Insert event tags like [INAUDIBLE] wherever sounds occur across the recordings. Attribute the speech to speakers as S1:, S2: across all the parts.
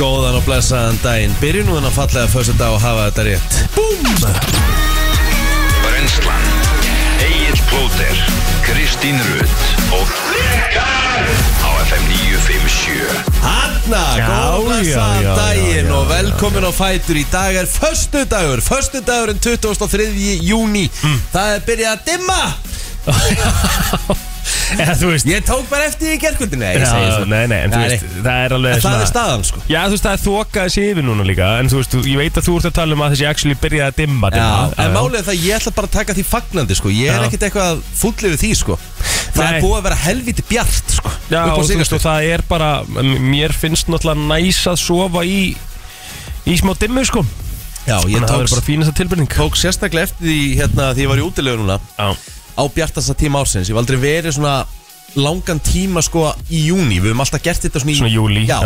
S1: Góðan og blessaðan daginn Byrjum nú þennan fallega fyrsta dag og hafa þetta rétt Búm!
S2: Brenslan Egil Plóter Kristín Rutt og á FM 957
S1: Hanna,
S3: Já,
S1: góðan og
S3: já,
S1: blessaðan
S3: já, já,
S1: daginn
S3: já,
S1: og
S3: já.
S1: velkomin á Fætur Í dag er förstu dagur, förstu dagurinn 23. júni
S3: Mm.
S1: Það er byrjað að dimma
S3: Eða þú veist
S1: Ég tók bara eftir því í gerkvöldinu Nei, ég segi
S3: Já,
S1: svona.
S3: nei, nei, en þú veist, það er alveg
S1: En það er staðan sko
S3: Já, þú veist, það er þokaði sífi núna líka En þú veist, þú- ég veit að þú ert að tala um að þessi actually byrjaði að dimma,
S1: Já,
S3: dimma.
S1: en málið er það að ég ætla bara að taka því fagnandi sko. Ég er
S3: Já.
S1: ekkert eitthvað fullið við því sko. Það
S3: Nei.
S1: er búið að vera helviti bjart sko. upp
S3: Já,
S1: á
S3: og þú veist,
S1: síðkastið.
S3: og það er bara m- Mér finnst náttúrulega næs að sofa í Í smá dimmu, sko
S1: Já, ég
S3: Þannig að það er
S1: tók,
S3: bara fínasta tilbyrning
S1: tók sérstaklega eftir því hérna, því ég var í útilegu núna
S3: Já,
S1: á bjartasta tíma ársins Ég hef aldrei verið svona langan tíma sko, í júni Við höfum alltaf gert þetta svona í
S3: svona júli
S1: Já,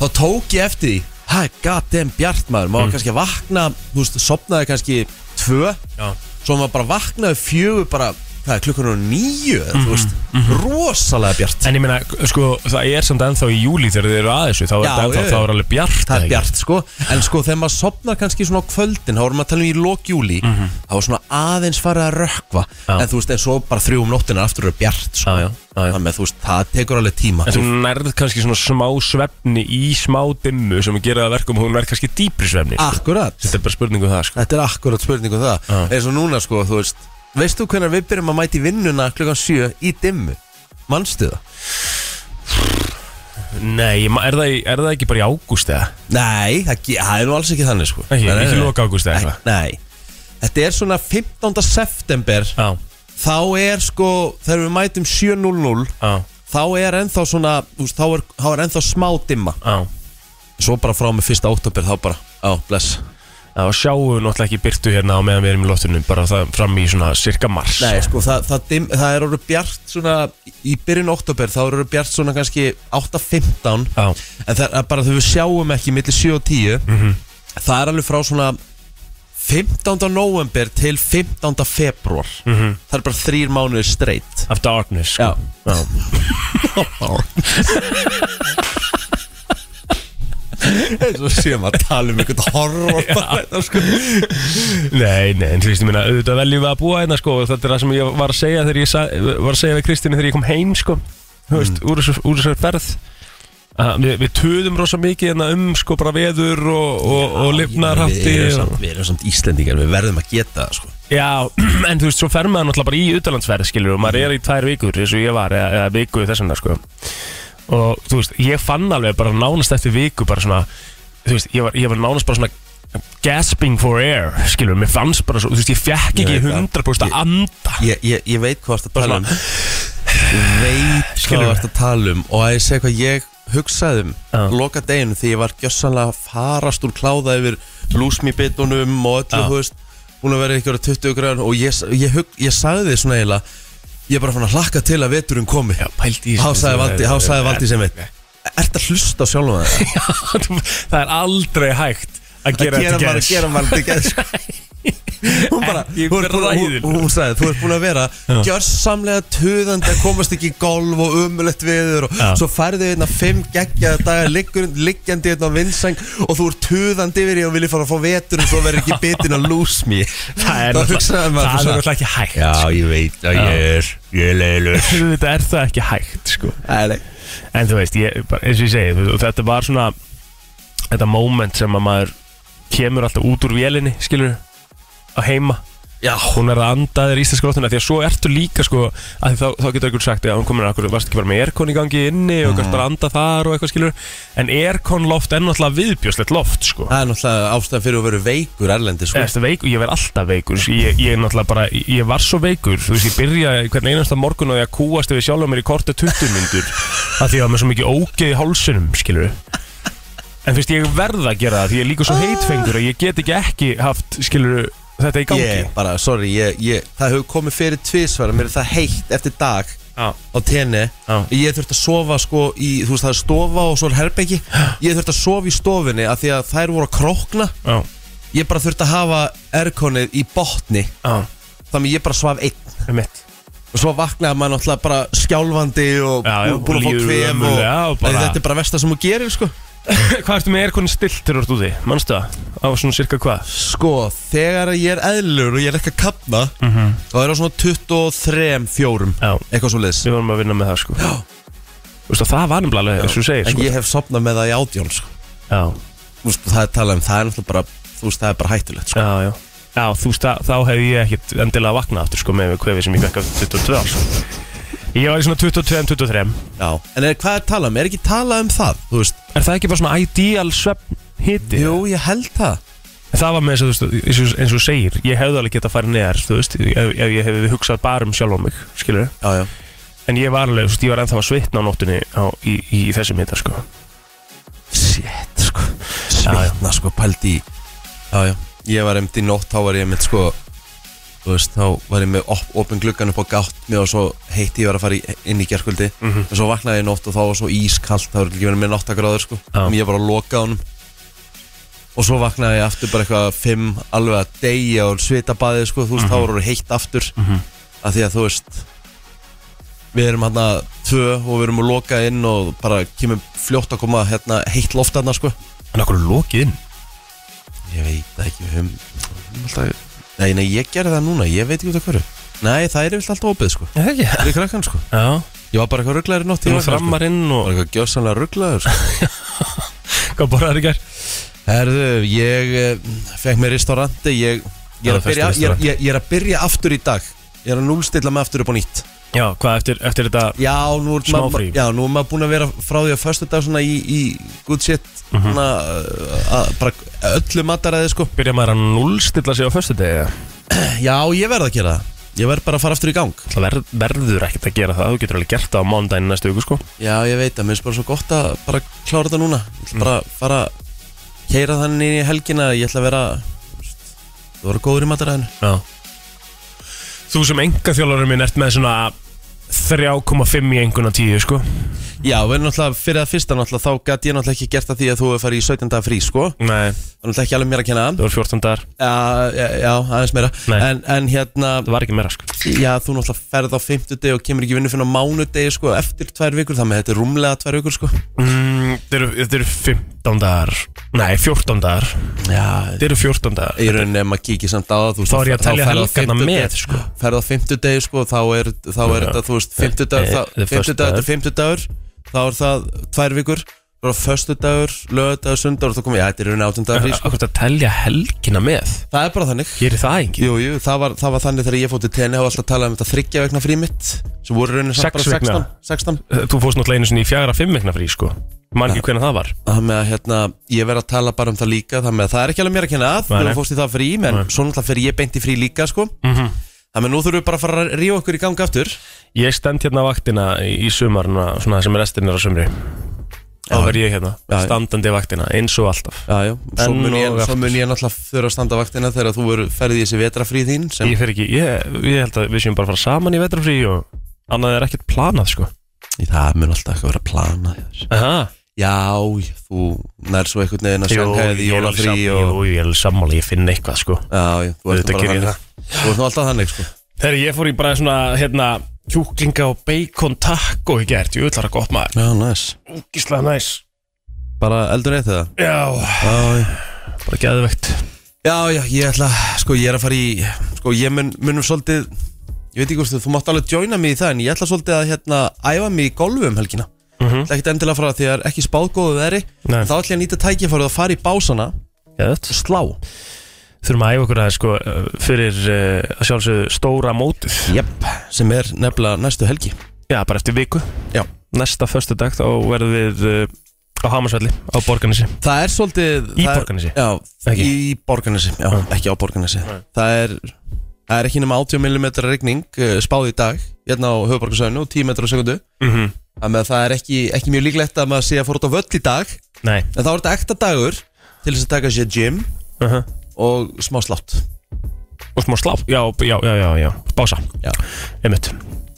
S1: þá tók ég eftir því Hæ, goddamn bjart maður
S3: Mm.
S1: Má kannski að vakna, þú veist, sopnaði kannski tvö
S3: já.
S1: Svo maður bara vaknaði fjögur bara, hvað er klukkan og níu mm Þú veist, rosalega bjart
S3: Mhm, En ég meina, sko, það er samt ennþá í júli þegar þið eru að þessu, þá er
S1: Já,
S3: þetta ennþá,
S1: já, já.
S3: þá er alveg
S1: Það
S3: bjart eða
S1: er
S3: ekki?
S1: bjart sko En sko þegar maður sopnar kannski svona á kvöldin Þá erum maður að tala um í lokjúli mm -hmm. Þá er svona aðeins farið að rökkva
S3: Mhm. Já.
S1: En þú veist, en svo bara þrjú um nóttina aftur er bjart sko.
S3: Já, já, já, já.
S1: Þannig að þú veist, það tekur alveg tíma
S3: En þú nærð kannski svona smá svefni í smá dimmu sem gera það að verkum og hún nærð kannski dýpri svefni sko.
S1: Akkurat
S3: Þetta er bara spurningu það sko.
S1: Þetta er akkurat spurning um það
S3: Já.
S1: Eða svo núna sko, þú veist Veistu hvernig við byrjum að mæti vinnuna klukkan sjö í dimmu? Manstu það?
S3: Nei, ég ma- er það, í- er það ekki bara í ágúst eða?
S1: Nei, það, ge- það er nú alls ekki þannig sko
S3: Ekki,
S1: Nei, nei,
S3: ekki
S1: nei.
S3: loka ágúst eða
S1: Nei,
S3: eitthvað
S1: Nei, þetta er svona 15. september
S3: Já,
S1: Þá er sko, þegar við mætum 7.00
S3: já,
S1: þá er ennþá svona þú veist, þá, er, þá er ennþá smá dimma
S3: já
S1: svo bara frá með fyrsta óttabir þá bara á, bless
S3: Já, og sjáum við náttúrulega ekki byrtu hérna á meðan við erum í loftunum bara það fram í svona cirka mars
S1: nei, sko, það, það, dim, það er orðið bjart svona í byrjun óttabir þá er orðið bjart svona kannski 8.15
S3: Já,
S1: en það er bara þegar við sjáum ekki millir 7 og 10
S3: Mhm.
S1: það er alveg frá svona 15. november til 15. februar
S3: Mhm.
S1: það er bara þrýr mánuðir streitt
S3: of darkness sko.
S1: já, já. eins og séum að tala um einhvern horror bara, sko.
S3: Nei, nei, en þú veist, ég minna, auðvitað veljum við að búa hérna, sko, og þetta er það sem ég var að segja þegar ég sa, var að segja við Kristínu þegar ég kom heim, sko,
S1: Mm.
S3: þú veist, úr þessu- úr þessar ferð að við, við töðum rosa mikið hérna um, sko, bara veður og, og, og
S1: Við
S3: lifnarhátti
S1: erum
S3: og...
S1: samt- Við erum samt Íslendingar, við verðum að geta það sko.
S3: Já, [CLEARS THROAT] en þú veist, svo fer maður náttúrulega bara í utalandsferð, skilur, og maður er í tvær vikur eins og ég var, eða, eða viku þessan sko. og þú veist, ég fann alveg bara nánast eftir viku, bara svona þú veist, ég var, ég var nánast bara svona gasping for air, skilur, mér fannst bara svo, þú veist, ég fekk
S1: Ég
S3: ekki
S1: veit það.
S3: 100% að anda
S1: ég, ég, ég veit hvað það tala um Ég veit hvað
S3: Skilurðu?
S1: það tala um Og að ég segja hvað ég hugsaði um
S3: Já.
S1: Loka deginu því ég var gjössanlega að farast úr kláða Yfir lúsmibitunum og öllu
S3: Já.
S1: þú veist Búin að vera ykkur að 20 grann Og ég, ég, hug, ég sagði því svona eiginlega Ég er bara fann að hlakka til að veturinn komi
S3: Já, pældi í
S1: Há sagði Valdi, há sagði Valdi sem
S3: [LAUGHS]
S1: veit
S3: Já,
S1: Ert að hlusta á sjálfum það
S3: þú- Það er aldrei hægt að gera
S1: gera
S3: þetta
S1: maður,
S3: gæs [LAUGHS]
S1: gera maður til gæðs Hún bara,
S3: Ekki
S1: hún, er búin að- hún,
S3: bræðilegt.
S1: hún sagði, þú ert búin að vera gjörsamlega töðandi að komast ekki í golf og umulett viður og
S3: Já.
S1: svo færðu hérna fimm geggjaða dagar liggur, liggjandi hérna á vinsang og þú ert töðandi yfir því og viljið fara að fá vetur og svo verður ekki bitin að lús mér
S3: Það er
S1: hugsaði
S3: náttúrulega
S1: maður
S3: það er
S1: svona,
S3: náttúrulega ekki hægt sko.
S1: ég veit að er, ég er leiðilegur
S3: Þetta er það ekki hægt, sko
S1: Æ, nei.
S3: En þú veist, ég, bara, eins og ég segi þú- og Þetta var svona Þetta moment sem að maður Kemur alltaf út úr vélinni, skilur Á heima,
S1: Já,
S3: hún er að anda þér í íslenska róttuna Því að svo ertu líka, sko að þá, þá getur einhver sagt, já, hún komur akkur Varst ekki bara með aircon í gangi inni og gæst bara að anda þar Og eitthvað, skilur En aircon loft er náttúrulega viðbjöslegt loft, sko
S1: það er náttúrulega ástæðan fyrir að vera veikur erlendi sko.
S3: Eftir veikur, ég verð alltaf veikur sko. ég, ég náttúrulega bara, ég var svo veikur Þú veist, ég byrjaði hvern einasta morgun á því að kúast Ef ég sjálf mér í korta 20 myndur Af því að ég var með svo mikið ógeð í hálsunum, skilur En þú veist, ég verð að gera það Því ég er líka svo heitfengur að ég get ekki ekki haft, skilur, þetta í gangi
S1: Ég bara, sorry, ég, ég, það hefur komið fyrir tvisvara, mér er það heitt eftir dag
S3: Já,
S1: á tenni
S3: Já.
S1: Ég þurfti að sofa sko í, þú veist það er stofa og svo er herbeki Ég þurfti að sofa í stofinni af því að þær voru að krókna
S3: já,
S1: Ég bara þurfti að hafa airconið í botni
S3: já,
S1: Þannig ég bara svaf einn
S3: það er mitt
S1: Og svo vaknaði maður náttúrulega bara skjálfandi og
S3: Já, já,
S1: bú- búin að fá
S3: líður
S1: kvef og,
S3: ömurlega og bara-
S1: Þetta er bara versta sem þú gerir sko
S3: [LAUGHS] Hvað ertu með airconin stilt þegar þú ert úti? Manstu það? Á svona cirka hvað?
S1: Sko, þegar ég er eðlur og ég er ekki að kapna Þá er það svona 23, 4
S3: Mhm. Já,
S1: Eitthvað svo leiðis
S3: við vorum að vinna með það sko Já Vistu, það var nefnilega alveg, eins og þú segir
S1: En
S3: sko.
S1: ég hef sopnað með það í átjón sko.
S3: Já,
S1: Þú veist, Það er talað um, það er náttúrulega bara Þú veist, það er bara hættulegt sko.
S3: já, já Já, þú veist, það- þá hefði ég ekkit endilega vaknað aftur sko með hvefið sem ég fekk af 22 árs sko. Ég var í svona 22-23
S1: Já. En er, hvað er talað um? Er ekki talað um það? Þú veist,
S3: Er það ekki bara svona ideal svefn hiti?
S1: jú, ég held það
S3: Það var með þess að, þú veist, eins og- eins og þú segir, ég hefði alveg getað að fara neðar, þú veist, ef, ef ég hefði hugsað bara um sjálf á mig, skilur
S1: Já, já
S3: En ég var alveg, þú veist, ég var ennþá að svitna á nóttunni á, í, í, í þessum hita, sko
S1: Sétt, sko
S3: Já, já.
S1: Sveitna, sko, pældi í Já, já Ég var einmitt í nótt, þá var ég einmitt, sko Þú veist, þá var ég með op opin gluggan upp á gátt Mér var svo heitt ég var að fara í, inn í gerkvöldi En svo vaknaði ég í nótt og þá var svo ískalt Það var ekki verið með náttagráður, sko
S3: Já.
S1: Þannig ég var að loka honum Og svo vaknaði ég aftur bara eitthvað Fimm alveg að deyja og svitabaðið, sko Þú veist, þá var orðið heitt aftur Af því að, þú veist Við erum hérna tvö og við erum að loka inn og bara kemur fljótt að koma hérna heitt loft hérna sko.
S3: En okkur er lokið inn
S1: Ég veit það ekki, við höfum við höfum alltaf... Nei, nei, ég gerði það núna, ég veit ekki út af hverju Nei, það er vilt alltaf opið, sko
S3: Er það ekki?
S1: Við krakkan, sko
S3: Já,
S1: Ég var bara eitthvað rugglaður í nótt
S3: þú
S1: ég
S3: erum
S1: vaknaði, sko.
S3: framarinn
S1: Bara
S3: og
S1: eitthvað gjössanlega rugglaður, sko
S3: Hvað borðaður í gær?
S1: Herðu, ég eh, fekk mér restauranti Ég, ég, er
S3: Já,
S1: að byrja,
S3: föstu
S1: ég, er- ég, ég er að byrja aftur í dag Ég er að núlstilla mig aftur upp á nýtt
S3: Já, hvað eftir, eftir þetta
S1: Já, nú er
S3: Smá frí.
S1: maður já, nú er maður búin að vera frá því að föstu dag svona í, í good shit svona, uh, að, bara öllu mataræði sko
S3: Byrja maður að nullstilla sig á föstudegi eða?
S1: Já, ég verð að gera það Ég verð bara að fara aftur í gang
S3: Það ver, verður ekkert að gera það, þú getur alveg gert það á mándaginn næstu viku sko
S1: Já, ég veit að mér finnst bara svo gott að bara klára þetta núna Ég ætla bara að fara að keira þannig inn í helgina Ég ætla að vera þú veist, Þú voru góður í mataræðinu
S3: Já Þú sem enga þjólaurum minn ert með svona 3,5 í enguna 10 sko
S1: Já, við erum náttúrulega fyrir það fyrsta náttúrulega Þá gat ég náttúrulega ekki gert það því að þú hefur farið í 17 daga frí sko
S3: Nei,
S1: Það er náttúrulega ekki alveg mér að kenna
S3: það voru 14 dagar,
S1: Já, já, já aðeins meira
S3: Nei.
S1: en, en hérna,
S3: það var ekki meira sko
S1: já, þú náttúrulega ferð á 50 og kemur ekki vinnu fyrir á mánudegi sko Eftir tvær vikur, þannig að þetta er rúmlega tvær vikur sko
S3: mm, Þetta eru- þetta eru 15 dagar Nei, 14 dagar
S1: Já,
S3: Þetta eru 14 dagar
S1: í rauninni ef maður kíkir samt á það þú veist,
S3: Þá er ég að
S1: þá
S3: telja
S1: ferðu á
S3: helgarna
S1: fimmtudegi-
S3: með, sko.
S1: ferðu á fimmtudegi sko, þá er, þá er þetta þú veist
S3: Eh,
S1: fimmtudagur
S3: the
S1: þá-
S3: first
S1: fimmtudagur
S3: dagur.
S1: til fimmtudagur þá er það tvær vikur þá er föstudagur, lögadagur, sundagur og þá komið, já þetta er í rauninni áttundagur
S3: [LAUGHS]
S1: frí sko.
S3: Akkur að telja helgina með
S1: það er bara þannig
S3: Gerir það engin?
S1: Jú, jú, það var, það var þannig þegar ég fótt í tenni hafa alltaf talað um þetta þryggja vegna frí mitt sem voru í rauninni samt
S3: Sex
S1: bara
S3: vikna.
S1: 16, 16
S3: Þú fórst náttúrulega einu sinni í fjara fimm vegna frí sko Man ekki hvernig það var
S1: þannig að hérna, ég verð að tala bara um það líka þannig að það er ekki alveg mér að kenna að
S3: Nei,
S1: þú
S3: nei.
S1: fórst í það frí, menn
S3: Nei. Mhm.
S1: svo náttúrulega fyrir ég beint í frí líka sko. þannig að nú þurfum við bara að fara að ríða okkur í gang aftur
S3: Ég stend hérna á vaktina í í sumarna Svona sem restin er á sumri Þá verð ég hérna,
S1: Já, já.
S3: standandi vaktina Eins og alltaf
S1: Já, já, svo
S3: Enn
S1: mun, ég,
S3: og
S1: svo
S3: aftur.
S1: mun ég náttúrulega þurfa að standa vaktina þegar þú eru ferðið í þessi vetrafríð þín sem,
S3: Ég fer ekki, ég, ég held að við séum bara að fara saman í vetrafrí og annað er ekkert planað sko
S1: Það mun alltaf eitthvað vera að plana Já,
S3: Aha,
S1: já, þú nær svo einhvern veginn að sjanghæði í
S3: ég er alveg
S1: jólafrí
S3: sam-
S1: og,
S3: jú, ég er alveg sammála, ég finn eitthvað sko
S1: Já, já, þú ert
S3: Auðvitað
S1: nú bara
S3: geri ég
S1: þannig Þú ert nú alltaf þannig, sko
S3: Herri, ég fór í bara svona, hérna, kjúklinga og bacon taco í gert, ég vil það gott maður
S1: Já, næs
S3: Úkislega næs
S1: Bara eldur eitt það
S3: Já,
S1: Já, já.
S3: bara geðvegt
S1: já, já, ég ætla, sko, ég er að fara í Sko, ég mun, munum svolítið Ég veit ekki hvort þú- þú mátt alveg joina mig í það En ég ætla svolítið að, hérna, æfa mig í golfi um helgina
S3: mm
S1: Það er ekkit endilega frá því að er ekki spáðgóðu veri
S3: Nei.
S1: En þá ætla ég að nýta tækifærið að fara í básana
S3: Geðvegt
S1: Slá
S3: Þurfum að æfa okkur aðeins sko uh, fyrir uh, að sjálfsögðu stóra mótið
S1: Jep, sem er nefnilega næstu helgi
S3: Já, bara eftir viku
S1: Já.
S3: Næsta föstu dag þá verðum við uh, á Hamarsvelli, á Borgarnesi
S1: Það er svolítið
S3: Í
S1: það er-
S3: Borgarnesi?
S1: Já,
S3: Ekki?
S1: í Borgarnesi, já,
S3: Ah.
S1: ekki á Borgarnesi Það er, það er ekki nema 80 mm regning eh, spáð í dag hérna á höfuborgarsöðinu, 10 metrar á sekundu
S3: mm
S1: Þannig að það er ekki, ekki mjög líklegt að maður sé að fór út á völl í dag
S3: Nei
S1: En þá er þetta ekta dagur til þess að taka sér gym
S3: uh
S1: og smá slátt
S3: og smá slá já, já, já, já, já. bása
S1: Já.
S3: einmitt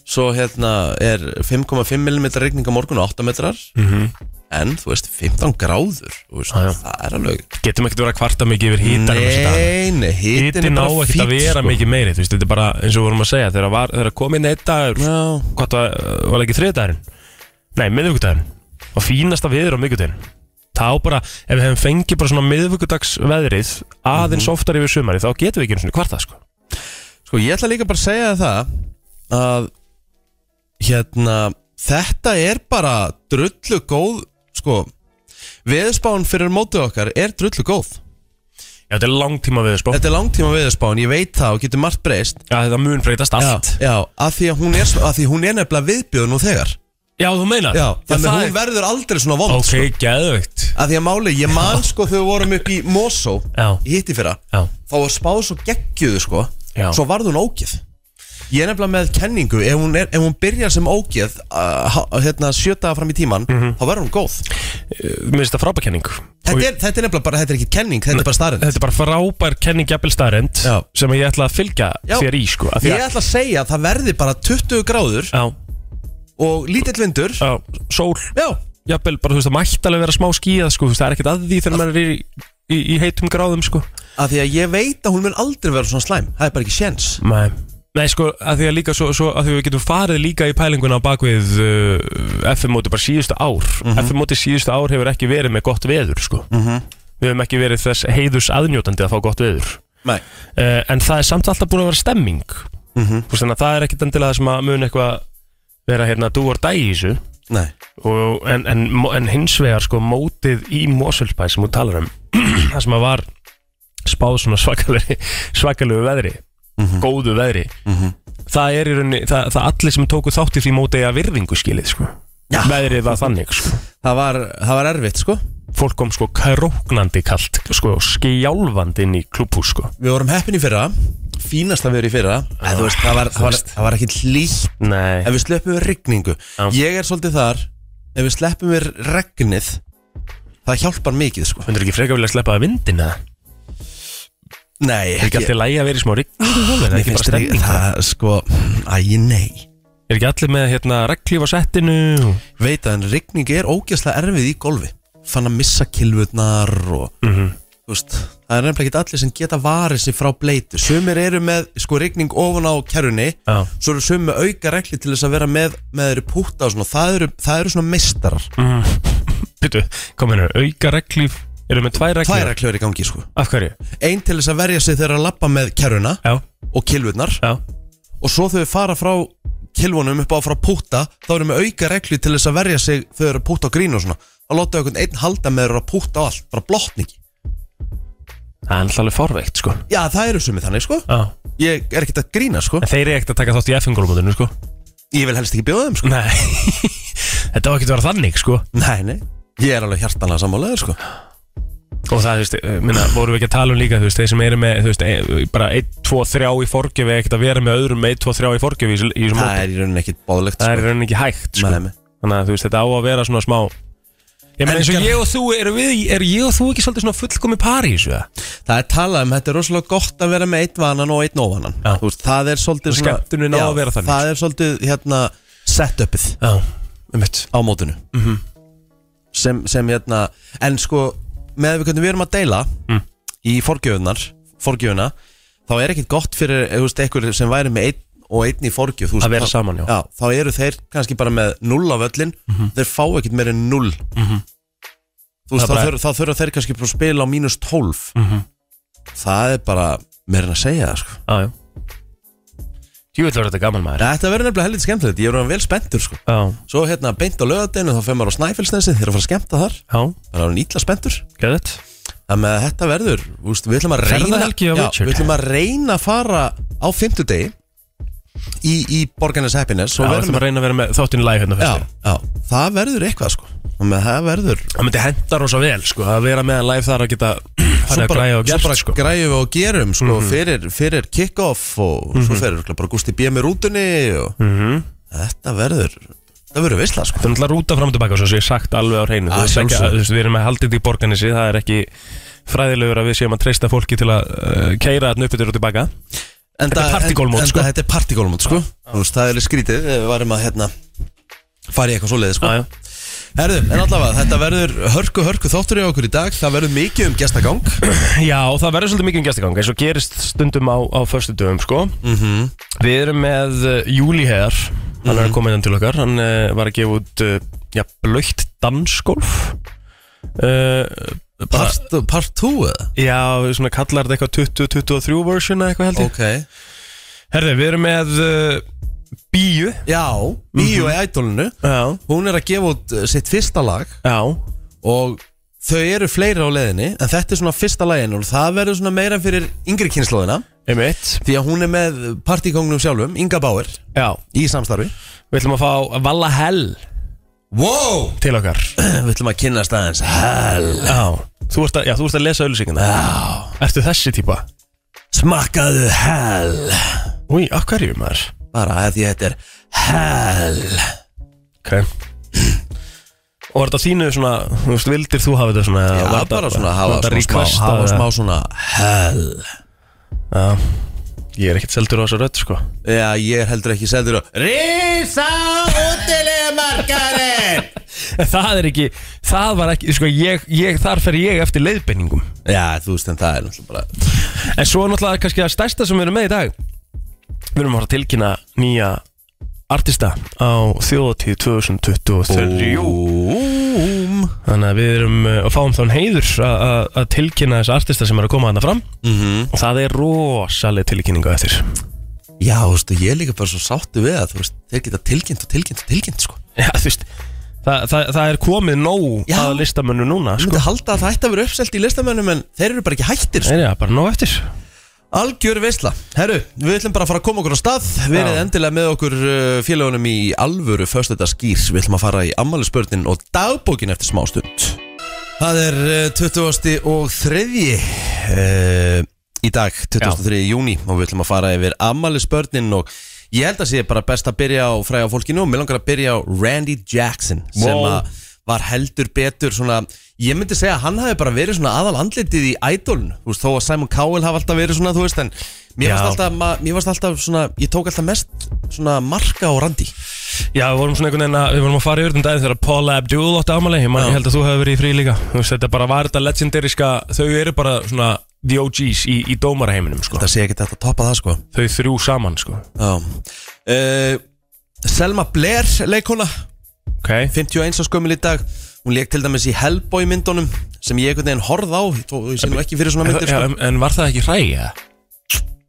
S1: Svo hérna er 5,5 mm regning á morgun og 8 metrar
S3: Mhm.
S1: En þú veist, 15 gráður þú veist,
S3: Já, já.
S1: Það er alveg
S3: getum ekkert verið að kvarta mikið yfir hítanum þessa dagana.
S1: Nei, nei, hitin er
S3: hítinn á
S1: bara
S3: ekkert að
S1: fínn,
S3: vera
S1: sko.
S3: mikið meiri þú veist, þetta er bara eins og við vorum að segja þegar, var, þegar kom inn eitt dagur eh,
S1: Já,
S3: hvað var, var það ekki þriðdagurinn nei, miðvíkudagurinn og fínasta viður á miðvíkudagurinn Það á bara, ef við hefum fengið bara svona miðvikudags veðrið aðeins
S1: Mhm.
S3: oftar yfir sumari, þá getum við ekki einu svona kvarta, sko.
S1: Sko ég ætla líka bara að segja þér það að hérna þetta er bara drullu góð sko veðspán fyrir mótið okkar er drullu góð
S3: Já, þetta er langtíma við, sko.
S1: Þetta er langtíma veðspán, ég veit það og getur margt breyst
S3: Já, þetta mun breytast allt.
S1: Já, já að, því að, hún er, að því hún er nefnilega viðbjöð nú þegar
S3: Já, þú meinar.
S1: Já,
S3: þannig
S1: þannig að hún verður aldrei svona vond
S3: Ok,
S1: sko.
S3: geðvögt.
S1: að því að máli, ég man sko þegar við vorum upp í Mosó
S3: Já.
S1: í hitti fyrra
S3: Já.
S1: þá var spáð svo geggjuðu sko
S3: Já.
S1: svo varð hún ógeð ég er nefnilega með kenningu ef hún, er, ef hún byrjar sem ógeð uh, ha- hérna, sjötaða fram í tíman
S3: Mhm.
S1: þá verður hún góð
S3: Mér finnst þetta frábækenning.
S1: þetta er, þetta er nefnilega bara, þetta er ekki kenning þetta er bara starrend
S3: Þetta er bara frábær kenning jafnvel staðrend
S1: Já.
S3: sem ég ætla að fylgja þér í, sko. af því
S1: ég
S3: að-
S1: ætla að segja að það verði bara 20 gráður
S3: Já,
S1: og lítill vindur
S3: já, sól,
S1: já,
S3: jafnvel bara, þú veist, það mætti alveg vera smá skíða, sko, þú veist, það er ekkert að því þegar maður er í, í, í heitum gráðum, sko.
S1: að því að ég veit að hún mun aldrei vera svona slæm það er bara ekki sjens
S3: Nei Nei sko, að því að líka svo, svo að því við getum farið líka í pælinguna á bakvið uh, FM-móti bara síðustu ár FM-móti síðustu ár hefur ekki verið með gott veður sko Við hefum ekki verið þess heiðus aðnjótandi að fá gott veður
S1: Nei.
S3: uh, En það er samt alltaf búin að vera stemming mm -hmm. Þannig að það er ekkit endilega það sem að mun eitthvað vera hérna dú or dæ í þessu
S1: Nei.
S3: og, en, en, en hins vegar sko mótið í Mosulbæ sem þú talar um [CLEARS THROAT] það sem að var spáð svona svakalegu, svakalegu veðri
S1: Mhm.
S3: góðu veðri það er í rauninni, það, það allir sem tóku þátt í því mótið að virðingu skilið sko
S1: Já.
S3: veðrið var þannig sko
S1: það var, það var erfitt sko
S3: fólk kom sko króknandi kalt sko og skjálfandi inn í klubhús sko
S1: við vorum heppin í fyrra fínast að vera í fyrra en, þú veist, það var, það var, það var ekki hlýtt
S3: nei,
S1: ef við sleppum við regningu
S3: Já.
S1: ég er svolítið þar ef við sleppum við regnið það hjálpar mikið sko
S3: myndur ekki frekar vilja sleppa að vindin eða?
S1: nei,
S3: er ekki allt í lægi að vera í smá rigningu er
S1: mér
S3: ekki bara
S1: finnst
S3: stemning
S1: ekki það sko, æg nei
S3: er ekki allir með hérna reglíf á settinu og
S1: veit að en regning er ógeðslega erfið í golfi fann að missa kilvurnar og
S3: Mhm.
S1: þú veist, það er nefnilega ekki allir sem geta varið sig frá bleitu sumir eru með sko regning ofan á kerrunni
S3: Já.
S1: svo eru sumir með auka regli til þess að vera með með þeirri púta og svona, það eru, það eru svona meistarar,
S3: Mhm. Býtu, kom hérna, auka reglíf Erum við með tvær reglíf?
S1: tvær reglur í gangi sko
S3: Af hverju?
S1: ein til þess að verja sig þegar að lappa með kerruna
S3: Já,
S1: og kilvurnar
S3: já
S1: og svo þau fara frá kilvunum upp á frá púta þá erum við auka reglu til þess að verja sig þau eru að púta á grín og svona þá láta einhvern einn halda með þeirra að púta á allt bara blottningi
S3: Það er alltaf alveg forveikt, sko
S1: já það eru sumið þannig sko
S3: Já
S1: ég er ekkert að grína sko
S3: En þeir eru ekkert að taka þátt í FN-gólumótinu, sko
S1: ég vil helst ekki bjóða þeim sko
S3: Nei [LAUGHS] Þetta var ekki að vera þannig, sko
S1: nei nei ég er alveg hjartanlega sammálaður sko
S3: Og það, þú veist, eh, minna, vorum við ekki að tala um líka, þú veist Þeir sem eru með, þú veist, eh, bara 1, 2, 3 í forgjöfi Ekkert að vera með öðrum með 1, 2, 3 í forgjöfi í þessu- í þessum
S1: það
S3: móti
S1: er í rauninni ekkit báðlegt
S3: Það
S1: sko
S3: er í rauninni ekki hægt, sko
S1: Nei, nei.
S3: Þannig að, þú veist, þetta á að vera svona smá Ég meina,
S1: En
S3: eins og
S1: gerð-
S3: ég og þú, eru við, er ég og þú ekki svolítið svona fullkomi pari í þessu, eða?
S1: það er talað um þetta er rosalega gott að vera með einn vanan og einn óvanan
S3: Já.
S1: Þú veist, það er svolítið
S3: Og
S1: svona-
S3: skemmtunin á
S1: Já,
S3: að vera þannig, sko.
S1: það er svolítið hérna setupið
S3: Já, um
S1: á mótinu
S3: Mhm.
S1: sem, sem hérna en sko með við hvernig við erum að deila
S3: Mm.
S1: í forgjöfunar forgjöfuna þá er ekkit gott fyrir eh, þú veist, einhver sem væri með einn og einn í forgjöf þú veist,
S3: Að vera
S1: þá-
S3: saman, já. Mhm.
S1: já þá eru þeir kannski bara með null á völlin þeir fá ekkit meira en null þú veist þá,
S3: Það er bara- Mhm.
S1: þur, þá þurfa þeir kannski bara að spila á mínus 12 það er bara meira en að segja það sko
S3: Já, já Jú, þetta var þetta gaman maður
S1: þetta verður nefnilega helviti skemmtilegt ég er orðinn vel spenntur sko
S3: Já,
S1: svo hérna beint á lögadeginu þá fer maður á Snæfellsnesi þeir eru að fara að skemmta þar
S3: já,
S1: Það er hann ítla spenntur
S3: geðið
S1: Þannig að þetta verður, úst, við ætlum að reyna
S3: Ferðahelgi á Richard.
S1: Við ætlum að reyna að fara á fimmtudegi í, í Borgarnes Happiness
S3: Já,
S1: og
S3: við
S1: verðum
S3: ætlum að reyna að vera með þáttinn læg hérna
S1: já,
S3: fyrst
S1: já, það verður eitthvað sko Þannig að það verður
S3: Það myndi henda rosa vel, sko Að vera með læg þar að geta [CLEARS THROAT] Þannig að græja og
S1: svo
S3: gert,
S1: bara
S3: sko Mhm.
S1: græjum við og gerum sko, fyrir, fyrir kick-off og svo fyrir örugglega bara Gusti B. með rútunni og
S3: Mhm.
S1: þetta verður þetta verður veistla sko
S3: Það er náttúrulega rúta fram og tilbaka, svo sem ég hef sagt alveg á hreinu
S1: Að
S3: Þú veist ekki
S1: sjálfsögðu.
S3: að- þú veist, Við erum með haldið í borganessi, það er ekki fræðilegur að við séum að treysta fólki til að uh, keira þarna uppbyttur og tilbaka
S1: en
S3: Þetta er partygólmót, sko.
S1: þetta er partygólmót sko Þú veist, það er skrítið, ef við varum að hérna fara í eitthvað svoleiði sko
S3: Já, já,
S1: Herðu, en allavega, þetta verður hörku, hörku þáttur í okkur í dag Það verður mikið um gestagang
S3: já og það verður svolítið mikið um gestigang eins og gerist stundum á, á föstudöfum, sko
S1: Mhm.
S3: Við erum með uh, Júli Heðar hérna eh, Hann er að koma innan til okkar Hann uh, var að gefa út uh, já, blöytt dansgolf uh, bara,
S1: Part, part 2 eða?
S3: Já, svona kallar þetta eitthvað 2023 version eða eitthvað held ég
S1: Ok
S3: Herði, við erum með uh, Bíu
S1: Já, Bíó í ædolinu
S3: Já,
S1: Hún er að gefa út uh, sitt fyrsta lag
S3: já,
S1: Og þau eru fleiri á leiðinni En þetta er svona fyrsta lagin Og það verður svona meira fyrir yngri kynnslóðina
S3: einmitt
S1: Því að hún er með partíkongnum sjálfum Inga Bauer
S3: Já,
S1: í samstarfi
S3: við ætlum að fá Valla Hell
S1: Wow
S3: til okkar
S1: [CLEARS THROAT] Við ætlum að kynna staðins Hell
S3: Já, þú ert að, já, þú ert að lesa ölsingina
S1: Já
S3: Ertu þessi típa?
S1: Smakkaðu hell
S3: Úi, af hverju maður?
S1: Bara að því þetta er hell
S3: Ok Og var þetta þínu svona, þú veist, vildir þú hafa þetta svona eða
S1: Já,
S3: var þetta-
S1: bara svona
S3: var
S1: hafa
S3: þetta
S1: smá, smá,
S3: request
S1: hafa
S3: eða-
S1: smá svona hell
S3: Ég er ekkert seldur á þessa rödd, sko
S1: Já, ég er heldur ekki seldur og Rísa útilega markarinn
S3: Það er ekki, það var ekki, sko, ég, ég þar fer ég eftir leiðbeiningum
S1: Já, þú veist en það er náttúrulega bara
S3: En svo er náttúrulega kannski það stærsta sem við erum með í dag Við erum að fara að tilkynna nýja artista á þjóðatíð 2023
S1: Búm
S3: Þannig að við erum uh, að fáum þann heiður að- að að tilkynna þessa artista sem er að koma hana fram
S1: Mhm.
S3: Og það er rosaleg tilkynningu eftir
S1: Já, þú veist, ég er líka bara svo sáttu við að þú veist, þeir geta tilkynnt og tilkynnt og tilkynnt sko.
S3: Já, þú veist Það, það, það er komið nóg
S1: Já.
S3: að listamönnu núna
S1: Ég
S3: sko.
S1: myndi halda að það ætti að vera uppselt í listamönnum en þeir eru bara ekki hættir sko.
S3: Nei, já, bara nóg eftir
S1: Algjör veisla Herru, við ætlum bara að fara að koma okkur á stað Við erum
S3: Já.
S1: endilega með okkur uh, félagunum í alvöru Föstudagsgýrs, við ætlum að fara í ammælisbörnin og dagbókin eftir smá stund Það er uh, 20. og 3. Uh, í dag, 23. júni og við ætlum að fara yfir ammælisbörnin og ég held að sé bara best að byrja á fræða fólkinu og mér langar að byrja á Randy Jackson sem
S3: Wow.
S1: að var heldur betur svona, ég myndi segja að hann hafi bara verið svona aðal andlitið í ædolun, þú veist, þó að Simon Cowell hafi alltaf verið svona, þú veist, en mér
S3: Já.
S1: varst alltaf, ma- mér varst alltaf svona, ég tók alltaf mest svona marka á Randy
S3: Já, við vorum svona einhvern veginn að Við vorum að fara yfir um daginn þegar Paula Abdul átti ámali Ég man-
S1: Já.
S3: ég held að þú hefur verið í frí líka Þú veist, þetta bara var þetta legendariska Þau eru bara svona the OGs í, í dómaraheiminum sko.
S1: það sé ekki þetta að toppa það, sko
S3: Þau þrjú saman sko.
S1: Já uh, Selma Blair leikona
S3: okay.
S1: 51 á skömmil í dag hún leik til dæmis í Hellboy myndunum sem ég einhvern veginn horð á, ég, tó, ég sé nú ekki fyrir svona
S3: en,
S1: myndir,
S3: já,
S1: sko
S3: en, en var það ekki hræja?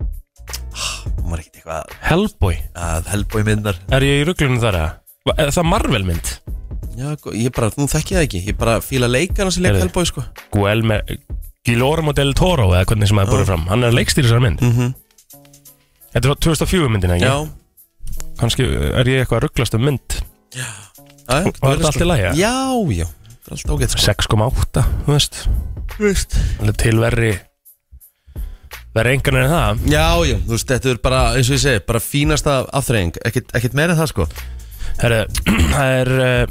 S1: hún var ekkert eitthvað
S3: Hellboy
S1: að Hellboy myndar
S3: Er ég í rugglunum þar eða? Va- Er það Marvel mynd?
S1: Já, gó- ég bara, nú þekki ég það ekki, ég bara fíla leikana sem leik
S3: Heyrðu.
S1: Hellboy, sko
S3: Guillermo Guillermo del Toro eða hvernig sem það er borðið fram Hann er leikstýri þessar mynd
S1: Mhm.
S3: Þetta er frá 2004 myndin ekki?
S1: Já,
S3: kannski er ég eitthvað að rugglast um mynd
S1: Var
S3: Var þetta allt í lagi, eða?
S1: Já, já, þetta er allt ágætt sko
S3: 6,8, þú veist
S1: Vist.
S3: Alveg til verri verri engan en það
S1: Já, já, þú veist, þetta er bara, eins og ég segi, bara fínasta aftræðing Ekkert, ekkert meira en það sko
S3: Herre, [CLEARS THROAT] það er eh,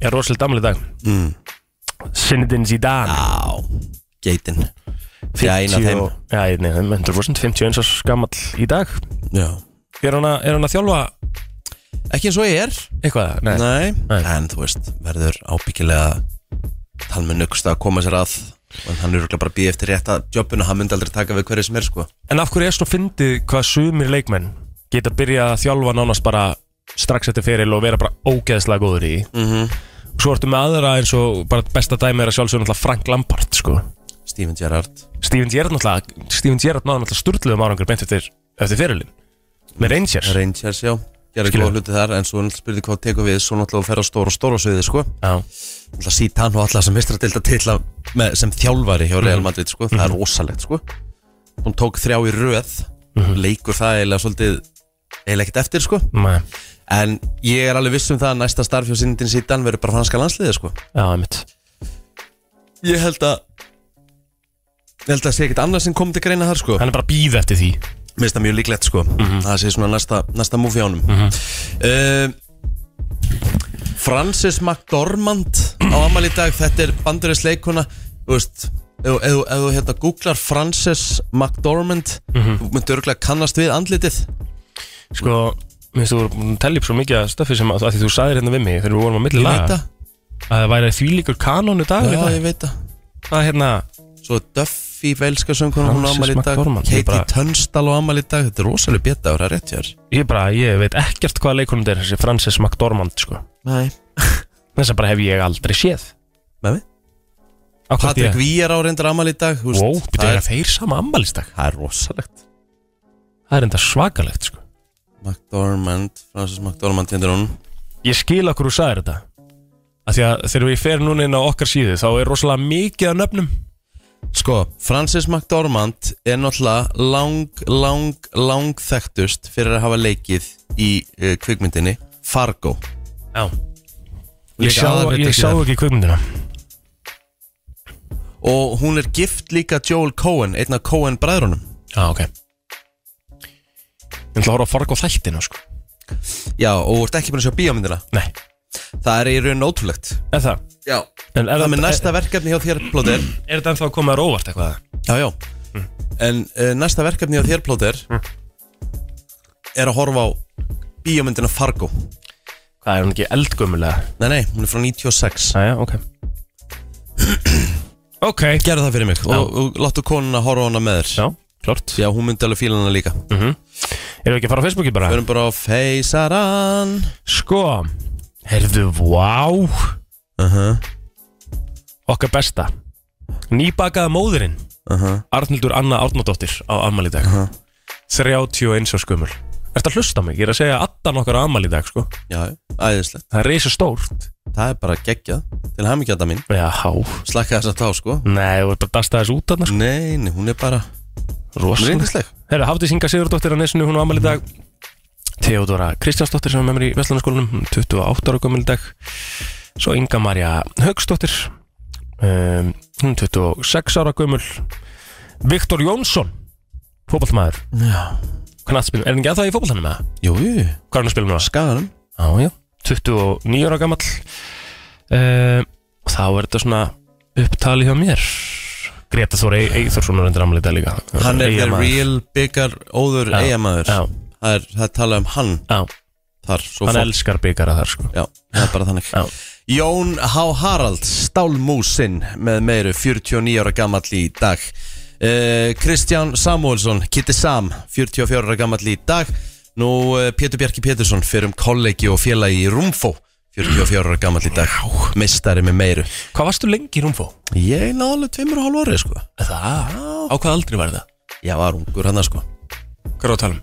S3: ég er rosalega damli dag
S1: mm.
S3: Zinedine Zidane
S1: Á, geitin Já, eina af
S3: 50
S1: þeim
S3: og- Já, nei, 100% 51 árs gamall í dag
S1: já.
S3: Er hann að, er hann að þjálfa
S1: Ekki eins og ég er
S3: eitthvað? Nei,
S1: Nei.
S3: Nei.
S1: en þú veist, verður ábyggilega Hann mun nöggst að koma sér að En hann er örugglega bara að býja eftir rétta jobbun Og hann myndi aldrei taka við hverju sem er sko
S3: En af hverju er svona fyndið hvað sumir leikmenn geta byrjað að þjálfa nánast bara strax eftir feril og vera bara ógeðslega góður í mm
S1: Mhm.
S3: -hmm. Svo ertu með aðra eins og bara besta dæmi er að sjálfsögur náttúrulega Frank Lampard sko.
S1: Steven Gerrard
S3: Steven Gerrard náttúrulega Steven Gerrard náði náttúrulega sturluðum árangur beint eftir, eftir ferilin með Rangers
S1: Rangers, já Gerði
S3: Skilja.
S1: góða hluti þar, en svo náttúrulega spyrði hvað tekur við Svo náttúrulega fer á stóra og stóra sviði sko
S3: Já.
S1: alltaf Sítan og alltaf sem mistradilda titla með, sem þjálfari hjá Real Madrid sko. það er rosalegt sko. hún tók þrjá í röð leikur það eiginlega svolítið eiginlega ekkert eftir sko.
S3: Nei,
S1: en ég er alveg viss um það að næsta starf hjá sindin sítan verður bara franska landsliði sko.
S3: Já, einmitt
S1: ég held að ég held að sé ekkert annað sem kom til greina þar sko.
S3: Hann er bara að býða eftir því
S1: Mér finnst það mjög líklegt sko
S3: Mhm.
S1: Það sé svona næsta, næsta múfi ánum mm Eh, Francis McDormand á amal í dag Þetta er banduris leikuna Þú veist Ef ef- ef þú hérna googlar Francis McDormand
S3: Mhm.
S1: Þú myndir örgulega kannast við andlitið
S3: Sko, minnst þú voru búin að telja upp svo mikið af stöffi sem að, að því þú sagðir hérna við mig þegar við vorum á milli
S1: Ég veit það
S3: laga að það væri þvílíkur kanónu dag
S1: Já, ég veit það
S3: það er hérna
S1: Svo Duffy, velska sönguna, hún á
S3: Frances
S1: amal í dag
S3: McDormand, ég
S1: Katie
S3: bara-
S1: Tunstall á amal í dag Þetta er rosalega betta að vera rétt hjá þér
S3: ég bara, ég veit ekkert hvað leikunum þetta er þessi Frances McDormand sko
S1: Nei
S3: þess að bara hef ég aldrei séð
S1: Með mig?
S3: Akkurat
S1: Patrik
S3: ég.
S1: Víjar á reyndar amal í dag þú veist,
S3: Wow, þetta
S1: það,
S3: er
S1: er,
S3: að þeir sama ammælistag
S1: það er rosalegt
S3: Það er enda svakalegt sko
S1: McDormand, Francis McDormand hendur hún
S3: Ég skil okkur úr sagðir þetta að Því að þegar við fer núna inn á okkar síðu Þá er rosalega mikið af nöfnum
S1: Sko, Francis McDormand er náttúrulega lang, lang, lang þekktust fyrir að hafa leikið í uh, kvikmyndinni Fargo
S3: Já Ég sá, ég sá ekki kvömmundina
S1: Og hún er gift líka Joel Cohen, einn af Cohen bræðrunum
S3: Já, Ah, ok Ég ætla að horfa að farga á þættina sko
S1: Já, og þú ert ekki búin að sjá bíómyndina
S3: Nei,
S1: Það er í raun ótrúlegt
S3: eða það
S1: Já
S3: En er,
S1: Það með
S3: þetta-
S1: næsta verkefni hjá þér, Plóter
S3: er, er þetta ennþá að koma þér á óvart eitthvað?
S1: Já, já En uh, næsta verkefni hjá þér, Plóter Er að horfa á bíómyndina Fargo
S3: Hvað er hún ekki eldgömmulega?
S1: Nei, nei, hún er frá 96
S3: Jæja, ok Ok
S1: Gerðu það fyrir mig
S3: Já.
S1: og, og láttu konuna horfa á hana með þér
S3: Já, klart
S1: Já, hún myndi alveg fíla hana líka Við
S3: Erum við ekki að fara á Facebooki bara?
S1: erum bara á feysaran
S3: Sko Heyrðu, vá
S1: uh -huh,
S3: Okkar besta Nýbakaða móðirinn
S1: uh -huh.
S3: Arnildur Anna Árnadóttir á ammali dag uh -huh. 31 og skumul Ertu að hlusta á mig? Ég er að segja addan okkar á ammali dag sko
S1: Já, æðislegt
S3: Það er reysa stórt
S1: Það er bara geggjað Til hamingjöta mín
S3: Já,
S1: Slakka þess að tá, sko
S3: nei, þú ert bara að dasta þess út þarna sko
S1: Nei, nei, hún er bara Hún er
S3: Rosalega
S1: yndisleg
S3: Herra, Hafdís Inga Sigurdóttir á nesinu, hún á ammali dag Theodora Kristjánsdóttir sem er með mér í Vestlunarskólanum, hún er 28 ára gömul í dag Svo Inga Marja Haugsdóttir um, Hún er 26 ára gömul Viktor Jónsson Fótballmaður
S1: Já
S3: Knatspil, er hann ekki að það í fótballtanum eða?
S1: Jú, jú,
S3: Hvað er hann að spila núna?
S1: skaganum
S3: Já, já 29 ára gamall um, Þá er þetta svona upptali hjá mér Greta Þór Eithórsson er endur ammali dag líka
S1: Hann er the
S3: Eyjamaður.
S1: real byggar óður
S3: Já,
S1: eigamæður
S3: Já,
S1: Það er, það er talað um hann
S3: já,
S1: þar svo
S3: hann
S1: fólk-
S3: elskar byggara þar sko
S1: Já, það er bara þannig
S3: Já.
S1: Jón H. Haralds, Stálmúsin með meiru 49 ára gamall í dag Eh, Kristján Samuelsson, Kitty Sam 44 ára gamall í dag Nú eh, Pétur Bjarki Pétursson fyrir um kollegi og félagi í Rúmfó 44 ára gamall í dag Mistari með meiru
S3: Hvað varstu lengi í Rúmfó?
S1: Ég náðu alveg tveimur og hálf orði sko
S3: Það? Á hvað aldrei var það?
S1: Ég var ungur hann sko
S3: Hvað er það að tala um?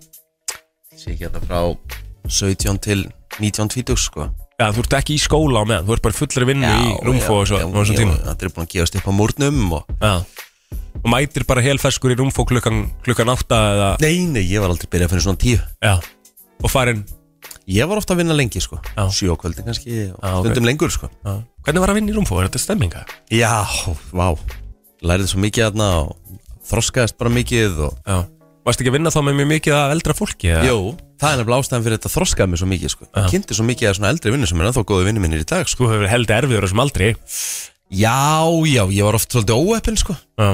S1: Sér ekki þetta frá 17 til 19 tvítugs sko
S3: Já, þú ert ekki í skóla á meðan, þú ert bara í fullri vinnu í Rúmfó og svo,
S1: já,
S3: og svo tíma
S1: já, Það er búin að gefast upp á múrnum og
S3: Já Og mætir bara helferskur í Rúmfó klukkan, klukkan átta eða
S1: Nei, nei, ég var aldrei byrjað fyrir svona tíu
S3: Já Og farinn
S1: Ég var ofta að vinna lengi, sko
S3: Já.
S1: Sjö á kvöldin kannski og
S3: Já, ok.
S1: stundum lengur, sko
S3: Já Hvernig var að vinna í Rúmfó? Er þetta stemminga?
S1: Já, vá Lærið svo mikið aðna og þroskaðist bara mikið og...
S3: Já Varst ekki að vinna þá með mjög mikið að eldra fólki? eða?
S1: Jú, það er nefnilega ástæðan fyrir þetta þroskaði mig svo mikið, sko Ég kynnti svo mikið að svona eldri vinnu sem er ennþá góði vinnu minnir í dag, sko
S3: Þú hefur held erfiður á þessum aldri
S1: Já, já, ég var oft svolítið óeppin, sko
S3: Já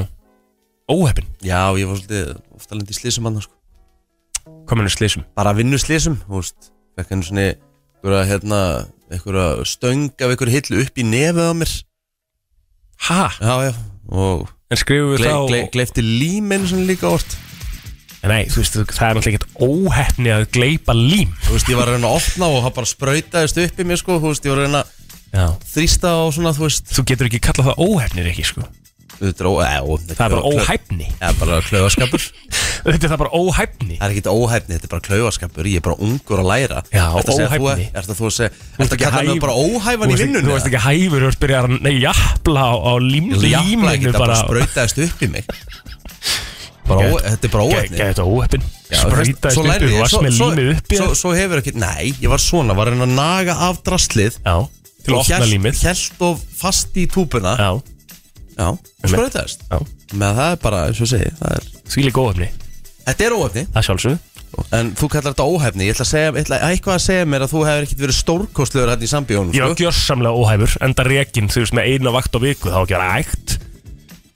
S3: Óheppin
S1: Já, ég var svolítið ofta lendi í slísum annars, sko
S3: Kominu slísum
S1: Bara vinnu slísum, þú veist Fekk henni svona einhverja, hérna, einhverja stöng af einhverju hillu upp í nefið á mér
S3: Ha?
S1: Já, já, og
S3: En skrifum við
S1: gle,
S3: þá
S1: gle, gleifti líminn svona líka orð
S3: Nei, þú veist, það er náttúrulega ekkert óheppni að gleipa lím
S1: Þú veist, ég var að reyna að opna og hann bara sprautaðist upp í mér, sko Þú veist, ég var að reyna að
S3: Já
S1: þrýsta og svona, þú veist
S3: Þú getur ekki kallað það óhefnir ekki sko
S1: Þetta er, ó, e, ó, þetta
S3: Það er bara
S1: klö-
S3: óhæfni
S1: Það er bara klaufaskapur
S3: Þetta er það bara óhæfni
S1: Það er ekki óhæfni, þetta er bara klaufaskapur Ég er bara ungur að læra
S3: Já,
S1: Ertu að segja að þú-
S3: óhæfni.
S1: Ertu að þú að segja, ertu að
S3: ekki
S1: kalla mig
S3: hæf-
S1: bara óhæfan í vinnunni
S3: Þú veist ekki hæfur, þú veist byrjar að nei, jafla á, á lím,
S1: eða? Ég jafnla ekki,
S3: líminu
S1: þetta bara
S3: bara
S1: sprautaðist upp í mig bara, ó,
S3: Gæt-
S1: Þetta er bara
S3: Gæði
S1: óhæfni
S3: þetta
S1: Já,
S3: óhæfn
S1: þú veist,
S3: Spröytaðist
S1: svo
S3: upp,
S1: lærði
S3: þú
S1: ég-
S3: varst
S1: svo-
S3: með
S1: svo-
S3: límið uppi
S1: svo- Svo hefur ekki, nei, ég var svona Var að reyna að naga af draslið
S3: Já, til að
S1: og
S3: opna
S1: hélt-
S3: límið
S1: hélt of fast í túpuna
S3: Já,
S1: Já, sprautaðist
S3: já,
S1: með það er bara, eins og ég segi það er,
S3: því líka óhæfni
S1: Þetta er óhefni,
S3: Það sjálfsög
S1: en þú kallar þetta óhefni Ég ætla að segja, ég ætla að eitthvað að segja mér að þú hefur ekkert verið stórkostlegur hérna í sambíónum
S3: Ég var gjörsamlega óhæfur, enda rekin, þú veist, með eina vakt á viku Það var ekki rægt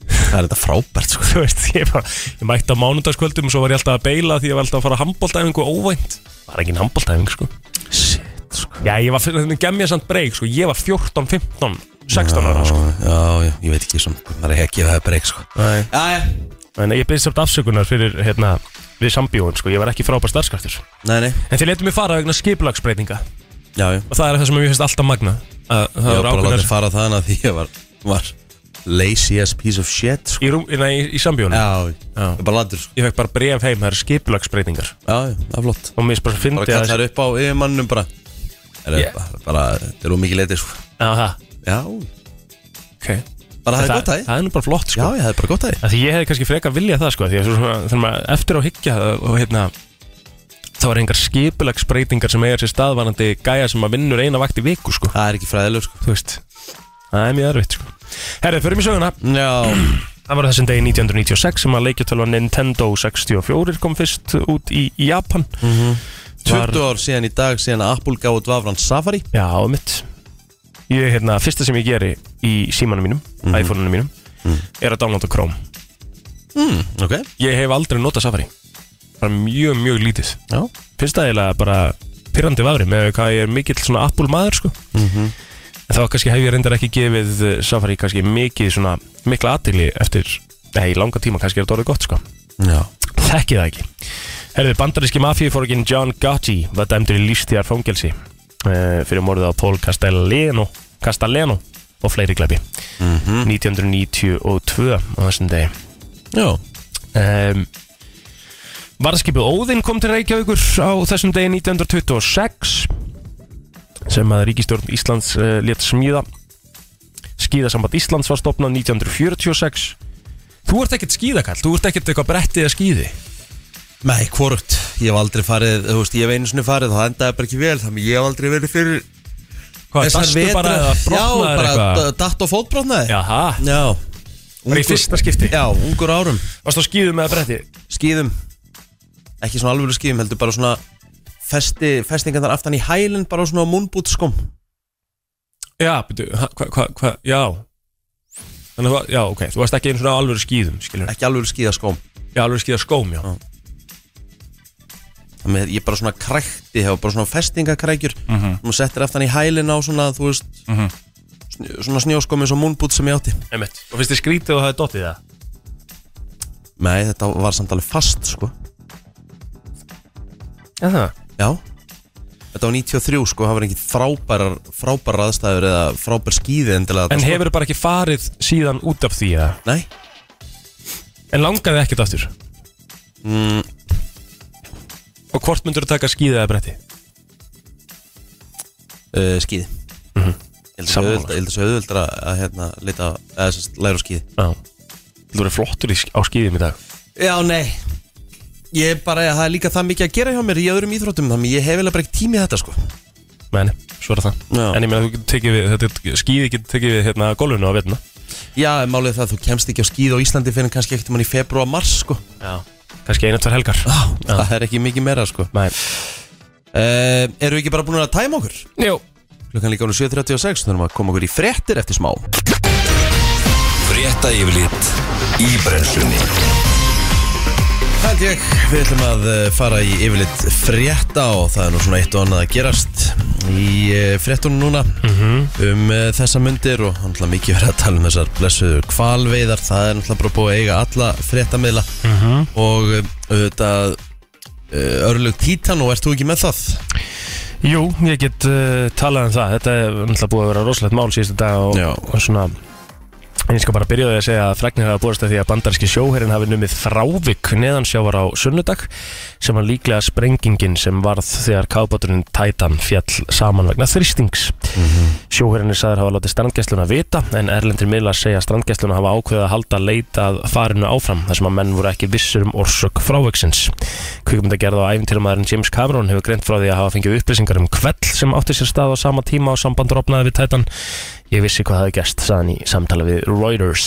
S1: Það er þetta frábært sko
S3: [LAUGHS] Þú veist, ég, bara, ég mætti á mánudagskvöldum og svo var ég alltaf að beila því ég var alltaf að fara að handbóltæfingu óvænt Það er ekki handbóltæfing, sko
S1: Shit sko
S3: Já, ég var fyrir þennan gemja samt breyk, sko, ég var 14, 15, 16 ára,
S1: Já,
S3: sko
S1: já, já, ég veit ekki svona Það er ekki að það er breyk sko
S3: Nei
S1: Jæja,
S3: Þannig að ég byrði samt afsökunar fyrir, hérna, við sambíóin, sko, ég var ekki frábær starfskraftur
S1: nei, nei,
S3: En þeir letum mig fara vegna skipulagsbreytinga
S1: já, já
S3: Og það er það sem mér finnst alltaf magna að
S1: Ég
S3: Það
S1: var bara
S3: er
S1: að láta
S3: ákveðnar
S1: fara þannig að því ég var, var lazy as piece of shit sko.
S3: Í, rúm, nei, í, í sambjónu
S1: Já, það er bara landur sko.
S3: Ég fekk bara bref heim, það eru skipulagsbreytingar
S1: Já, já, það er flott
S3: Og mér spara
S1: Bara
S3: fyndi að
S1: kallar upp á yfirmannum bara Það
S3: Yeah.
S1: er bara, bara, þetta er úr mikið leiti sko.
S3: Aha,
S1: Já,
S3: okay.
S1: bara það er
S3: það,
S1: gott að því
S3: það er nú bara flott
S1: Já,
S3: sko.
S1: já, það er bara gott að því
S3: Af Því ég hefði kannski frekar viljað það sko, Því að svo svona, þegar maður eftir á hyggja það- og hérna Það var engar skipulagsbreytingar sem eiga sér staðvarandi gæja sem að vinnur eina vakt í viku sko.
S1: Það er ekki fræðilegur sko.
S3: Þú veist, það er mjög erfitt sko. Herri, förum í söguna
S1: [CLEARS THROAT] Já,
S3: Það var á þessum degi 1996 sem að leikjartölva Nintendo 64 kom fyrst út í Japan
S1: 20 ár síðan í dag síðan að Apple gáði dvafran Safari
S3: Já, mitt Ég, hérna, fyrsta sem ég geri í símanum mínum iPhone-unum mínum er að downloada Chrome
S1: Hmm, Ok,
S3: Ég hef aldrei notað Safari bara mjög, mjög lítið
S1: já,
S3: Fyrst aðeinslega bara pyrrandi vafri með hvað ég er mikill svona Apple maður sko En þá kannski hef ég reyndar ekki gefið eh, Safari kannski mikið svona mikla aðtili eftir, nei, í langa tíma kannski er þetta orðið gott sko
S1: já.
S3: Þekki það ekki Herðu, bandaríski mafíuforgin John Gotti var dæmdur í lífstíðar fangelsi uh, fyrir morðið á Paul Castellano, Castellano og fleiri glæpi 1992 á þessum degi
S1: já.
S3: um, Varðskipið Óðinn kom til Reykjavíkur á þessum degi 1926 sem að ríkistjórn Íslands uh, let smíða Skíðasamband Íslands var stopnað 1946 Þú ert ekkert skíðakall, þú ert ekkert eitthvað brettið að skíði
S1: Nei, hvorugt, ég hef aldrei farið, þú veist, ég hef einu sinni farið og það endaði bara ekki vel Þannig ég hef aldrei verið fyrir
S3: Hvað, dastu
S1: vetra-
S3: bara eða
S1: Já,
S3: brotnaður
S1: bara
S3: eitthvað?
S1: d- datt og fótbrotnaði
S3: Jaha,
S1: Já
S3: bara í
S1: Ungur-
S3: fyrsta skipti
S1: Já, ungur árum
S3: Varst á skýðum með bretti?
S1: Skýðum Ekki svona alvöru skýðum, heldur bara svona festi, Festingarnar aftan í hælinn Bara svona múnbútskum
S3: Já, betur, hvað, hvað, hvað, já Þannig að, þú- já, ok, þú varst ekki einu svona á alvöru skýðum, skilur
S1: Ekki alvöru skýðaskóm
S3: Já, alvöru skýða skóm, já
S1: Þannig að ég bara svona krækti Hefur bara svona festingakrækjur mm
S3: Mhm.
S1: Nú settir aftan í hælinn á svona, þú veist snjó, Svona snjóskom eins og múnbút sem ég átti
S3: Einmitt. Og finnst þið skrítið og það er dottið það?
S1: Nei, þetta var samt alveg fast, sko
S3: Já, það
S1: Já Þetta var 93 sko, það var engin frábærar frábærar aðstæður eða frábær skýði endilega
S3: En
S1: þarna,
S3: hefur bara ekki farið síðan út af því, eða?
S1: sko. Nei,
S3: En langaði ekkert aftur?
S1: Mm.
S3: Og hvort myndur taka skýðið eða bretti?
S1: uh, skýði Ég held að
S3: Mhm. Sammála,
S1: auðvöld- ég held að þessu auðvöldra að hérna, leita, eða sérst, læra á skýði
S3: Já Þú verður flottur í, sk- á skýðum í dag
S1: Já, nei Ég bara, það er líka það mikið að gera hjá mér í öðrum íþróttum þannig ég hef vel bara ekki tími í þetta sko
S3: Nei, nei, svo er það
S1: Já.
S3: En ég meina, þú getur tekið við, þetta skýði getur tekið við hérna golfinu á vetna
S1: Já, en málið er það, að þú kemst ekki á skýði á Íslandi fyrir kannski ekkert mann í februar, mars sko
S3: Já Ah. Kannski einu, tvær helgar
S1: Það er ekki mikið meira sko
S3: Nei
S1: uh, Eru við ekki bara búin að tæma okkur?
S3: Jú
S1: Klukkan líka ánum 7.36, þannig að koma okkur í fréttir eftir smá
S2: Frétta yfirlit í brennslunni
S1: Held ég, við ætlum að eh, fara í yfirleitt frétta og það er nú svona eitt og annað að gerast í eh, fréttunum núna um eh, þessa myndir og náttúrulega mikið verið að tala um þessar blessuðu kvalveiðar, það er náttúrulega bara búið að eiga alla fréttamiðla og eh, auðvitað eh, örlug títan og ert þú ekki með það?
S3: Jú, ég get uh, talað um það Þetta er náttúrulega búið að vera rosalegt mál síðustu dag og,
S1: Já.
S3: og svona En ég skal bara byrja á því að segja að fregnir hafa búist að því að bandarski sjóherin hafi numið frávik neðansjávar á sunnudag sem var líklega sprengingin sem varð þegar kábáturinn Titan fjall saman vegna þrýstings. Mm Sjóherin er sagður hafa látið strandgæsluna vita en erlendir miðlar segja að strandgæsluna hafa ákveðið að halda leita að farinu áfram þar sem að menn voru ekki vissur um orsök fráviksins. Kvikmyndagerð og æfintilmaðurinn James Cameron hefur greint frá því að hafa fengið upplýsingar um kvell sem átti sér stað á sama tíma og sambandur opnaði við Titan Ég vissi hvað það hefði gæst, sagðan í samtala við Reuters.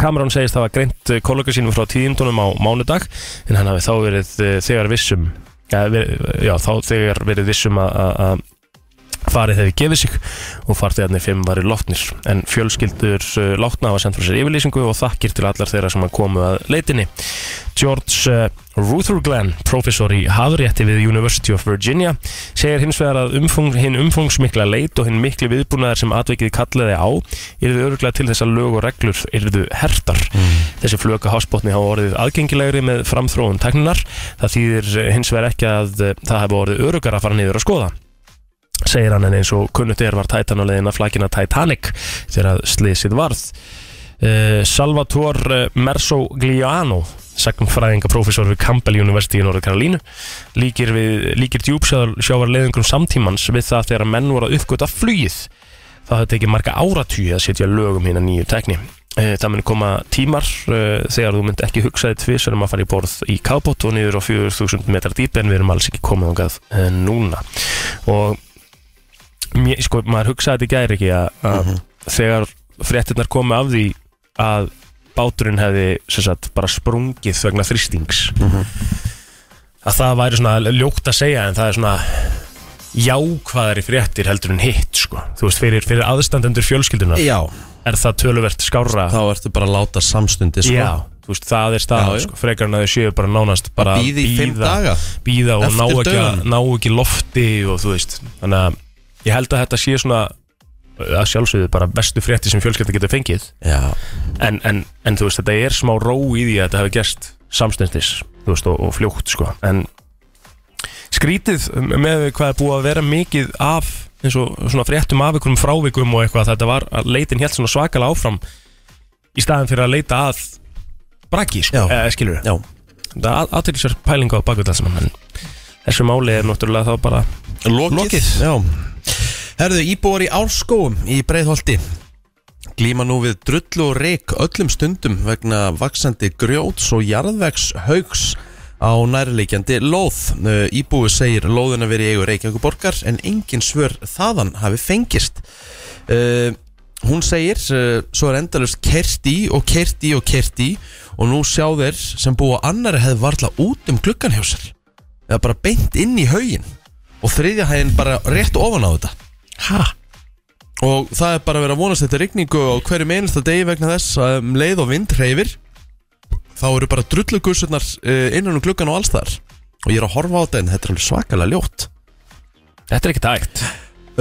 S3: Cameron segist hafa greint eh, kollega sínum frá tíðindunum á mánudag en hann hafi þá verið eh, þegar vissum ja, verið, já, þá þegar verið vissum að- að að farið hefði gefið sig og farþegarnir fimm varir látnir en fjölskyldur eh, látna hafa sendt frá sér yfirlýsingu og þakkir til allar þeirra sem komu að leitinni George eh, Rutherglen, professor í hafrétti við University of Virginia, segir hins vegar að umfung, hinn umfungsmikla leit og hinn mikli viðbúnaðar sem atvikið kallaði á yrðu öruglega til þess að lög og reglur yrðu hertar. Þessi flöka hásbótni hafa orðið aðgengilegri með framþróun tekninar. Það þýðir eh, hins vegar ekki að eh, það hefur orðið örugar að fara niður að skoða segir hann en eins og kunnugt er var Titan á leiðin að flakina Titanic þegar að slysið varð uh, Salvatore Mersogliano sagnfræðingaprófessor við Campbell University í Norður Karolínu líkir, við- líkir djúpsjávar leðingum samtímans við það þegar menn voru að uppgöta flugið það hafði tekið marga áratugi að setja lögum hérna nýju tækni Eh, það muni koma tímar eh, þegar þú mynd ekki hugsaði tvisar um að fara í borð í kábót og niður á 4000 metrar dýpi en við erum alls ekki komið ángað núna og mér, sko, maður hugsaði þetta í gæri ekki að, að þegar fréttirnar komi af því að báturinn hefði sem sagt, bara sprungið vegna þrýstings að það væri svona ljótt að segja en það er svona jákvæðari fréttir heldur en hitt sko. þú veist, fyrir, fyrir aðstandendur fjölskyldunar
S1: Já,
S3: er það töluvert skárra
S1: þá ertu bara að láta samstundi sko.
S3: Já, þú veist, það er staðan
S1: Já, já.
S3: sko, frekar en að þau séu bara nánast bara
S1: Að bíða í fimm
S3: bíða-
S1: daga.
S3: bíða og
S1: Eftir
S3: ná ekki, að-
S1: dauðanum.
S3: ná ekki lofti og þú veist, þannig að ég held að þetta sé svona að sjálfsögðu bara bestu frétti sem fjölskylda getur fengið
S1: Já.
S3: en, en, en þú veist, þetta er smá ró í því að þetta hafi gerst samstendis þú veist, og, og fljótt sko en skrítið með við hvað er búið að vera mikið af eins og svona fréttum af einhverjum frávikum og eitthvað þetta var að leitin hélt svona svakalega áfram í staðan fyrir að leita að braki
S1: Já.
S3: sko, eða skilur
S1: Já.
S3: þetta er aðtilsver pælinga á bakvöldansmann en þessu máli er náttúrulega þá bara
S1: Lokið,
S3: Lokið.
S1: Já. Herðu, íbúar í Árskóum í Breiðholti glíma nú við drullu og reik öllum stundum vegna vaksandi grjóts og jarðvegs haugs á nærleikjandi lóð. Eh, Íbúi segir lóðina verið í eigu Reykjavíkuborgar en engin svör þaðan hafi fengist. Uh, hún segir, uh, svo er endalust kert í og kert í og kert í og nú sjá þeir sem búa annari hefði varla út um gluggan hjá sér eða bara beint inn í haugin og þriðja hæðin bara rétt ofan á þetta
S3: ha?
S1: og það er bara að vera að vonast þetta rigningu á hverjum einasta degi vegna þess að um leið og vind hreyfir þá eru bara drullugussunar innan um gluggan og alls þar og ég er að horfa á þetta en þetta er alveg svakalega ljótt
S3: þetta er ekki tægt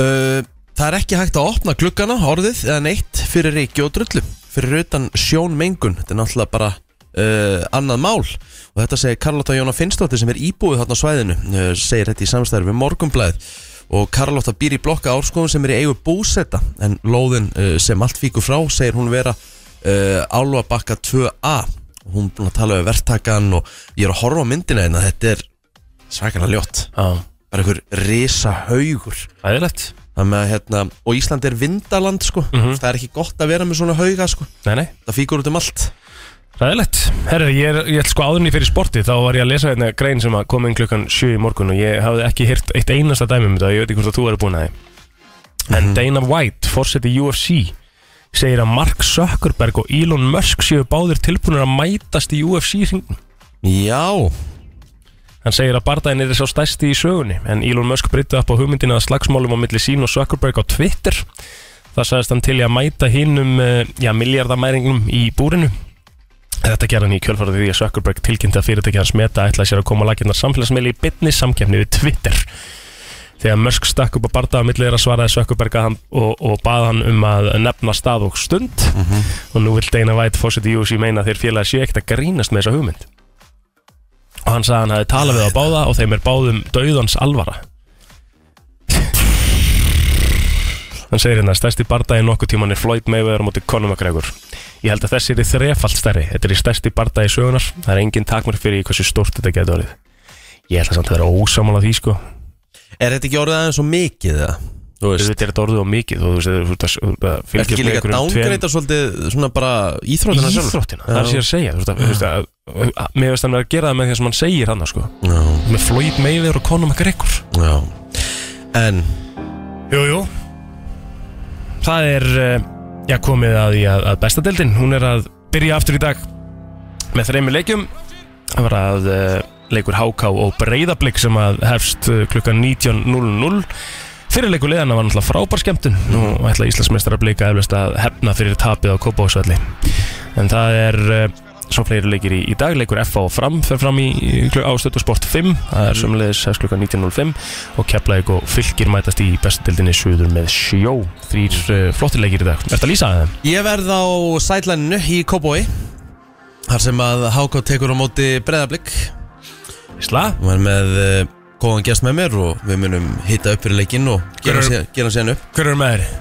S1: uh, Það er ekki hægt að opna gluggana, orðið eða neitt fyrir reiki og drullu fyrir utan sjónmengun, þetta er náttúrulega bara uh, annað mál og þetta segir Karlotta Jóna Finnsdóttir sem er íbúið þarna á svæðinu, uh, segir þetta í samstæður við Morgunblæð og Karlotta býr í blokka árskóðum sem er í eigu búsetta en lóðin uh, sem allt fíkur frá segir hún vera uh, Álfabakka 2A og hún er búin að tala við verktakan og ég er að horfa á myndina en þetta er svakalega ljótt
S3: já,
S1: bara einhver risa haugur
S3: æðilegt
S1: Þannig að hérna, og Ísland er vindaland sko Það er ekki gott að vera með svona hauga sko
S3: nei, nei
S1: Það fíkur út um allt
S3: Ræðilegt, herru, ég er, ég er sko áðurinn í fyrir sporti þá var ég að lesa hérna grein sem að kom inn klukkan 7 í morgun og ég hafði ekki hirt eitt einasta dæmi um þetta, ég veit ekki hvort að þú eru búin að því en Dana White, forseti UFC segir að Mark Zuckerberg og Elon Musk séu báðir tilbúinir að mætast í UFC hringnum.
S1: Já,
S3: hann segir að bardaðin er sá stæsti í sögunni en Elon Musk breytti upp á hugmyndina að slagsmálum á milli sín og Zuckerberg á Twitter það sagðist hann til í að mæta hinnum já, miljardamæringnum í búrinu Þetta gerði hann í kjölfarið því að Zuckerberg tilkynnti að fyrirtækja hans meta ætlaði sér að koma laginnar samfélagsmeili í bytni samkjæmni við Twitter. Þegar Musk stakk upp á bardaða millir að svaraði Zuckerberg að hann, og, og bað hann um að nefna stað og stund og nú vil Dana White fórseti UC meina að þeir félagi sé ekkert að grínast með þessa hugmynd. Og hann sagði að hann hafi talað við á báða og þeim er báðum dauðans alvara. hann segir hérna að stærsti bardaði nokkuð tíman er Floyd Mayweather á móti Conor McGregor. Ég held að þessi er þrefald stærri. Þetta er í stærsti barndagi sögunar. Það er engin takmörk fyrir í hversu stórt þetta getur orðið. Ég held að samt að það er ósamála því sko.
S1: er þetta ekki orðið aðeins svo mikið það? Þú veist, um
S3: Þetta er þetta orðið á mikið. og Þú veist, þú veist, þú veist,
S1: er ekki líka dángreita svolítið svona bara íþrótina sjálf?
S3: Íþróttina, það er
S1: Já.
S3: sér að segja Þú veist, að- þú veist, að- að- að- mér veist hann vera að gera það með því sem hann segir hann sko.
S1: Já,
S3: með Floyd Mayweather og Conor McGregor
S1: já En,
S3: Jú, jú Það er, eh, já komið að í að, að bestadeldin Hún er að byrja aftur í dag með þreymur leikjum Það var að eh, leikur HK og Breiðablík sem að hefst eh, klukkan 19.00 Fyrir leikur leiðana var náttúrulega frábær skemmtun Nú ætla Íslandsmeistrar blika eflust að hefna fyrir tapið á Kópavóksvelli En það er eh, svo fleiri leikir í, í dag Leikur FA og Fram fer fram í, í ástötu sport 5 Það er sömulegis hefst klukkan 19.05 og Keflæk og Fylgir mætast í bestadildinni suður með sjó þrýr uh, flottilegir í dag Ertu að lýsa þeim?
S1: ég verð á sætlæninu í Kóbói Þar sem að Háká tekur á móti breðablík
S3: Ísla?
S1: Hún er með uh, góðan gest með mér og við munum hitta upp fyrir leikinn og gera
S3: Hver
S1: hann
S3: er-
S1: síðan- gera hann síðan upp
S3: Hver eru með þér?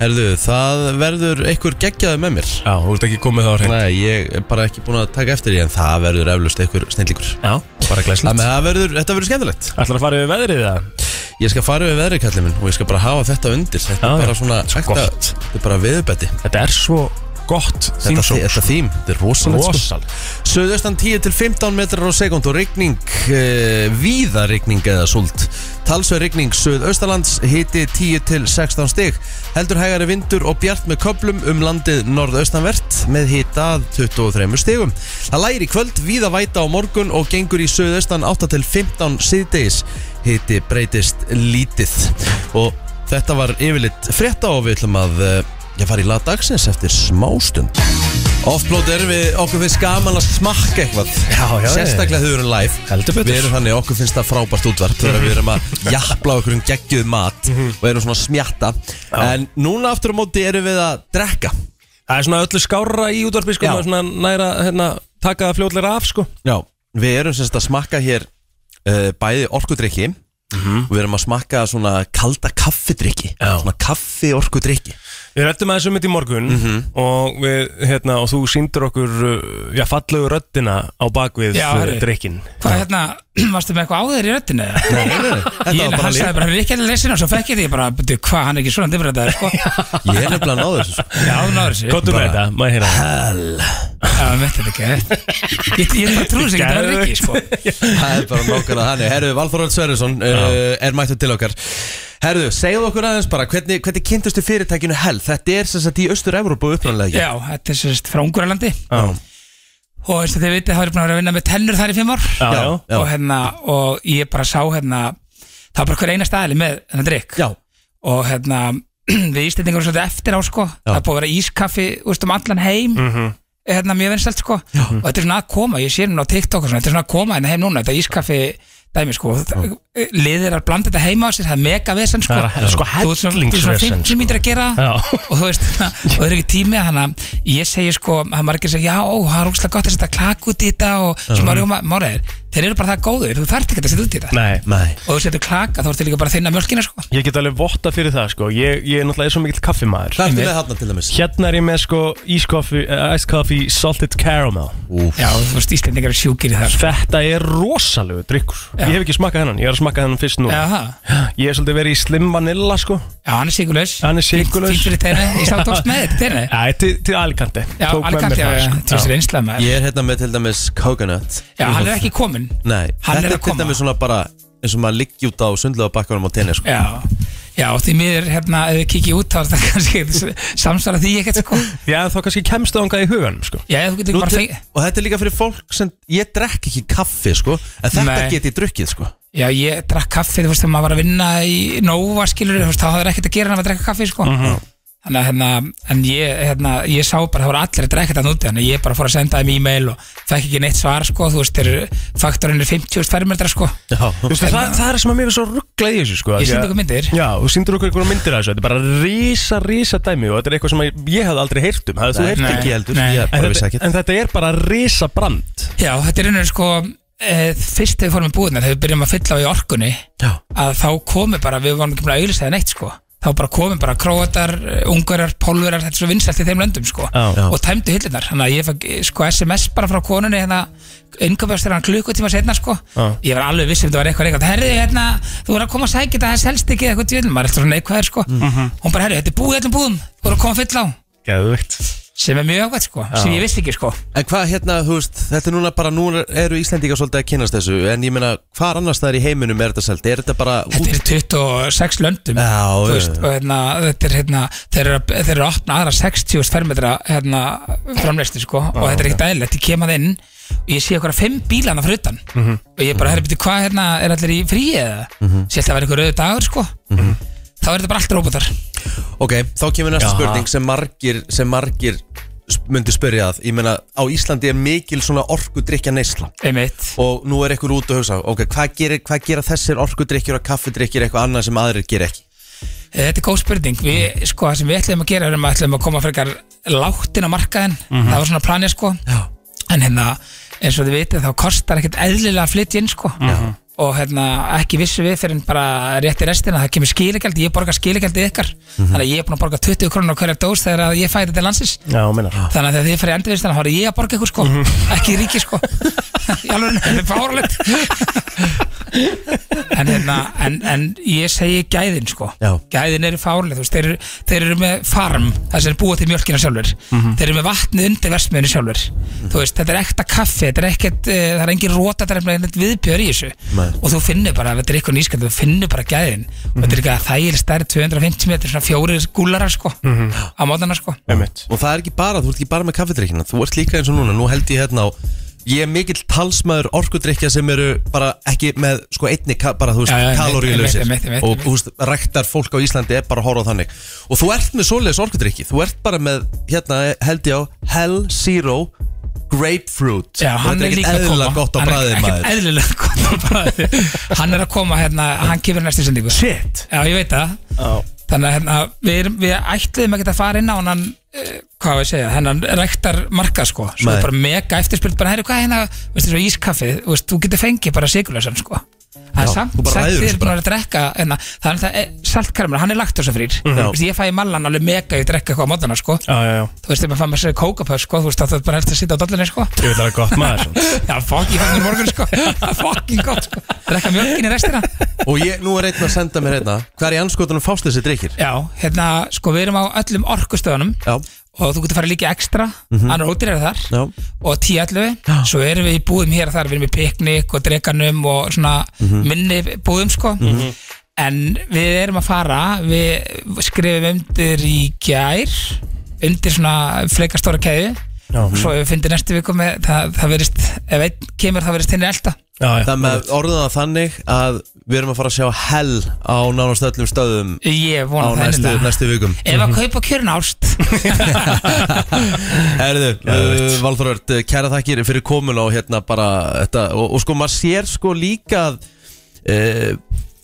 S1: Herðu, það verður einhver geggjaði með mér
S3: Já, þú ert ekki komið þá hérna. á hrein
S1: Nei, ég er bara ekki búin að taka eftir því En það verður eflust einhver snillíkur
S3: Já, bara glæslegt
S1: Þannig að það verður, þetta verður skemmtilegt
S3: Ætlar að fara yfir veðrið það?
S1: Ég skal fara við veðri kallið minn og ég skal bara hafa þetta undir Þetta
S3: Já,
S1: er bara
S3: já.
S1: svona,
S3: Svo
S1: þetta,
S3: gott.
S1: þetta er bara viðbæti
S3: Þetta er svo gott
S1: Þetta,
S3: þýmsók.
S1: þetta þým, þetta er rosalegt sko.
S3: Rosal
S1: Suðaustan 10 til 15 metrar á sekund og rigning, e, víða rigning eða súld. Talsveð rigning Suðaustalands hiti 10 til 16 stig. Heldur hægari vindur og bjart með köplum um landið norðaustanvert með hita að 23 stigum. Það læri í kvöld, víða væta á morgun og gengur í suðaustan 8 til 15 síðdegis. Hiti breytist lítið. Og þetta var yfirleitt frétta og við ætlum að e, ég fari í lag dagsins eftir smástund. Offblót er við, okkur finnst gaman að smakka eitthvað
S3: Já, já, já.
S1: Sérstaklega þegar við erum live
S3: Heldur betur.
S1: Við erum þannig, okkur finnst það frábært útvarp Þegar við erum að jafla okkur um geggjuð mat Og erum svona að smjatta En núna aftur á móti erum við að drekka
S3: Það er svona öllu skárra í útvarpi sko
S1: Já.
S3: maður svona næra hérna, taka það fljóðlega af sko
S1: Já Við erum semst að smakka hér uh, bæði orkudrykki Og við erum að smakka svona kalda kaffidrykki
S3: Já.
S1: Svona kaffi orkudrykki
S3: Við rættum aðeins um þetta í morgun og, við, hérna, og þú síndur okkur uh, já, fallegu röddina á bakvið
S4: Já,
S3: uh,
S4: herri.
S3: drikkin
S4: Hvað hérna, [CLEARS THROAT] varstu með eitthvað á þér í röttinu?
S1: Nei, nei, nei, [LAUGHS] þetta
S4: Ég
S1: var bara
S4: hann sagði
S1: líf
S4: bara, hann er ekki að lesina og svo fekk ég því bara, "Bíddu, hvað, hann er ekki svona difræðar,
S1: [LAUGHS]
S4: sko
S1: Ég er nefnilega að náðu þessu sko.
S4: Já, þú náður þessu
S3: Kottu með þetta, maður heyra
S4: Já, hann veit þetta ekki Ég, ég bara trúi þessu ekki, það er ekki, sko
S1: Það er bara nákvæmlega þannig Herðu, Valþorvald Sverjesson uh, er mættur til okkar Herðu, segðu okkur aðeins bara Hvernig, hvernig kynntustu fyrirtækinu hell? Þetta er sem sagt í Östur-Európu uppræðanlega
S4: Já, þetta er sérst frá Ungurlandi
S1: Já.
S4: Og eins og þið vitið, það er ég búin að vera að vinna með tennur þar í fimm ár
S3: [LAUGHS] Já, já,
S1: já.
S4: Og hérna, og ég bara sá hérna Það var bara hver eina staðli með hennar drikk
S1: Já,
S4: Og hérna, [CLEARS THROAT] við íslendingar erum svolítið eftir á, sko Það er búið að vera ískaffi, úst, um allan heim
S3: Mhm.
S4: hérna mjög vinsælt sko og þetta er svona að koma, ég sé núna á TikTok og svona, þetta er svona að koma hérna heim núna, þetta ískaffi dæmi sko, og liðir að blanda þetta heima á sér, það er mega vesen sko
S3: Það er- það er sko
S4: Þú ert svona- þú ert svona
S3: hellingsvesen,
S4: 50
S3: sko.
S4: mínir að gera það
S3: Já.
S4: og þú veist, [LAUGHS] og það er ekki tími þannig að ég segi sko, að margir segja já, ó, það er ógæslega gott að setja klak út í þetta og sem maður rjóma, morðir, þeir eru bara það góður þú þarft ekki að setja út í þetta
S3: Nei,
S1: nei
S4: og þú setur klaka, þá ertu líka bara að þinna mjölkina sko
S3: ég get alveg votta fyrir það sko Ég, ég er náttúrulega svo mikill kaffimaður
S1: Hvað ertu með þarna til dæmis?
S3: Hérna er ég með sko ískoffi, uh, iced coffee salted caramel
S1: Úf
S4: já, þú veist, Íslendingar er sjúkir í það sko.
S3: Þetta er rosalegu drikkur
S4: Já.
S3: Ég hef ekki smakkað hennan, ég er að smakka hennan fyrst nú
S4: já, það.
S3: Ég hef svolítið verið í slim vanilla sko
S4: já, hann er sigurlaus
S3: Hann er sykurlaus.
S4: fyrir tenni, ég sá tókst með þetta tenni
S3: Æ, til, til Alicante
S4: Já,
S3: Tók með mér
S4: Alicante, já,
S3: það,
S4: já,
S3: sko.
S4: til þessi reynsla maður
S1: Ég er hérna með til dæmis coconut
S4: Já, hann er ekki kominn
S1: Nei,
S4: Hann er
S1: þetta
S4: að
S1: er til
S4: koma.
S1: dæmis svona bara eins og maður liggi út á sundlega bakkanum á tenni sko.
S4: Já, já, því miður, hérna, ef við kikið út þá [LAUGHS] er þetta kannski samsvara því ekkert sko
S3: Já, þá kannski kemst það ánga í huganum sko.
S4: Já, þú getur
S1: Nú
S4: bara
S1: til-
S4: fengið
S1: Og þetta er líka fyrir fólk sem Ég drekk ekki kaffi sko En þetta
S4: Nei.
S1: get ég drukkið sko
S4: Já, ég drakk kaffi, þú veist, þegar maður var að vinna í Nova, skilur, þú veist, þá hafði ekkert að gera hann að drekka kaffi, sko Þannig að, hérna, en ég, hérna, ég sá bara, það voru allir að drekka þetta úti, þannig að ég bara fór að senda þeim e-mail og fekk ekki neitt svar, sko, þú veist, þeir faktorinn er 50.000 fermetra, sko
S1: Já,
S3: Vistu, það, það er sem að mér er svo rugglað í þessu sko, af
S4: Ég
S3: því
S4: sýndi
S3: að-
S4: ykkur myndir.
S3: Já, þú sýndur okkur einhverjum myndir af þessu Þetta er bara risa, risa dæmi og þetta er eitthvað sem að ég hafði aldrei heyrt um Hafði þú
S1: Nei,
S3: heyrt um?
S4: nei.
S1: ekki heldur
S4: Nei.
S1: Ég
S3: En
S1: bara vissi
S3: þetta,
S1: ekkert
S3: en þetta er bara risa brand
S4: Já, þetta er einhvern veginn, sko, e, fyrst þegar við fórum í búðina, þegar við byrjum að fylla á í orkunni,
S1: Já,
S4: að þá komi bara, við varum ekki búin að auðlýsa það neitt sko þá bara komi bara króatar, ungarar, pólverar þetta er svo vinsælt í þeim löndum sko
S3: Já.
S1: Já.
S4: og tæmdu hillunar, þannig að ég fæk sko SMS bara frá konunni hérna yngöfjast þegar hann klukkutíma setna sko
S3: Já.
S4: ég var alveg viss um þetta var eitthvað eitthvað herri hérna, þú voru að koma að sækja þetta, það selst ekki eitthvað djöðlum, maður er alltaf svona neikvæður sko hún bara herri, þetta er búið í öllum búðum, þú voru að koma fyll á
S3: Geðvögt
S4: sem er mjög ákvæmt sko, sem ég vissi ekki sko
S1: En hvað hérna, þú veist, þetta er núna bara, nú eru Íslendingar svolítið að kynast þessu En ég meina, hvar annars það er í heiminum er þetta selt? Er þetta bara
S4: þetta er 26 löndum
S1: Já,
S4: þú
S1: já,
S4: veist,
S1: já.
S4: og hérna, þetta er hérna þeir eru, að- þeir eru að opna aðra 60 fermetra hérna, framleistu sko og þetta er ekkert aðeinlegt, ég kem að inn og ég sé okkur að fimm bílana frá utan og ég bara, herri, beti, hvað hérna, er allir í fríi eða? Mm -hmm. Sér þetta var einhver rauðu dagur sko þá er þetta bara allt róbótar
S1: Ok, þá kemur næsta
S3: Jaha.
S1: spurning sem margir, sem margir s- myndu spyrja að Ég meina, á Íslandi er mikil svona orkudrykja neysla
S4: einmitt,
S1: Og nú er einhver út að hugsa, ok, hvað, gerir, hvað gera þessir orkudrykkjur og kaffidrykkjur eitthvað annað sem aðrir gera ekki?
S4: Eh, þetta er góð spurning við, sko, það sem við ætlum að gera erum að ætlum að koma frekar látin á markaðin það var svona planið sko
S1: Já
S4: en hérna, eins og þið vitið þá kostar ekkert eðlilega að flytja inn sko og hérna, ekki vissu við fyrir en bara rétt í restina, það kemur skiligjald ég borga skiligjaldið ykkar þannig að ég er búin að borga 20 krónur á hverja dós þegar að ég færi til landsins
S3: Já, minnar
S4: þannig að þegar þið fyrir endurvistina þá er ég að borga ykkur sko,
S1: Mhm.
S4: ekki ríki
S1: [LAUGHS]
S4: sko í alveg, þetta er fáralegt en, hérna, en, en ég segi gæðin sko
S1: Já.
S4: gæðin eru fáralegt, þú veist þeir, eru- þeir eru með farm, það sem er búa til mjölkina sjálfur
S1: Mhm.
S4: þeir eru með vatnið undir versmiðinu sjálfur þú veist, þetta er ekta kaffi þetta er ekkert, uh, það er engin róta þetta er ekkert viðbjör í þessu
S1: Nei.
S4: og þú finnur bara, þetta er eitthvað nýskjöld þú finnur bara gæðin, og
S1: Mhm.
S4: þetta er eitthvað þægileg stærð 250 metri, svona fjórir gúlarar sko,
S1: Mhm.
S4: á mótana sko
S3: Einmitt
S1: Og það er ekki bara, þú ert ekki bara með kaffedrykkina Þú ert líka eins og núna, nú held ég hérna á Ég er mikill talsmaður orkudrykkja sem eru bara ekki með sko einni ka- bara þú veist
S4: Já, já, einmitt,
S1: kaloríulausir
S4: einmitt, einmitt, einmitt,
S1: og
S4: einmitt.
S1: þú veist ræktar fólk á Íslandi er bara að horfa á þannig og þú ert með svoleiðis orkudrykki þú ert bara með hérna held ég á Hell Zero Grapefruit
S4: Já,
S1: Og
S4: hann
S1: þetta
S4: er
S1: ekkert
S4: líka að koma
S1: eðlilega gott á
S4: Hann er
S1: bræðið
S4: ekkert
S1: maður
S4: Eðlilega gott á bræði Hann er að koma hérna, hann kemur í næstu sendingu
S3: Shit
S4: Já, ég veit það
S3: Já
S4: Þannig að hérna, við, erum, við ætliðum ekkert að fara inn á hann uh, Hvað á ég að segja, hennan rektar marka sko Svo
S1: Nei.
S4: er bara mega eftirspyrt bara Hæri, hvað er hérna, veistu, svo ískaffi þú veist, Þú getur fengið bara sigurlösan sko Það er
S1: Já,
S4: samt,
S1: þú bara
S4: samt
S1: ræður
S4: þið
S1: þessu
S4: er búin að drekka hérna, Þannig að það er saltkarmur, hann er lagt þess að frýr
S1: Mhm. Já.
S4: Ég fæ í mallan alveg mega, ég drekka eitthvað á mótana sko
S3: Já, já, já
S4: Þú veist, ef maður fæ með sér kókapöð sko Þú veist, það er bara helst að sitja á dollinni sko
S3: Ég veit að það er gott maður svona.
S4: Já, fokk, ég fann mér morgun [LAUGHS] sko Fokkin gott sko Drekka mjölkin í restina
S1: og ég, nú er einn að senda mér hérna hvað er í anskotunum fást þessi drykkir?
S4: Já, hérna, sko, við erum á öllum orkustöðunum
S1: Já, Mhm.
S4: Og þú getur farið líka í extra Annar ótir er þar
S1: já,
S4: Og 10-11
S1: Já.
S4: Svo erum við í búðum hér og þar Við erum í piknik og drekanum Og svona
S1: Mhm.
S4: minni búðum, sko En við erum að fara Við skrifum undir í gær Undir svona fleika stóra keðu
S3: Já.
S4: Og svo ef við fyndum næstu viku með Það, það verist, ef einn kemur það verist henni elda
S3: Já, já
S1: það með orðaða þannig að við erum að fara að sjá Hell á nánast öllum stöðum
S4: Ég
S1: á
S4: vona það
S1: næstu,
S4: innilega.
S1: næstu
S4: [LAUGHS]
S1: vikum
S4: Ef að kaupa kjörn ást
S1: Herðu, uh, Valþórvörd, kæra þakkir fyrir komin og hérna bara þetta, og, og sko maður sér sko líka að uh,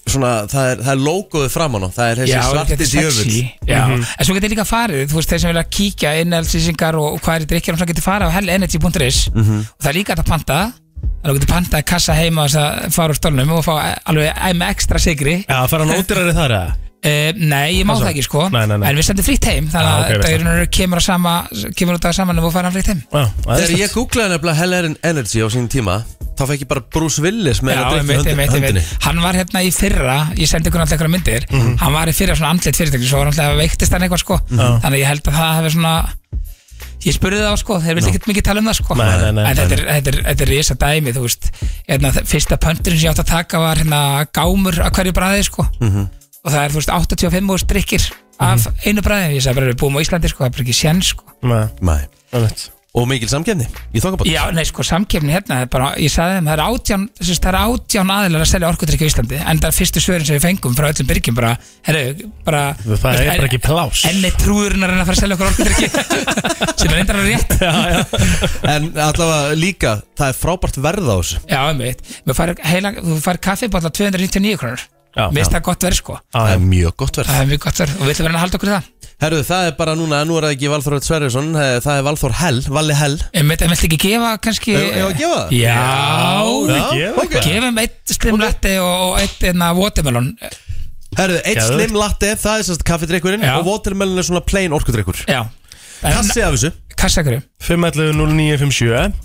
S1: svona, það er, það er logoðu fram á nú, það er [LAUGHS] þessi svarti djöfull Mhm.
S4: Já, en svo getur líka farið Þú veist, þeir sem vilja kíkja innhaldslýsingar og, og hvað er í drikkjum Svo getur farið á hellenergy.is
S1: Mhm.
S4: Og það er líka hægt að panta Það getur pantað kassa heima þess að fara úr stólnum og fá alveg æ- með ekstra sigri
S3: Já, fara hann ódýrari þar eða?
S4: uh, Nei, ég má
S3: Það
S4: það
S3: svo.
S4: ekki sko
S3: Nei, nei, nei.
S4: En við sendum frítt heim Þannig
S3: Já,
S1: Ah,
S4: að
S3: ok, veist
S4: dagurinn eru kemur, á sama, kemur út af saman og fara hann frítt heim
S3: Já,
S1: Þegar ég googlaði nefnilega Hell Air Energy á sínum tíma þá fekk ég bara Bruce Willis með
S4: Já,
S1: að
S4: einmitt,
S1: drikja
S4: einmitt,
S1: höndinni
S4: einmitt. Hann var hérna í fyrra Ég sendi ykkur alltaf ykkur myndir
S3: Mhm.
S4: Hann var í fyrra svona andlit fyrirtækni Svo var alltaf veiktist hann eitthvað sko Þannig að ég held að það hefði svona Ég spurði það á sko, þeir vildi ekkert mikið tala um það sko
S3: Nei, nei, nei,
S4: En
S3: nei.
S4: þetta er, þetta er, þetta er risa dæmi, þú veist hérna, þ- Fyrsta pönturinn sem ég átti að taka var hérna, gámur að hverju bræði sko
S3: Mhm.
S4: Og það er, þú veist, 85 úr strikkir af einu bræði Ég sagði bara, við búum á Íslandi sko, það er bara ekki sén sko
S3: Nei,
S1: Nei.
S3: einmitt
S1: Og mikil samkefni, ég þokka bara
S4: Já, nei, sko, samkefni hérna er bara, ég sagði þeim, það er átján, þess, það er átján aðilar að selja orkudrykki á Íslandi en það er fyrstu svörin sem við fengum frá öllum byrgjum bara, herru, bara
S3: Það er bara ekki plás
S4: Enni trúðurinn að reyna að fara að selja okkur
S3: [LAUGHS]
S4: orkudrykki sem er endur alveg rétt
S3: Já, já
S1: En allavega líka, það er frábært verð á þessu
S4: Já, einmitt, Við fær heila, þú fær kaffibotla 299 krónur
S3: Já.
S4: Mér finnst það gott verð, sko
S1: Það
S3: já.
S1: er mjög gott verð
S4: Það er mjög gott verð og við ætlum að vera að halda okkur í það
S1: Herðu, það er bara núna, nú er það ekki Valþór Sverjesson Það er Valþór Hell, Valli Hell
S4: Einmitt, en viltu ekki gefa kannski
S1: Eigum- eigum við að gefa það?
S4: Já,
S3: Já, gefa
S1: ok.
S3: eitthvað.
S4: gefum eitt slimlætti og og eitt enna watermelon
S1: Herðu, eitt
S3: Geðveikt.
S1: slim latte, það er sérst kaffidrykkurinn
S4: Já.
S1: og watermelon er svona plain orkudrykkur
S4: Já,
S1: Kassi af þessu
S4: kassa hverju
S3: 511 0957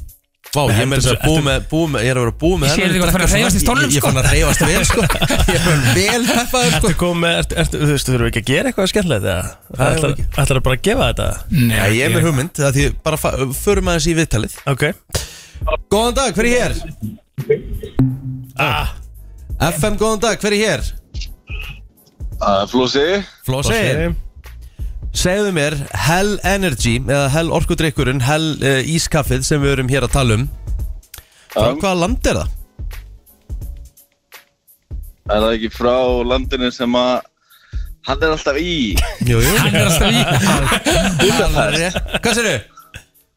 S1: Vá, ég, meira þess að
S3: Ertu-
S1: búið með, búið með, ég er að vera búið með
S4: Ég sé
S1: þennan
S4: þig að fara að
S1: drekka
S4: hreyfast í
S1: svona-
S4: stólnum,
S1: Ég- Ég
S4: sko.
S1: fann að reyfast vel sko Ég fann vel peppaður sko
S3: Ertu komið með, ert, ert, þú veist, þú þurfum ekki að gera eitthvað skemmtilegt eða?
S1: Nei,
S3: Ætlar,
S1: ekki.
S3: ætlar að bara að gefa þetta?
S4: Nei,
S1: Já, ég er með hugmynd, það því bara fa- förum aðeins í viðtalið
S3: Ok
S1: Góðan dag, hver er hér?
S3: ah,
S1: FM, góðan dag, hver er hér?
S5: Það er Flósi
S1: Flósið Segðu mér, Hell Energy eða Hell orkudrykkurinn, Hell uh, ískaffið sem við erum hér að tala um Frá
S5: Já.
S1: hvaða land er það?
S5: Er það ekki frá landinu sem að hann er alltaf í
S1: Jú, jú
S4: Hann er alltaf í
S1: Hvað sér þau?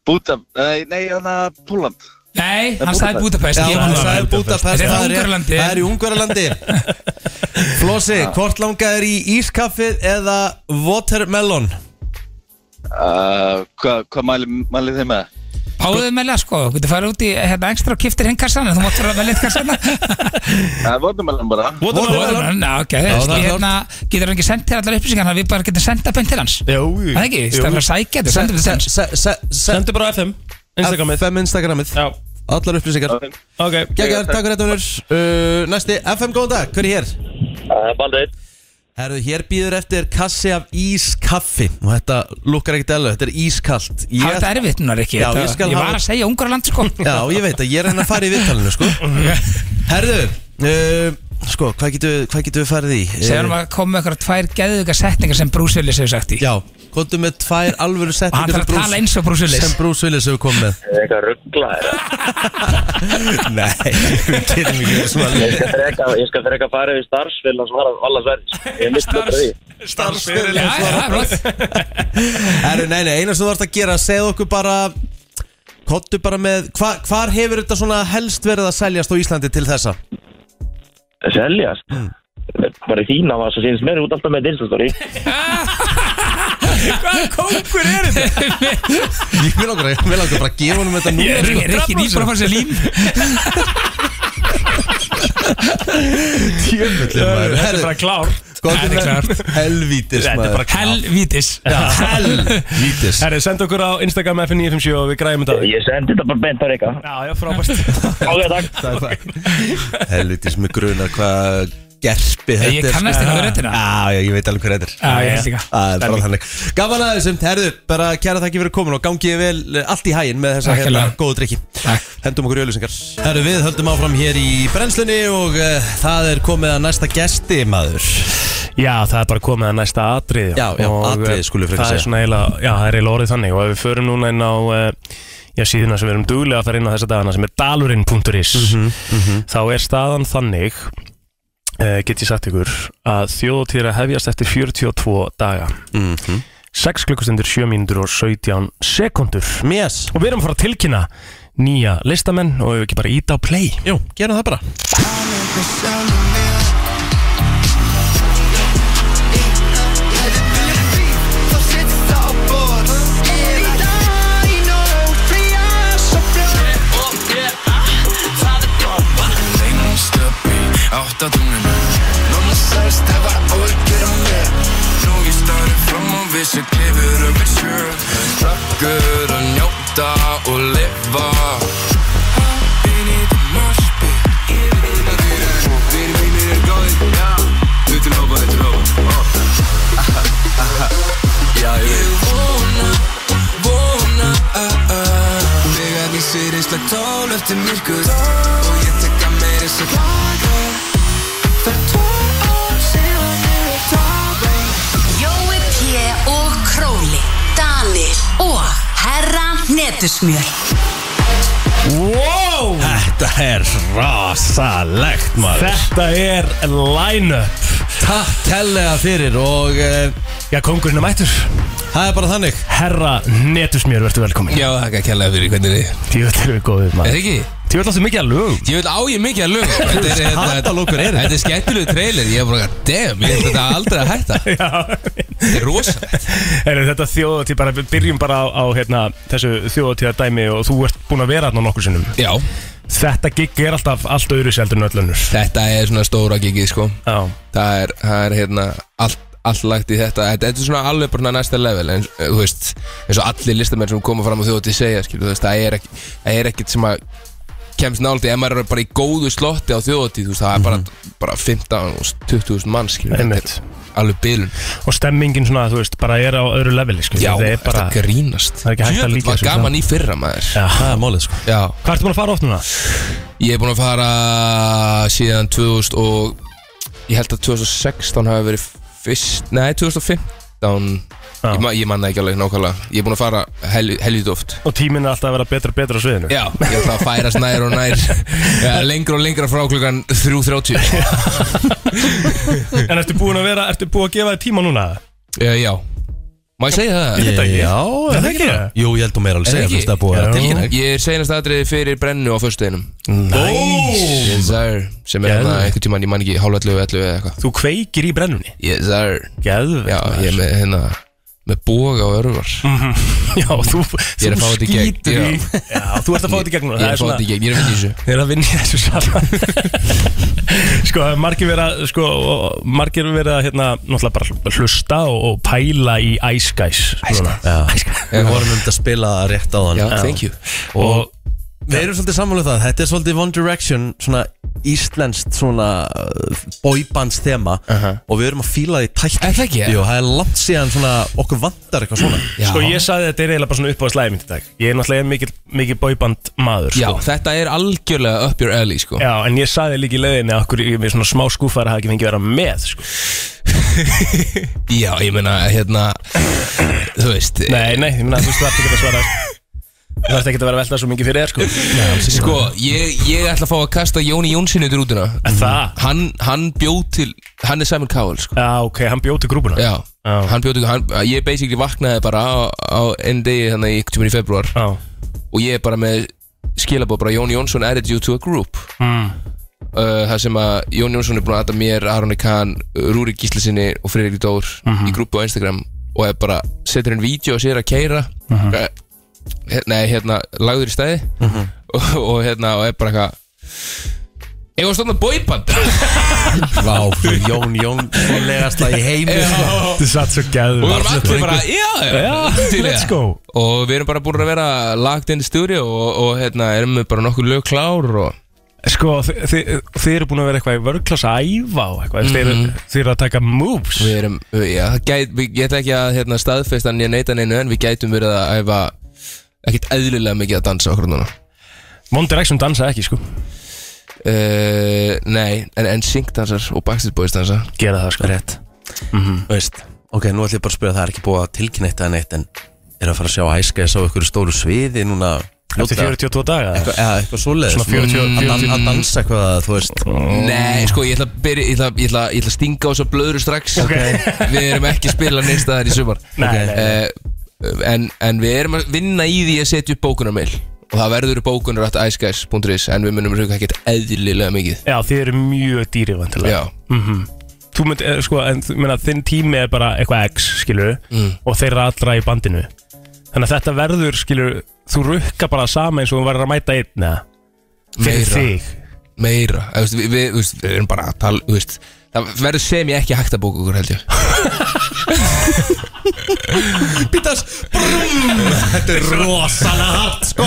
S5: Búta Nei, nei, hann er Púland
S4: Nei, hann
S5: Budapest.
S4: sagði Budapest
S1: Já,
S4: ég
S1: hann
S4: var
S1: sagði
S4: það.
S1: Budapest
S4: Þetta er frá
S1: rétt.
S4: Ungverjalandi.
S1: Það er í Ungverjalandi Flósi, hvort langað er í ískaffið eða watermelon?
S5: uh, Hvað hva mælið mæli þið með?
S4: Fáðu þau meðlega sko, þú getur farið út í hérna ekstra og kiftir hinn kassan en þú mátt vera með lit
S1: [LAUGHS]
S4: kassana
S5: Það er votumellan Uh, bara
S3: Watermelon
S4: Ná, ok,
S1: Já, það er
S4: ég hérna getur hann ekki sendt þér allar upplýsingar þannig að við bara getum senda beint til hans
S3: Jú, jú.
S4: Það er ekki,
S3: Jú.
S4: staflega sækja þetta, senda þetta til hans
S1: Se- se- se-
S3: Sendu bara FM Instagramið
S1: FM Instagramið
S3: Já,
S1: Allar upplýsingar
S3: ok
S1: Gægjar, takk fyrir þetta vinnur uh, Næsti, FM, góðan dag, hver er hér?
S6: Það er Baldveit
S1: Herðu, hér býður eftir kassi af ískaffi Og þetta lukkar ekkert eðla, þetta er ískalt
S4: Há þetta erfitt núna, Rikki
S1: Já,
S4: þetta-
S1: ég skal
S4: Ég
S1: hafa-
S4: var að segja Ungarland sko
S1: Já, ég veit að ég er henni að fara í viðtalinu,
S4: [LAUGHS]
S1: sko Herðu, uh, sko, hvað getum við- hvað getum við farið í? Eh,
S4: Segðum að koma með eitthvað tvær geðuga setningar sem Bruce Willis hefur sagt í
S1: Já, komdu með tvær
S4: Og hann
S1: alvöru setningar
S4: þarf að tala eins og Bruce Willis
S1: Sem Bruce Willis hefur
S4: [LAUGHS]
S1: komið með
S6: Það er eitthvað ruggla
S1: Nei, við getum ekki verið svona
S6: Ég skal freka, ég skal freka farið í starfsfél að svara alla sverð Ég misti þetta því
S4: Já, já, það er flott.
S1: Herru, nei, nei, eina sem þú þarfst að gera Segð okkur bara Kottu bara með hva, Hvar hefur þetta svona helst verið að seljast á Íslandi til þessa?
S6: Seljast Bara í þína var svo sínst mér út alltaf með dinsastóri
S3: Hvaða kókur er þetta?
S1: Ég vil okkur, ég vil okkur bara gefa honum þetta núna
S4: Rikki, Rikki, nýbúin að fara sér lím
S1: Tjöfnvöldin maður
S3: Þetta er bara klár
S4: Þetta
S1: hérna.
S4: er klárt.
S1: Herru, sko. helvítis
S3: Þetta er
S1: maður
S3: bara klár
S4: Helvítis
S1: Helvítis
S3: Herri, senda okkur á Instagram FN957 og við um græðum þetta
S6: Ég sendi þetta bara beint að reyka
S3: Já, já, frábært
S6: Ok, takk
S1: Helvítis með grunar hvað gerpi
S4: Ég
S1: þetta er,
S4: kannast
S1: sko.
S4: ekki við röddina.
S1: Já, já, ég veit alveg hver þetta er
S4: Já, ég held líka.
S1: Það er bara þannig Gaman að þessum, herðu, bara kæra þakki fyrir komin og gangiði vel eh, allt í hæginn með þessa
S4: Takk
S1: hérna
S4: hérlega.
S1: góðu drikki
S4: Takk.
S1: Hendum okkur í öllusingar Herru, við höldum áfram hér í brennslunni og uh, það er komið að næsta gesti, maður
S3: [LAUGHS] Já, það er bara komið að næsta atrið
S1: Já, já, atriði skulum frekar
S3: Það er
S1: segja.
S3: svona eiginlega, já, það er eiginlega orðið þannig og ef við förum núna inn á eh, já, síðuna sem við erum duglega að fara inn á þessa dagana sem er dalurinn.is
S1: Mhm,
S3: þá er staðan þannig uh, get ég sagt ykkur að þjóðtíð er að hefjast eftir 42 daga
S1: mm -hmm.
S3: 6 klukkustundir, 7 mínútur og 17 sekundur
S1: Mjess
S3: og við erum að fara að tilkynna nýja listamenn og ef við ekki bara íta á play
S1: Jú, gerum það bara
S7: Lengst upp í áttatunglinu Mamma sagðist hafa áhyggjur á mér Nú ég stari fram á við sem klifur öfum sjö Trakkur að njóta og lifa Hoppin í það marspi Vinir mínir er góðir já. Þau til hópa, þau til hópa ó. Já, ég veit Ég vona, vona uh, uh, Þegar ég sé reysla tól eftir myrkur Og ég tek að meira sér laga Það er tól ár síðan ég er tafið
S8: Jói P. og Króli Danir og Herra Netusmjör
S3: Wow!
S1: Þetta er rasalegt, maður
S3: Þetta er line-up
S1: Takk hellega fyrir og uh,
S3: Já, kongurinn er mættur
S1: það er bara þannig
S3: Herra Netusmjör, verður velkomin
S7: Já, þakka kærlega fyrir hvernig þið Er
S3: Tjóðall erum við góðið
S7: það
S3: maður
S7: ekki?
S3: Tjóðall áttu mikið að lög
S7: Ég vil á ég mikið að lög Þetta er, hérna-
S1: Katalógur er
S7: þetta er skemmtilegu trailer Ég er bara, damn, ég held þetta aldrei að hætta
S3: [LAUGHS] Já
S7: Þetta er rosalegt
S3: Er þetta þjóðatíð bara, við byrjum bara á, á hérna, þessu þjóðatíða dæmi og þú ert búin að vera hérna nokkur sinnum
S7: Já,
S3: Þetta gig er alltaf allt öðru seldur en öll önnur
S7: þetta er svona stóra gigið, sko
S3: Já
S7: það er, það er hérna allt, allt lagt í þetta þetta, þetta er svona alveg bara næsta level en eh, þú veist, eins og allir listamenn sem koma fram á þjóti segja, skil, þú veist, það er ekki það er ekkit sem að kemst náldi ef maður er bara í góðu slotti á þjóti þú veist, það er bara, bara 15 og 20.000 mann, skil, þetta
S3: Einmitt.
S7: er alveg bilun
S3: Og stemmingin svona, þú veist, bara er á öðru leveli, skil
S7: já,
S3: Það er
S7: þetta
S3: bara
S7: grínast
S3: það er ekki hægt að
S7: Djöfull
S3: líkja
S7: var
S3: þessu sko.
S7: gaman í fyrra maður
S3: Já
S1: Það er málið, sko
S7: já,
S3: Hvað ertu búin að fara oft núna?
S7: ég er búin að fara síðan 2000 og ég held að 2016 hafi verið fyrst, nei 2015
S3: Já.
S7: Ég, ma ég manna ekki alveg nákvæmlega Ég er búinn að fara hel helvítið oft
S3: Og tíminn er alltaf að vera betra og betra á sviðinu
S7: Já, ég ætla að færast nær og [LAUGHS] nær ja, Lengra og lengra frá klukkan 3.30
S3: En ertu búin að vera, ertu búin að gefa þér tíma núna?
S7: uh, Já, má ég segja það?
S3: Þetta ekki.
S1: Já,
S3: Er
S1: er
S3: það
S1: það
S3: ekki?
S1: Jú, ég held að mér
S7: Er
S1: alveg segja
S7: það
S1: fyrst að
S7: ekki?
S1: búa
S3: Já.
S1: til
S7: Ég, ég er seinast aðrið fyrir brennu á föstudeginum
S3: Næs
S7: Yes sir Sem er hérna
S3: Geðveikt.
S7: einhvern tíman, ég man ekki hálfa 11 eða eitthvað
S3: Þú kveikir í brennunni
S7: Yes sir
S3: Geðvegt
S7: Já, ég er með hérna með boga og örvar
S3: Mm.
S7: ég
S3: Já, þú,
S7: er að fá þetta í gegn,
S3: skýtur
S7: já.
S3: í Já, þú ert að fá þetta í gegn núna,
S7: er
S3: það
S7: að fá þetta í gegn, ég er að vinna í þessu
S3: Ég er að vinna í þessu sala
S7: [LAUGHS]
S3: Sko, það er margir verið að sko, og margir verið að hérna, náttúrulega bara hlusta og, og pæla í Ice Guys núna.
S1: Við vorum um þetta að spila það rétt á þann
S7: já, thank you
S3: og
S1: Við erum svolítið sammáluð það, þetta er svolítið One Direction Svona íslenskt svona uh, Boybands þema Og við erum að fíla því tætt
S7: Er það ekki, ja?
S1: Jú, það er langt síðan svona okkur vantar eitthvað svona
S7: já,
S3: sko ég sagði að þetta er eiginlega bara svona upp á slæði mitt í dag Ég er náttúrulega mikið, mikið boyband maður
S7: já,
S3: sko.
S7: þetta er algjörlega up your alley sko.
S3: Já, en ég sagði líka í leiðinni að okkur ég er svona smá skúfar að hafa ekki fengið að vera með sko.
S7: já, ég meina, hérna þú veist
S3: Nei, nei, ég meina, þú veist, þú ert ekki að svara Þú ert ekki að vera að velta svo mikið fyrir þér sko.
S7: sko, ég, ég ætla að fá að kasta Jóni Jónsson út úr útuna
S3: Það,
S7: hann, hann bjóð til, hann er Simon Cowell sko.
S3: já, ok, hann bjóti grúbuna
S7: já,
S3: Já.
S7: hann bjóð til, hann, ég basically vaknaði bara á, á enn degi þannig í, tímann í februar
S3: Já.
S7: og ég er bara með skilabóð bara Jón Jónsson added you to a group
S3: Mm.
S7: uh, það sem að Jón Jónsson er búin að adda mér, Aronni Kahn, Rúri Gíslasinni og Friðrik Dór í grúpu á Instagram og er bara, setur einn vídeo og sér að keira mm nei, hérna, lagður í stæði
S1: Mhm.
S7: og, og hérna, og er bara eitthvað Ég var stofna bóiband
S1: [LAUGHS] Vá, Jón Jón Legasta í heimi
S3: Þú satt svo gæður
S7: Og við erum allir bara, já, já, til í
S3: let's
S7: það.
S3: go.
S7: Og við erum bara búin að vera lagt inn í stúdíu og, og hérna, erum við bara nokkuð lög klár og
S3: Sko, þi- þi- þið eru búin að vera eitthvað í vörklass að æfa og eitthvað mm -hmm. Þið eru að taka moves
S7: Við erum, já, það gæt, við, ég ætla ekki að hérna, staðfesta nýja neita neinu en við gætum verið að æfa ekkert eðlilega mikið að dansa okkur núna
S3: One Direction dansa ekki, sko
S7: uh, Nei, en, en Sync dansar og Backstreet Boys dansa
S3: Gera það, sko Rétt
S1: Veist, ok, nú ætlum ég bara að spura það er ekki búið að tilkynna eitt eða neitt En er að fara að sjá æska á ykkur stóru sviði núna
S3: Eftir 42 daga
S1: Eitthvað, eða eitthvað svoleiðis
S3: Svona 40
S1: Að dan-
S3: 40
S1: Að dansa eitthvað, þú veist
S7: Nei, sko, ég ætla að byrja, ég ætla, ég ætla, ég ætla að stinga á þessu blöðru strax
S3: Ok.
S7: Við erum ekki að spila neins staðar í sumar
S3: Nei,
S7: Ok.
S3: nei,
S7: Eh, en, en við erum að vinna í því að setja upp bókunarmail Og það verður bókunar at iceguys.is En við munum rauka ekkert eðlilega mikið
S3: Já, þið eru mjög dýri, vantilega
S7: Já,
S3: Þú mynd, eh, sko, en þú- meina, þinn tími er bara eitthvað X, skilur
S7: Mm.
S3: Og þeirra allra í bandinu Þannig að þetta verður, skilur Þú rukka bara saman eins og þú verður að mæta einn eða Fyrir
S7: Meira.
S3: þig
S7: meira Þú veist, við, við, þú veist, við erum bara að tala þú veist, það verður sem ég ekki hægt að bóka okkur held ég
S1: Þetta er rosalega hart, sko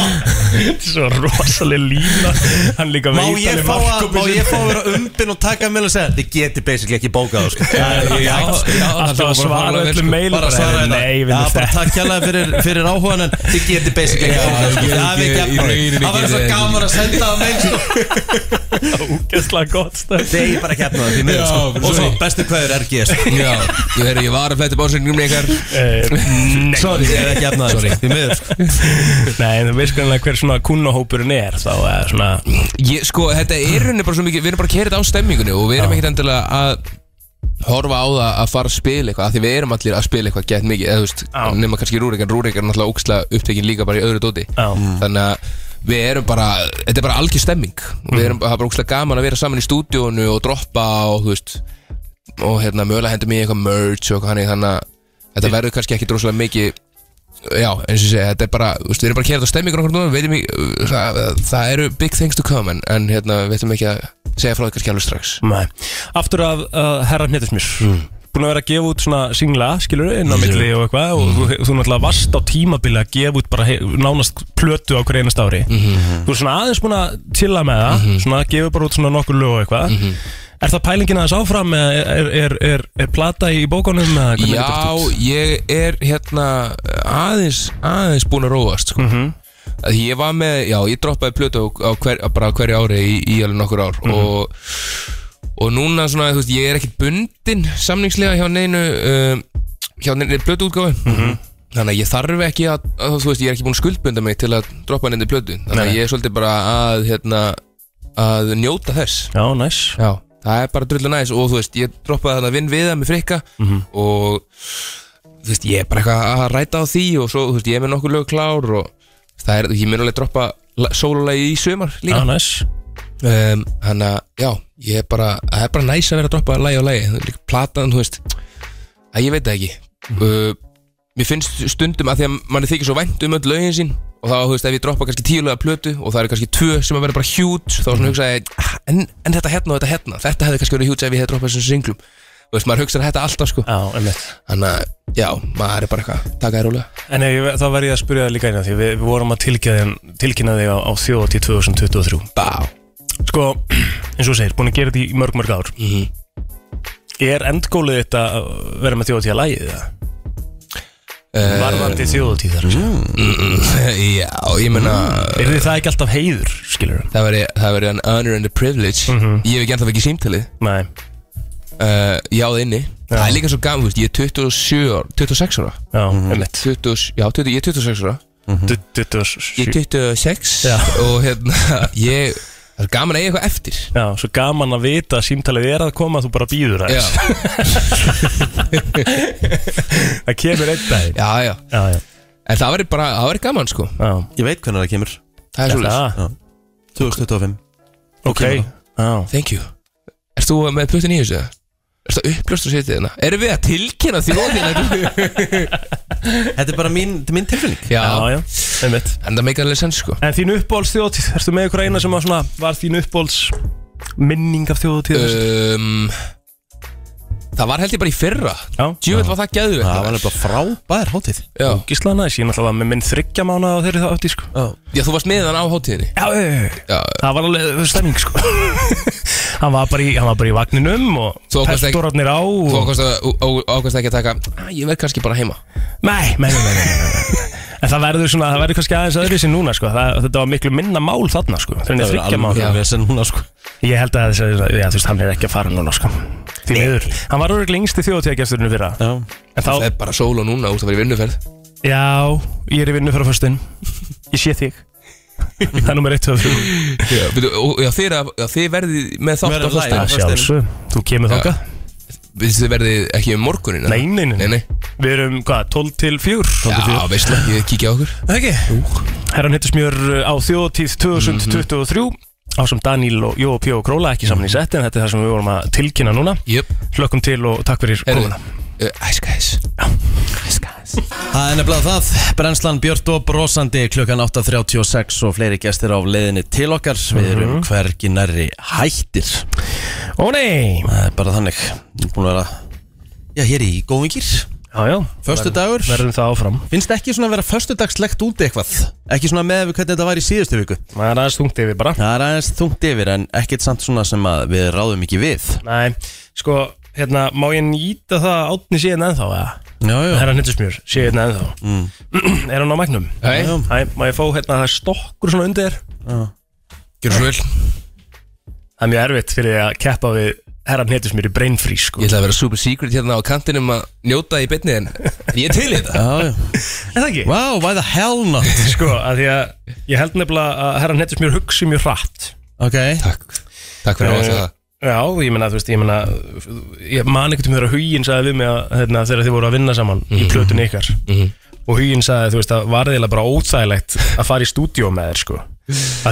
S3: Svo rosalega lína Hann líka
S1: Má
S3: veit
S1: ég
S3: alveg
S1: fá að,
S3: markkopi
S1: má
S3: sinn.
S1: ég fá að vera umbin og taka með og segja Þið geti basically ekki bókað þá, sko
S3: já, alltaf að svara öllum meilum
S1: Bara að svara þetta
S3: Nei, við
S1: Já,
S3: erum
S1: bara
S3: þetta
S1: takk hérlega fyrir, fyrir áhugan En þið geti basically
S7: Já,
S1: ekki bókað sko.
S7: ég-
S1: Það
S7: ég-
S1: er ekki
S7: í
S1: efnaði
S7: rauninni
S1: Það var
S7: geti
S1: svo
S7: það
S1: gaman að senda það með sko.
S3: Úgeslega gott sko.
S1: [LAUGHS]
S3: stöð
S1: Þið er bara ekki efnaði því
S7: Já,
S1: miður sko.
S7: bara
S1: Og svo
S7: sorry.
S1: bestu hvaður er GS
S7: Já, ég, er, ég var að flæta básögningum ykkar
S3: Eh, Nei,
S1: [LAUGHS] Sorry, ég er ekki efnaði Sorry, því miður sko.
S3: nei, en þú veist kannski hver svona kunnahópurinn er þá eða svona
S7: ég, Sko, þetta er rauninni bara svo mikið Við erum bara kerið á stemmingunni og við erum ekkert endilega að horfa á það að fara að spila eitthvað af Því við erum allir að spila eitthvað gett mikið eða, þú veist,
S3: Já.
S7: nema kannski Rúrik, en Rúrik er náttúrulega ókslega upptekinn líka bara í öðru dóti
S3: Já.
S7: Þannig að við erum bara, þetta er bara algjör stemming
S3: Mm.
S7: og við erum, það er bara ókslega gaman að vera saman í stúdíónu og droppa og þú veist og hérna mögulega hendur mig í eitthvað merch og hann þannig að þetta verður kannski ekki droslega mikið já, eins og ég segja, þetta er bara þú veist, við erum bara að kera á stemmingur okkur núna við veitum ekki, það, það eru big things to come en, en hérna, við veitum ekki að segja frá því kannski alveg strax
S3: nei. Aftur af uh, herra hnetismir mm. Búin að vera að gefa út svona singla, skilur inn á milli og eitthvað og þú, þú náttúrulega varst á tímabili að gefa út bara he, nánast plötu á hverju einast ári Þú er svona aðeins búin að chilla með það svona að gefa bara út svona nokkur lög og eitthvað Er það pælingin aðeins áfram eða er, er, er, er plata í bókunum? eða hvernig lítur þetta út?
S7: Já, ég er hérna aðeins, aðeins búin að róast sko. mm
S3: Mhm.
S7: Ég var með, já, ég droppaði plötu á, á hver, bara á hverju ári í, í alveg nokkur ár
S3: Mhm.
S7: og, og núna svona, þú veist, ég er ekkert bundin samningslega hjá neinu um, hjá neinu plötu
S3: Mhm.
S7: Þannig að ég þarf ekki að, að, þú veist, ég er ekki búin að skuldbunda mig til að droppa neinu plötu Þannig að
S3: Nei.
S7: ég er svolítið bara að, hérna, að njóta þess
S3: Já, næs
S7: Já, það er bara drullu næs og þú veist, ég droppaði þarna vinn við það með frikka og þú veist, ég er bara eitthvað að ræta á því og svo, þú veist, ég er með nokkuð lög klár og það er, ég mun alveg droppa sólulegi í sumar
S3: Já,
S7: líka
S3: næs
S7: um, Þannig að, já, ég er bara, það er bara næs að vera að droppa lagi á lagi, líka platan, þú veist, að ég veit það ekki uh, mér finnst stundum að því að manni þykir svo vænt um öll lögin sín og þá, þú veist, ef ég droppa kannski tíu löga plötu og það eru kannski tvö sem að vera bara hjút þá svona hugsaði, ég, "Ah, en, en þetta hérna og þetta hérna þetta hefði kannski verið hjút ef ég hefði droppað þessum singlum þú veist, maður hugsaði þetta alltaf, sko
S3: Já, einmitt
S7: þannig að, já, maður er bara eitthvað taka þér rólega
S3: En ef, ég- þá verð ég að spyrja það líka einna því við, við vorum að tilkynna, þig- tilkynna þig á, á þjóðatíð 2023
S7: Bá.
S3: Sko, [CLEARS THROAT] eins og þú segir, búin að gera þetta í mörg mörg ár
S7: Mhm.
S3: Er endgólið þetta að vera með þjóðatíð að lægið það?
S7: Eh,
S3: Varðandi þjóðatíð þar mm.
S7: [LAUGHS] já, ég meina
S3: Er þið það ekki alltaf heiður, skilur
S7: það veri, það veri an honor and a privilege ég hef ekki ennþá ekki símtalið
S3: Nei,
S7: uh, já, það inni það er líka svo gaman, þú veist, ég er 27 ára 26 ára
S3: já, einmitt
S7: 20, já, 20, ég er 26 ára
S3: Du- du- du-
S7: Mhm. Ég
S3: sjö-
S7: er 26
S3: Já.
S7: og hérna [LAUGHS] ég, það er gaman að eiga eitthvað eftir
S3: Já, svo gaman að vita að símtalið er að koma þú bara
S7: Já,
S3: býður aðeins Það kemur einn dag
S7: já, já
S3: Já, já,
S7: En það verður bara, það verður gaman sko
S3: já
S1: Ég veit hvernig það kemur
S7: Það er svolítið
S3: Það,
S1: 2025
S3: ok Já,
S7: Thank you Erst þú með puttin í þessu? Erst það uppljóst og setið hérna? Erum við að tilkynna
S3: [LAUGHS]
S7: þjóðina?
S1: Þetta er bara mín, þetta er mín tilfinning
S7: já,
S3: já, já, einmitt
S7: en það meikar alveg sens sko
S3: En þín uppbóls þjóðtíð, ertu með ykkur eina sem var svona Var þín uppbóls minning af þjóðtíð uh,
S7: um, Það var held ég bara í fyrra
S3: Já.
S7: Djúvel var það gæðu
S1: Það var nefnilega frábær hátíð
S7: já.
S3: Gísla næs, ég náttúrulega var með minn þryggja mánu á þeirri þátti sko.
S7: já, þú varst með hann á hátíðinni
S3: Já, já, já, já.
S7: Já,
S3: það var alveg stemming sko. [LAUGHS] hann, var bara í, hann var bara í vagninum
S7: Þú
S3: og
S7: ákvaðst ekki-
S3: pestorarnir á og...
S7: þú ákvæmst ekki að taka "Ah, Ég verð kannski bara heima
S3: Nei, nei, nei, nei, nei, nei, [LAUGHS] nei. En það verður svona, það verður kannski aðeins öðru sem núna sko. það, Þetta var miklu minna mál þarna sko. Þannig að þryggja mál
S1: alveg vesen núna sko
S3: Ég held að þess að, já, þú veist, hann er ekki að fara núna sko. Því miður, hann var örgulega yngsti þjóðtíðagesturinn fyrra
S1: Já
S3: En þá,
S7: Það er bara sól og núna út að vera í vinnuferð
S3: já, ég er í vinnu fyrir föstun Ég sé
S7: [LAUGHS]
S3: þig Það er nummer 1, 2, 3
S7: Já, byrju, og- já, þeir, að- já, þið verðið með þátt á
S1: Verðið live.
S7: föstudaginn.
S1: Að
S3: Sjálfsög, þú kemur
S7: Já.
S3: þokkað
S7: Veist Þið verðið ekki um morgunin eða?
S3: Nei, nei, nei,
S7: Nei, nei
S3: Við erum, hvað, 12 til 4 12 til
S7: Já,
S3: 4
S7: veistla, ég kíkja á okkur
S3: Ekki Herran hittu smjör uh, á þjóðtíð 2023 Ásum Daníl og Jó og Pjó og Króla ekki saman í sett En þetta er það sem við vorum að tilkynna núna
S7: Jöp eh,
S3: Hlökkum til og takk fyrir komuna
S7: Æskæs
S1: Það er nefnilega það, brennslan Björn og brosandi klukkan 8.36 og fleiri gestir á leiðinni til okkar Við erum hvergi nærri hættir
S3: Ó nei
S1: Það er bara þannig Ég er Búin að vera, já hér í góðingir
S3: Já, já
S1: Föstu dagur,
S3: Verðum það áfram
S1: finnst ekki svona að vera föstudagslegt út eitthvað Ekki svona með við hvernig þetta var í síðustu viku
S3: Það er aðeins tungt yfir bara
S1: Það er aðeins þungt yfir en ekkert samt svona sem að við ráðum ekki við
S3: Nei, sko, hérna, má ég nýta það að Átni sé hérna ennþá, eða?
S1: Já, já,
S3: Herran hittu smjör, sé hérna ennþá [CLEARS THROAT] Er hann á magnum?
S7: Hei,
S1: Já.
S3: Æ, má ég fá hérna það stokkur svona undir þér?
S7: gjör svo vel
S3: Það er mjög erfitt fyrir þig að keppa við herran hittu smjör í brain freeze, sko
S7: Ég ætla að vera super secret hérna á kantinum að njóta í beinni en en ég er til í þetta
S1: já, já
S3: Er það ekki?
S1: Wow, why the hell not [LAUGHS]
S3: Sko, að því að ég held nefnilega að herran hettis mér hugsi mjög hratt
S1: Ok
S7: Takk Takk fyrir að segja það
S3: Já, ég meina, þú veist, ég meina Ég man ekkert um þeirra huginn sagði við mig að, hérna, þegar þið voru að vinna saman í plötun ykkar Og huginn sagði, þú veist, að var eiginlega bara óþægilegt að fara í stúdíó með þér, sko að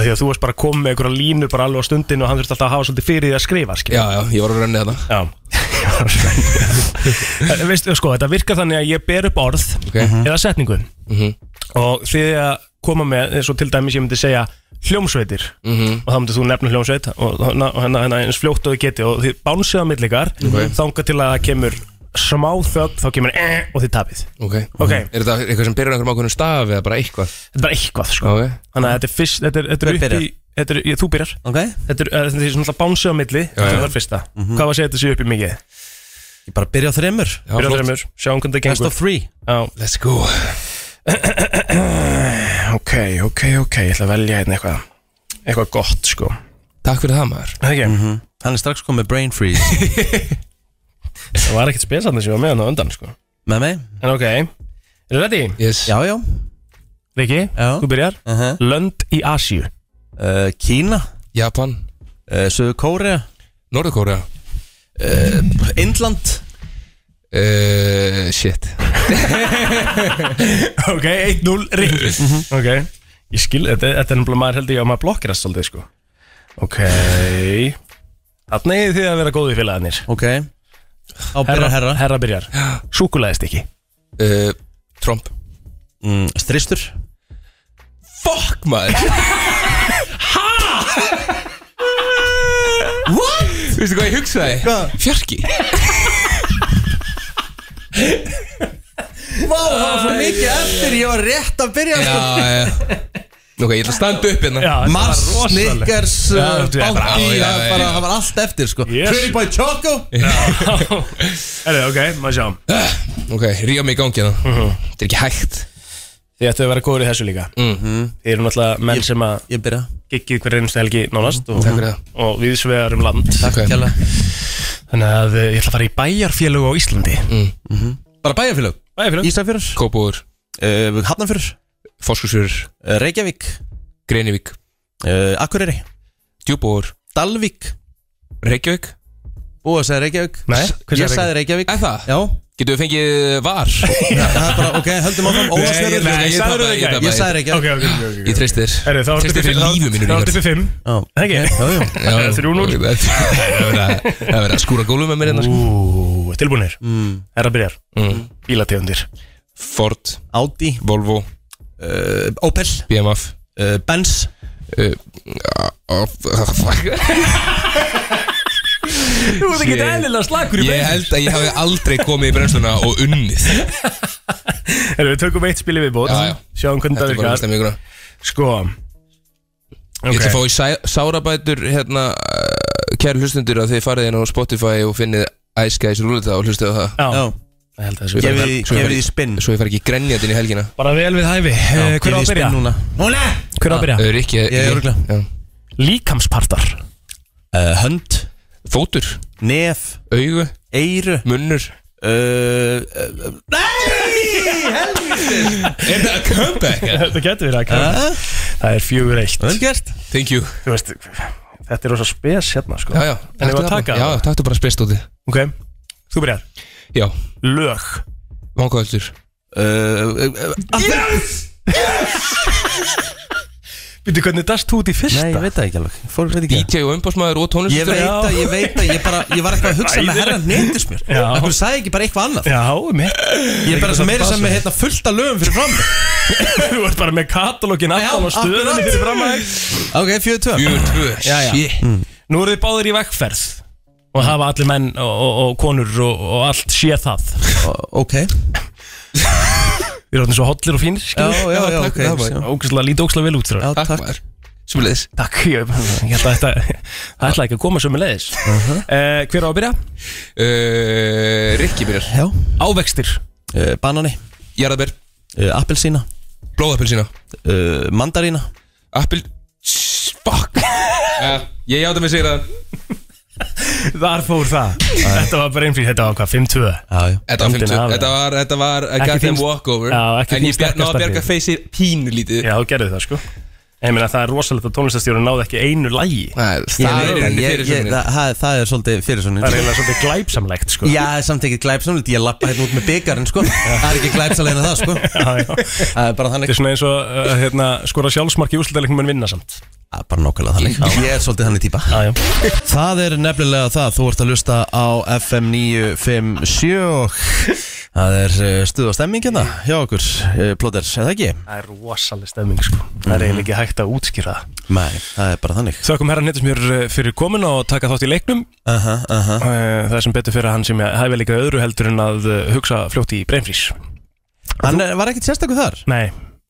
S3: Því að þú varst bara að koma með einhverja línu bara alveg á stundinu og hann þurfti alltaf að hafa svolítið fyrir því að skrifa, skil
S7: Já, já, ég var að hérna. renni þetta
S3: [LAUGHS] Já. Eh, Veistu, sko, þetta virkar þannig að ég ber upp orð
S7: Ok. Mhm.
S3: eða setningu og þið að koma með, eins og til dæmis ég myndi segja hljómsveitir
S7: Mhm.
S3: og þá myndi þú nefna hljómsveit og hérna, hérna, hérna eins fljótt og þið geti og þið bánsið á millikar okay. þanga til að það kemur smá þögn, þá kemur eh, og þið tapið
S7: Ok
S3: Ok.
S7: Er þetta eitthvað sem byrjar á einhverjum ákveðnum staf eða bara eitthvað?
S3: þetta er bara eitthvað sko
S7: Ok
S3: þannig að þetta er fyrst, þetta er, þetta
S1: Hver
S3: er upp í
S1: byrjar?
S3: þetta er, ég, þú byrjar,
S1: Ok
S3: þetta er, eh, þetta er svona bánsið á milli,
S7: já. Mhm.
S3: þetta er fyrsta hvað var að segja þetta sé upp í mikið?
S1: Ég bara byrja á þreymur
S7: Já,
S3: Byrja á
S7: flott.
S3: þremur, sjáum hvernig það
S1: Best
S3: gengur
S1: of three
S3: Já.
S7: Let's go
S3: [CLEARS THROAT] Ok, ok, ok, ég ætla að velja hérna eitthvað Eitthvað gott, sko Mhm.
S7: Takk fyrir það maður
S3: Það ekki,
S1: Hann er strax komið brain freeze
S3: það var ekkert spesandi sem ég var með hann á undan, sko
S1: [LAUGHS] Með mig?
S3: En ok, eru ready?
S7: Yes
S1: Já, já
S3: Riki,
S1: Já.
S3: þú byrjar
S1: uh -huh.
S3: Lönd í Asíu
S1: uh, Kína
S7: Japan
S1: uh, Söðu Kórea
S7: Norðurkóra
S1: Indland
S7: Uh, shit
S3: Ok, 1-0, Riki Mhm. Ok, ég skil, þetta, þetta er náttúrulega maður held ég að maður blokkirast svolítið, sko Ok Þarna eigið þið að vera góðu félagarnir
S1: Ok Á byrja herra
S3: herra byrjar Súkulæðist ekki
S7: uh, Trump
S1: mm, Stristur
S7: Fuck maður [LAUGHS] Ha? What? Veistu hvað ég hugsaði? Hvað? Fjarki
S1: Vá, það var svo mikið eftir, ég var rétt að byrja sko.
S7: Já, já Nú, ok, ég ætla að standa upp hérna
S3: Já, þetta var
S1: Mars,
S3: rosalegt.
S1: Snickers,
S3: Já,
S1: uh,
S3: þetta er bara-
S1: Bounty,
S7: Já, já,
S1: það
S7: já,
S1: bara-
S7: já.
S1: það var allt eftir sko
S3: Yes.
S1: Pretty Boy Choco
S3: [LAUGHS] Erðu, ok, maður sjáum
S7: Ok, ríða mig í gangi hérna Þetta er ekki hægt
S3: Þið ættu að vera góður í þessu líka
S7: Mhm.
S3: Þið eru náttúrulega menn sem að
S1: Ég byrja
S3: giggið hver einnstu helgi nánast og,
S7: Takk fyrir það.
S3: og við svegar um land
S7: Takk okay.
S1: Kjalla
S3: Þannig að eh, ég ætla að fara í bæjarfélög á Íslandi
S1: Bara bæjarfélög
S3: Bæjarfélög?
S1: Ísafjörður
S7: Kópúður,
S1: uh, Hafnarfjörður
S7: Foskursfjörur,
S1: uh, Reykjavík
S7: Greinivík,
S1: uh, Akureyri
S7: Djúbúður,
S1: Dalvík
S7: Reykjavík
S1: Búið að segja Reykjavík
S3: Nei, hvað
S1: Ég
S3: sagði
S1: sagði Reykjavík
S7: Er það?
S1: Já
S7: Getum við fengið var?
S1: Það er bara, ok, höldum áfram
S3: Nei,
S1: Óvarsfjörður
S3: nei.
S7: ég
S3: sagðirðu
S7: tapa,
S3: það ekki?
S7: tapa,
S1: Ég sagði Reykjavík
S3: Ok, ok, ok, ok,
S7: Ég
S3: ok
S7: treysti þér
S3: Erðu, þá ertu
S7: Treysti þér
S3: fyrir
S7: fyrir lífi mínu
S3: Þá ertu fyrir fimm
S1: Já.
S3: Ekki?
S1: Jú, jú.
S3: Já, þrjú núll.
S7: Það er verið að- það er verið að skúra gólum með mér hérna sko.
S3: Ú, tilbúinir Herra byrjar
S7: Mm.
S3: Bílategundir
S7: Ford,
S1: Audi
S7: Volvo,
S1: uh, Opel
S7: BMF
S1: uh, Benz
S7: uh, uh, uh, fuck.
S3: Þú ert ekki
S7: Shit.
S3: eðlilega slagur í
S7: Ég held að ég hafi aldrei komið í brennsluna og unnið
S3: Herru, við tökum eitt spili viðbót
S7: Já, já.
S3: Sjáum hvernig
S7: Þetta
S3: það
S7: er bara
S3: virkar
S7: næsta mikuna
S3: Sko
S7: Ég ætla að
S3: Ok.
S7: fá í sæ- sárabætur hérna, uh, kæru hlustundur að þið farið inn á Spotify og finnið Ice Guys Rúlita og hlustuðu á það
S1: Já,
S3: Já Ég held að þessu
S7: Ég-
S1: gefið því-
S7: Svo-
S1: gefið því spinn
S7: Svo ég fari ekki grenjandi inn í helgina
S3: Bara vel við hæfi Eh, Hver á
S1: Gefið
S3: að
S1: því
S3: byrja?
S1: spinn núna Núna
S3: Hver á að byrja?
S7: Þau eru ekki
S1: Ég er örugglega.
S7: Já.
S3: Líkamspartar
S1: uh, Hönd
S7: Fótur,
S1: Nef
S7: augu,
S1: Eiru
S7: munnur
S1: uh, uh,
S7: Er það að comeback?
S3: Þetta getur verið að kæra
S1: uh,
S3: Það er fjögur eitt
S1: Öngert
S7: [LAUGHS] Thank you
S3: Þú veist Þetta er rosa spes hérna sko
S7: Já, já,
S3: En ég var að
S7: bara-
S3: taka
S7: Já,
S3: það?
S7: taktu bara spest úti
S3: Ok Þú byrjar
S7: Já,
S3: Lög
S7: vangaðaldur
S1: uh,
S3: Býttu hvernig dast þú út í fyrsta?
S1: Nei, ég veit það ekki alveg Fólk veit ekki
S7: DJ E og umbásmaður og tónlist
S1: Ég veit að, ég veit að, ég bara, ég var eitthvað að hugsa með herra neyndismjör
S3: Já.
S1: Akkur sagði ekki bara eitthvað annað
S3: Já, mitt
S1: Ég er bara sem meira sem með
S3: [LAUGHS]
S1: hérna fullt af lögum fyrir fram
S3: Þú ert bara með katalógin aftan á
S1: Já,
S3: stöðunni
S1: akkurat.
S3: fyrir fram að þig
S1: Ok, fjöðu tvö
S7: Fjögur, tvö,
S3: Já, já.
S7: shit
S3: Nú eru þið báðir í vegferð Og hafa allir menn og, og, og konur og, og allt sé það Þið
S1: Ok
S3: eru orðin svo hollir og fínir
S1: Já,
S3: skilur
S1: já, já,
S7: takk
S1: ok
S7: fyrir það, maður.
S1: Já,
S3: Ógæslega lítið ógæslega vel út þrjá
S1: já,
S7: Takk
S1: takk
S7: maður Sumulegis
S3: Takk, ég, [LAUGHS] ég held að þetta Það ætlaði ekki að koma sömu leiðis Hver á að byrja?
S7: uh, Rikki byrjar
S1: Já,
S3: Ávextir
S1: uh, banani
S7: Jarðaber,
S1: uh, Appelsína
S7: blóðapilsina
S1: uh, Mandarína
S7: Appil, Shh, fuck uh, Ég játa mig sigra það
S3: Þar fór það Þetta var bara einfrýð, þetta var hvað, 5-2
S1: Já, já
S7: Þetta var
S3: Andinn
S7: 50,
S3: af,
S7: þetta var, þetta var a
S3: Ekki
S7: goddamn
S3: þín-
S7: walkover
S3: Já, ekki
S7: En
S3: þín
S7: ég bjarn á
S3: sterkasta
S7: að bjarga
S3: hlið.
S7: feysið pínu lítið
S3: Já, þú gerðu það sko En ég meina það er rosalegt að tónlistastjóri náði ekki einu lægi
S7: Það er-
S1: Ég-
S7: það er
S1: ég-
S7: henni
S1: ég-
S7: fyrir sem
S1: það- það- Það er svolítið fyrir
S3: Það er
S1: svona
S3: eiginlega svolítið glæpsamlegt sko
S1: Já, það er samt ekki glæpsamlega Ég lappa hérna út með byggarinn, sko Það er ekki glæpsamlega það, sko
S3: Já, já. Þetta
S1: Það er bara þannig
S3: er svona eins og uh, hérna, skora sjálfsmark í úrslutalegnum en vinna samt
S1: Það er bara nákvæmlega þannig Ég er svolítið þannig típa
S3: Já, já
S1: Það er nefnilega það, þú ert að lusta á FM 957 og það er eh, stuð og stemmingina hjá okkur, eh, Plóter, er það ekki?
S3: Það er rosaleg stefning sko Það er eiginlega ekki hægt að útskýra það
S1: Nei, það er bara þannig
S3: Þökkum herran hittum mér fyrir komin og taka þátt í leiknum
S1: Aha, aha.
S3: Eh, Það er sem betur fyrir að hann sem ég hæfi líka öðru heldur en að eh, hugsa fljótt í breynfrís
S1: Hann er, eh, var ekkert sérstakur þar?
S3: Nei,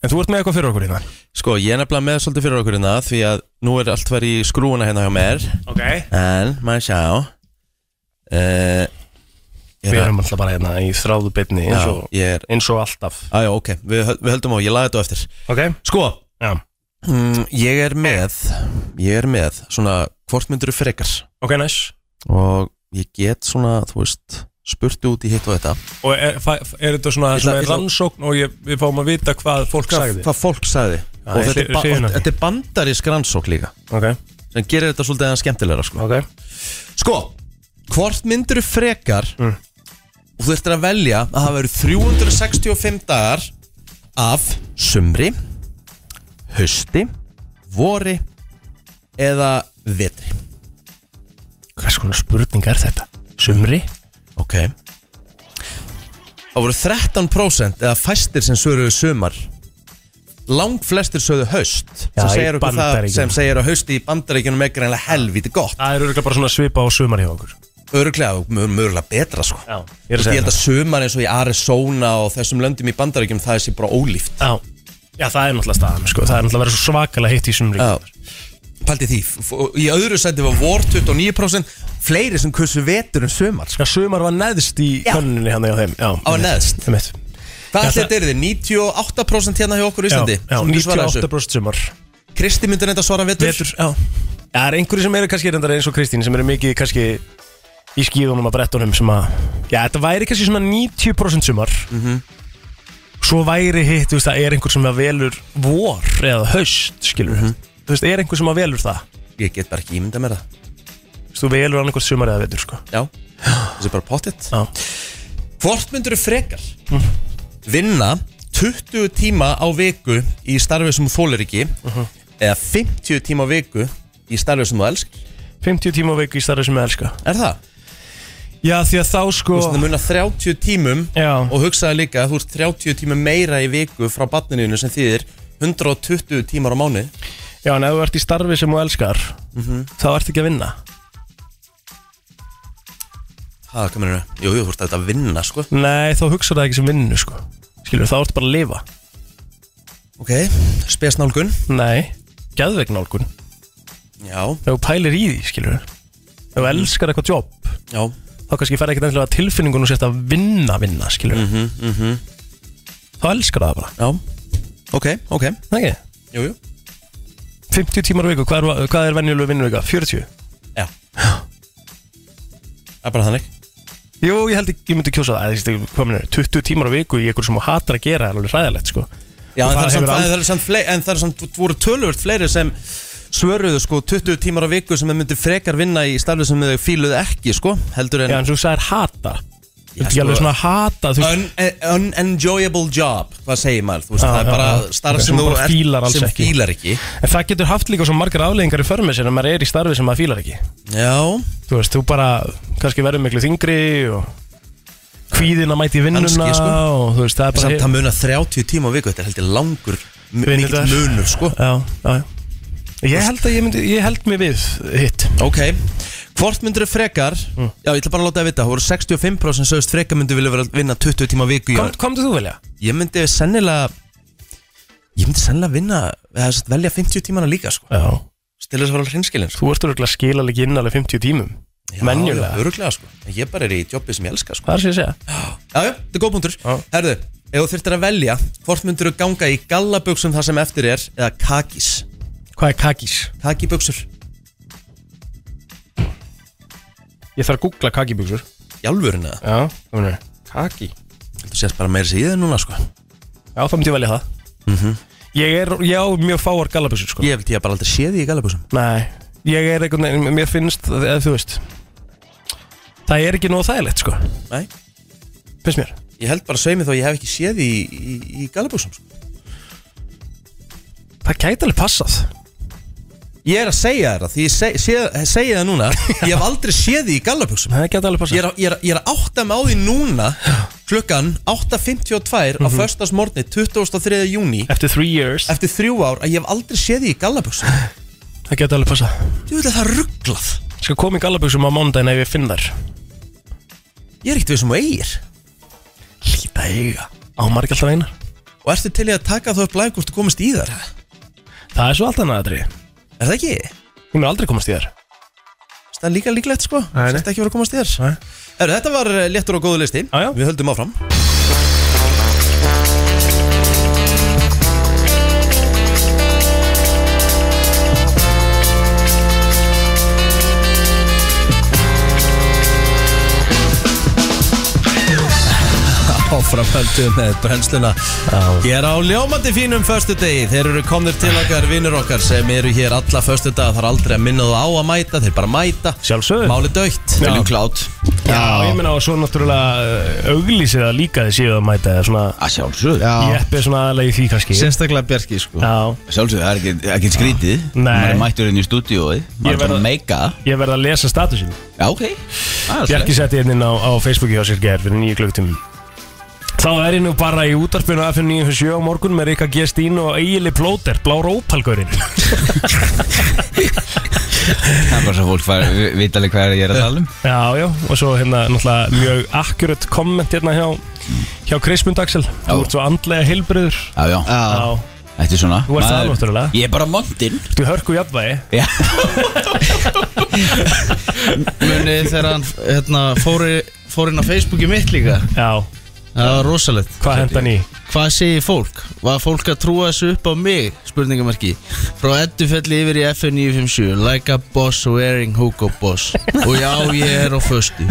S3: en þú ert með eitthvað fyrir okkur hérna? í það
S1: Sko, ég er nefnilega með svolítið fyrir okkur hérna því að nú er allt verið í skrúuna hérna hjá mér
S3: Ok
S1: en maður sjá uh,
S3: Við
S1: Ég er að
S3: erum alltaf bara hérna í þráðu bitni eins
S1: Já,
S3: og,
S1: ég er
S3: eins og alltaf
S1: Æjá, ok, við, höld- við höldum á, ég laga þetta á eftir
S3: Ok
S1: Sko,
S3: Já
S1: mm, ég er með ég er með svona hvort myndur frekar
S3: Ok, nice
S1: og ég get svona, þú veist spurt út í hitt og þetta
S3: Og er, fæ- er þetta svona,
S1: Ég ætla-
S3: svona
S1: ég ætla-
S3: rannsókn og ég, við fáum að vita hvað fólk sagði?
S1: hvað fólk sagði
S3: Já,
S1: og þetta
S3: ég
S1: er,
S3: sé-
S1: ba
S3: sé hérna.
S1: og þetta er bandarísk rannsók líka
S3: Ok,
S1: sem gerir þetta svolítið aðeins skemmtilegra sko.
S3: ok
S1: sko, hvort myndur frekar
S3: Mm.
S1: og þú þurftir að velja að það verður 365 dagar af sumri hausti vori eða vetri
S3: Hvers konar spurning er þetta? Sumri?
S1: ok Það voru 13% eða fæstir sem svöruðu sumar Lang flestir sögðu haust sem
S3: Já, í
S1: segir, okkur það,
S3: Bandaríkjunum.
S1: sem segir að hausti í bandaríkjunum er greinlega helvíti gott
S3: Það er örgulega bara svona svipa á sumar hjá okkur
S1: Örglega, mörgulega betra sko
S3: Já,
S1: Ég,
S3: ég er að
S1: held
S3: segja
S1: að sumar eins og í Arizona og þessum löndum í bandaríkjum það er sér bara ólíft
S3: það Já, já það er náttúrulega staðan sko. Það er náttúrulega að vera svo svakalega heitt í sumri
S1: Já Paldi því, f- f- í öðru sæti var vor 29% Fleiri sem kussu vetur en sumar sko.
S3: Já, sumar var neðst í
S1: Já.
S3: könninni hann hjá þeim Já,
S1: Á neðst.
S3: Einmitt.
S1: Hvað
S3: Já,
S1: ætli
S3: það-
S1: þetta er þið? 98% hérna hjá okkur í
S3: Já,
S1: Íslandi
S3: já,
S1: sem myndu svara þessu.
S3: 98% sumar
S1: Kristi myndir þetta svara vetur,
S3: Vetur, já Já, Það er einhverju sem eru kannski reyndar eins og Kristín sem eru mikið kannski í skíðunum og brettunum sem að Já, þetta væri kannski svona 90% sumar Svo væri hitt, þú veist, það er einhver sem að velur vor eða haust, skilur Þú veist, er einhver sem að velur það
S1: Ég get bara ekki ímynda mér það
S3: Þú veist, Þú velur annarkvæmt sumar eða vetur, sko
S1: Já, þessi er bara pottitt
S3: Já.
S1: Hvort myndur þú frekar Vinna 20 tíma á viku Í starfið sem þú þólir ekki Eða 50 tíma á viku Í starfið sem þú elsk
S3: 50 tíma á viku í starfi sem ég elska
S1: Er það?
S3: Já, því að þá sko
S1: Þú veist það munar 30 tímum
S3: Já.
S1: og hugsaði líka að þú ert 30 tímum meira í viku frá barnininu sem þýðir 120 tímar á mánu
S3: Já, en ef þú ert í starfi sem þú elskar þá ert ekki að vinna
S1: Það kan mér Jú, jú, þú ert auðvitað að vinna, sko
S3: Nei, þá hugsar það ekki sem vinnu, sko Skilur, þá ertu bara að lifa
S1: Ok, spesnálgun
S3: Nei, geðveik nálgun Ef
S1: Já,
S3: þú pælir í því, skilur Ef þú
S1: Mhm.
S3: elskar eitthvað jobb
S1: já,
S3: þá kannski færði ekkert endilega tilfinningun og sérst að vinna, vinna, skilur mm
S1: Mhm,
S3: -hmm, Þá elskar það bara,
S1: já Ok, ok,
S3: það ekki?
S1: jú, jú
S3: 50 tímar á viku, hvað er, hvað er venjulega vinnuvika? 40?
S1: Já Það er bara þannig
S3: Jú, ég held ekki, ég myndi kjósa það, eða, þú veist, hvað meinaru, 20 tímar á viku í einhverju sem þú hatar að gera er alveg hræðilegt, sko
S1: Já,
S3: Og
S1: en
S3: það
S1: það, er
S3: hefur
S1: samt,
S3: aldrei-
S1: það er samt fle- en það er samt, þú voru tölvöld fleiri sem svöruðu sko 20 tímar á viku sem þau myndu frekar vinna í starfið sem þau fíluðu ekki sko, heldur en
S3: Já, en svo sagðir hata Þú ert ekki
S1: sko-
S3: alveg svona að hata Þú veist,
S1: Un, e- unenjoyable job hvað segir maður, þú veist,
S3: Já,
S1: það er
S3: já,
S1: bara
S3: já.
S1: starf
S3: Ok,
S1: sem
S3: sem
S1: þú
S3: bara
S1: ert-
S3: fílar alls
S1: sem
S3: ekki.
S1: fílar ekki
S3: en það getur haft líka svo margar afleggingar í förmið sér en maður er í starfi sem maður fílar ekki
S1: já,
S3: Þú veist, þú bara kannski verður miklu þingri og kvíðin að mæti í vinnuna
S1: Kannski, sko.
S3: og þú veist, það er bara
S1: samt að muna 30 tíma á viku, þetta er heldur langur m-
S3: Vinnu
S1: mikill
S3: dagur.
S1: munur, sko
S3: Já, já, já Ég held að ég myndi, ég held mig við hitt
S1: ok, hvort myndur þau frekar
S3: Mm.
S1: já, ég ætla bara að láta það vita, það voru 65% sögust frekar myndu vilja vera að vinna 20 tíma á viku
S3: Kom,
S1: ég,
S3: Komdu þú velja?
S1: ég myndi sennilega ég myndi sennilega vinna eða sem sagt velja 50 tímana líka, sko
S3: Já
S1: stila þess að vera hrinskilin, sko
S3: Þú ert örgulega skilaleg inn alveg 50 tímum
S1: Já,
S3: Menjulega
S1: já, öruglega, sko, En ég bara er í jobbi sem ég elska, sko
S3: Það er sér að segja
S1: Já, já, þetta er góð punktur
S3: Já.
S1: Herðu, ef þú þurftir að velja Hvort myndir þú ganga í gallabuxum þar sem eftir er Eða kakis
S3: Hvað er kakís?
S1: Kakibuxur
S3: Ég þarf að googla kakibuxur
S1: Í alvörinu eða?
S3: Já, það mennur Kaki
S1: Þú sést bara meira sér í þeim núna sko
S3: Já, þá myndi ég velja það
S1: Mhm.
S3: Ég er, já, mjög fáar gallabusur sko
S1: Ég held ég að bara aldrei sé því í gallabuxum
S3: Nei, ég er einhvern veginn, mér finnst, eða þú veist Það er ekki nóg þægilegt sko,
S1: Nei,
S3: finnst mér
S1: ég held bara sveimi þó að ég hef ekki séð því í, í, í gallabuxum sko.
S3: Það gæti alveg passað
S1: Ég er að segja þér það Því ég seg, sé, segi það [LAUGHS] núna Ég hef aldrei séð því í gallabuxum
S3: Það gæti alveg passað
S1: Ég er, að- ég, er, að- ég er að átta með á því núna Klukkan 8.52 á föstasmorni 23. júni
S3: Eftir three years
S1: Eftir þrjú ár að ég hef aldrei séð því í gallabuxum
S3: Það gæti alveg passað
S1: Þú veit að það er rugglað
S3: Ég Skal koma í gallabuxum á mánudaginn ef ég finn þær
S1: Ég er ekkert við sem þú eigir
S3: Líta eiga Á marg alltaf einar
S1: Og ertu til í að taka þau upp live hvort þú komist í þar
S3: Það er svo allt annað aðri
S1: Er það ekki?
S3: Hún er aldrei komast í þær
S1: Það er líka líklegt sko
S3: Nei, nei.
S1: Þetta ekki verið að komast í þar
S3: Nei.
S1: Heru, Þetta var eh, léttur og góðu listi
S3: Já, já.
S1: Við höldum áfram áframhaldum með brennsluna Ég er á ljómandi fínum föstudegi Þeir eru komnir til okkar vinnur okkar sem eru hér alla föstudag Það er aldrei að minna þú á að mæta, þeir bara mæta
S3: Sjálfsögðu.
S1: Máli dögt
S3: Viljum
S1: klátt
S3: Já, ég meina og svo náttúrulega auglýsið það líka þið séu að mæta eða svona
S2: Að sjálfsögðu
S3: Ég eppi svona aðlega í því kannski
S9: Sérstaklega Bjarki sko
S3: Já,
S2: Að Sjálfsögðu, það er ekki, ekki skrítið
S3: Nei.
S2: Maður er mættur inn í stúdíói Maður
S3: Ég
S2: er bara
S3: verð-
S2: að meika það.
S3: ég verð að lesa statusin
S2: Já, ok Það er
S3: Bjarki
S2: svoleiðis.
S3: setti hérna inn á, á Facebooki á sér gerð fyrir nýju klukktum Þá er ég nú bara í útarpinu FN 97 á morgun með Rika G. Stín og Egili Plóter, blár ópalgaurinn
S2: Það er bara svo fólk fær, vita alveg hvað er að gera að tala um
S3: [LAUGHS] Já, já, og svo hérna náttúrulega mjög akkurat komment hérna hjá hjá Krismund Axel, þú ert svo andlega heilbriður
S2: Já, já,
S3: Já,
S2: þetta er svona
S3: Þú ert það
S2: Maður-
S3: náttúrulega.
S2: Ég er bara montinn
S3: þú hörku jafnvægi
S9: Munið þegar hann hérna, fóri, fór inn á Facebooki mitt líka
S3: Já,
S9: Það var rosalegt
S3: hvað henda hann í?
S9: Hvað segir fólk? Var fólk að trúa þessu upp á mig? Spurningamarki Frá eddufelli yfir í FN 957 Like a boss wearing Hugo Boss Og já, ég er á föstu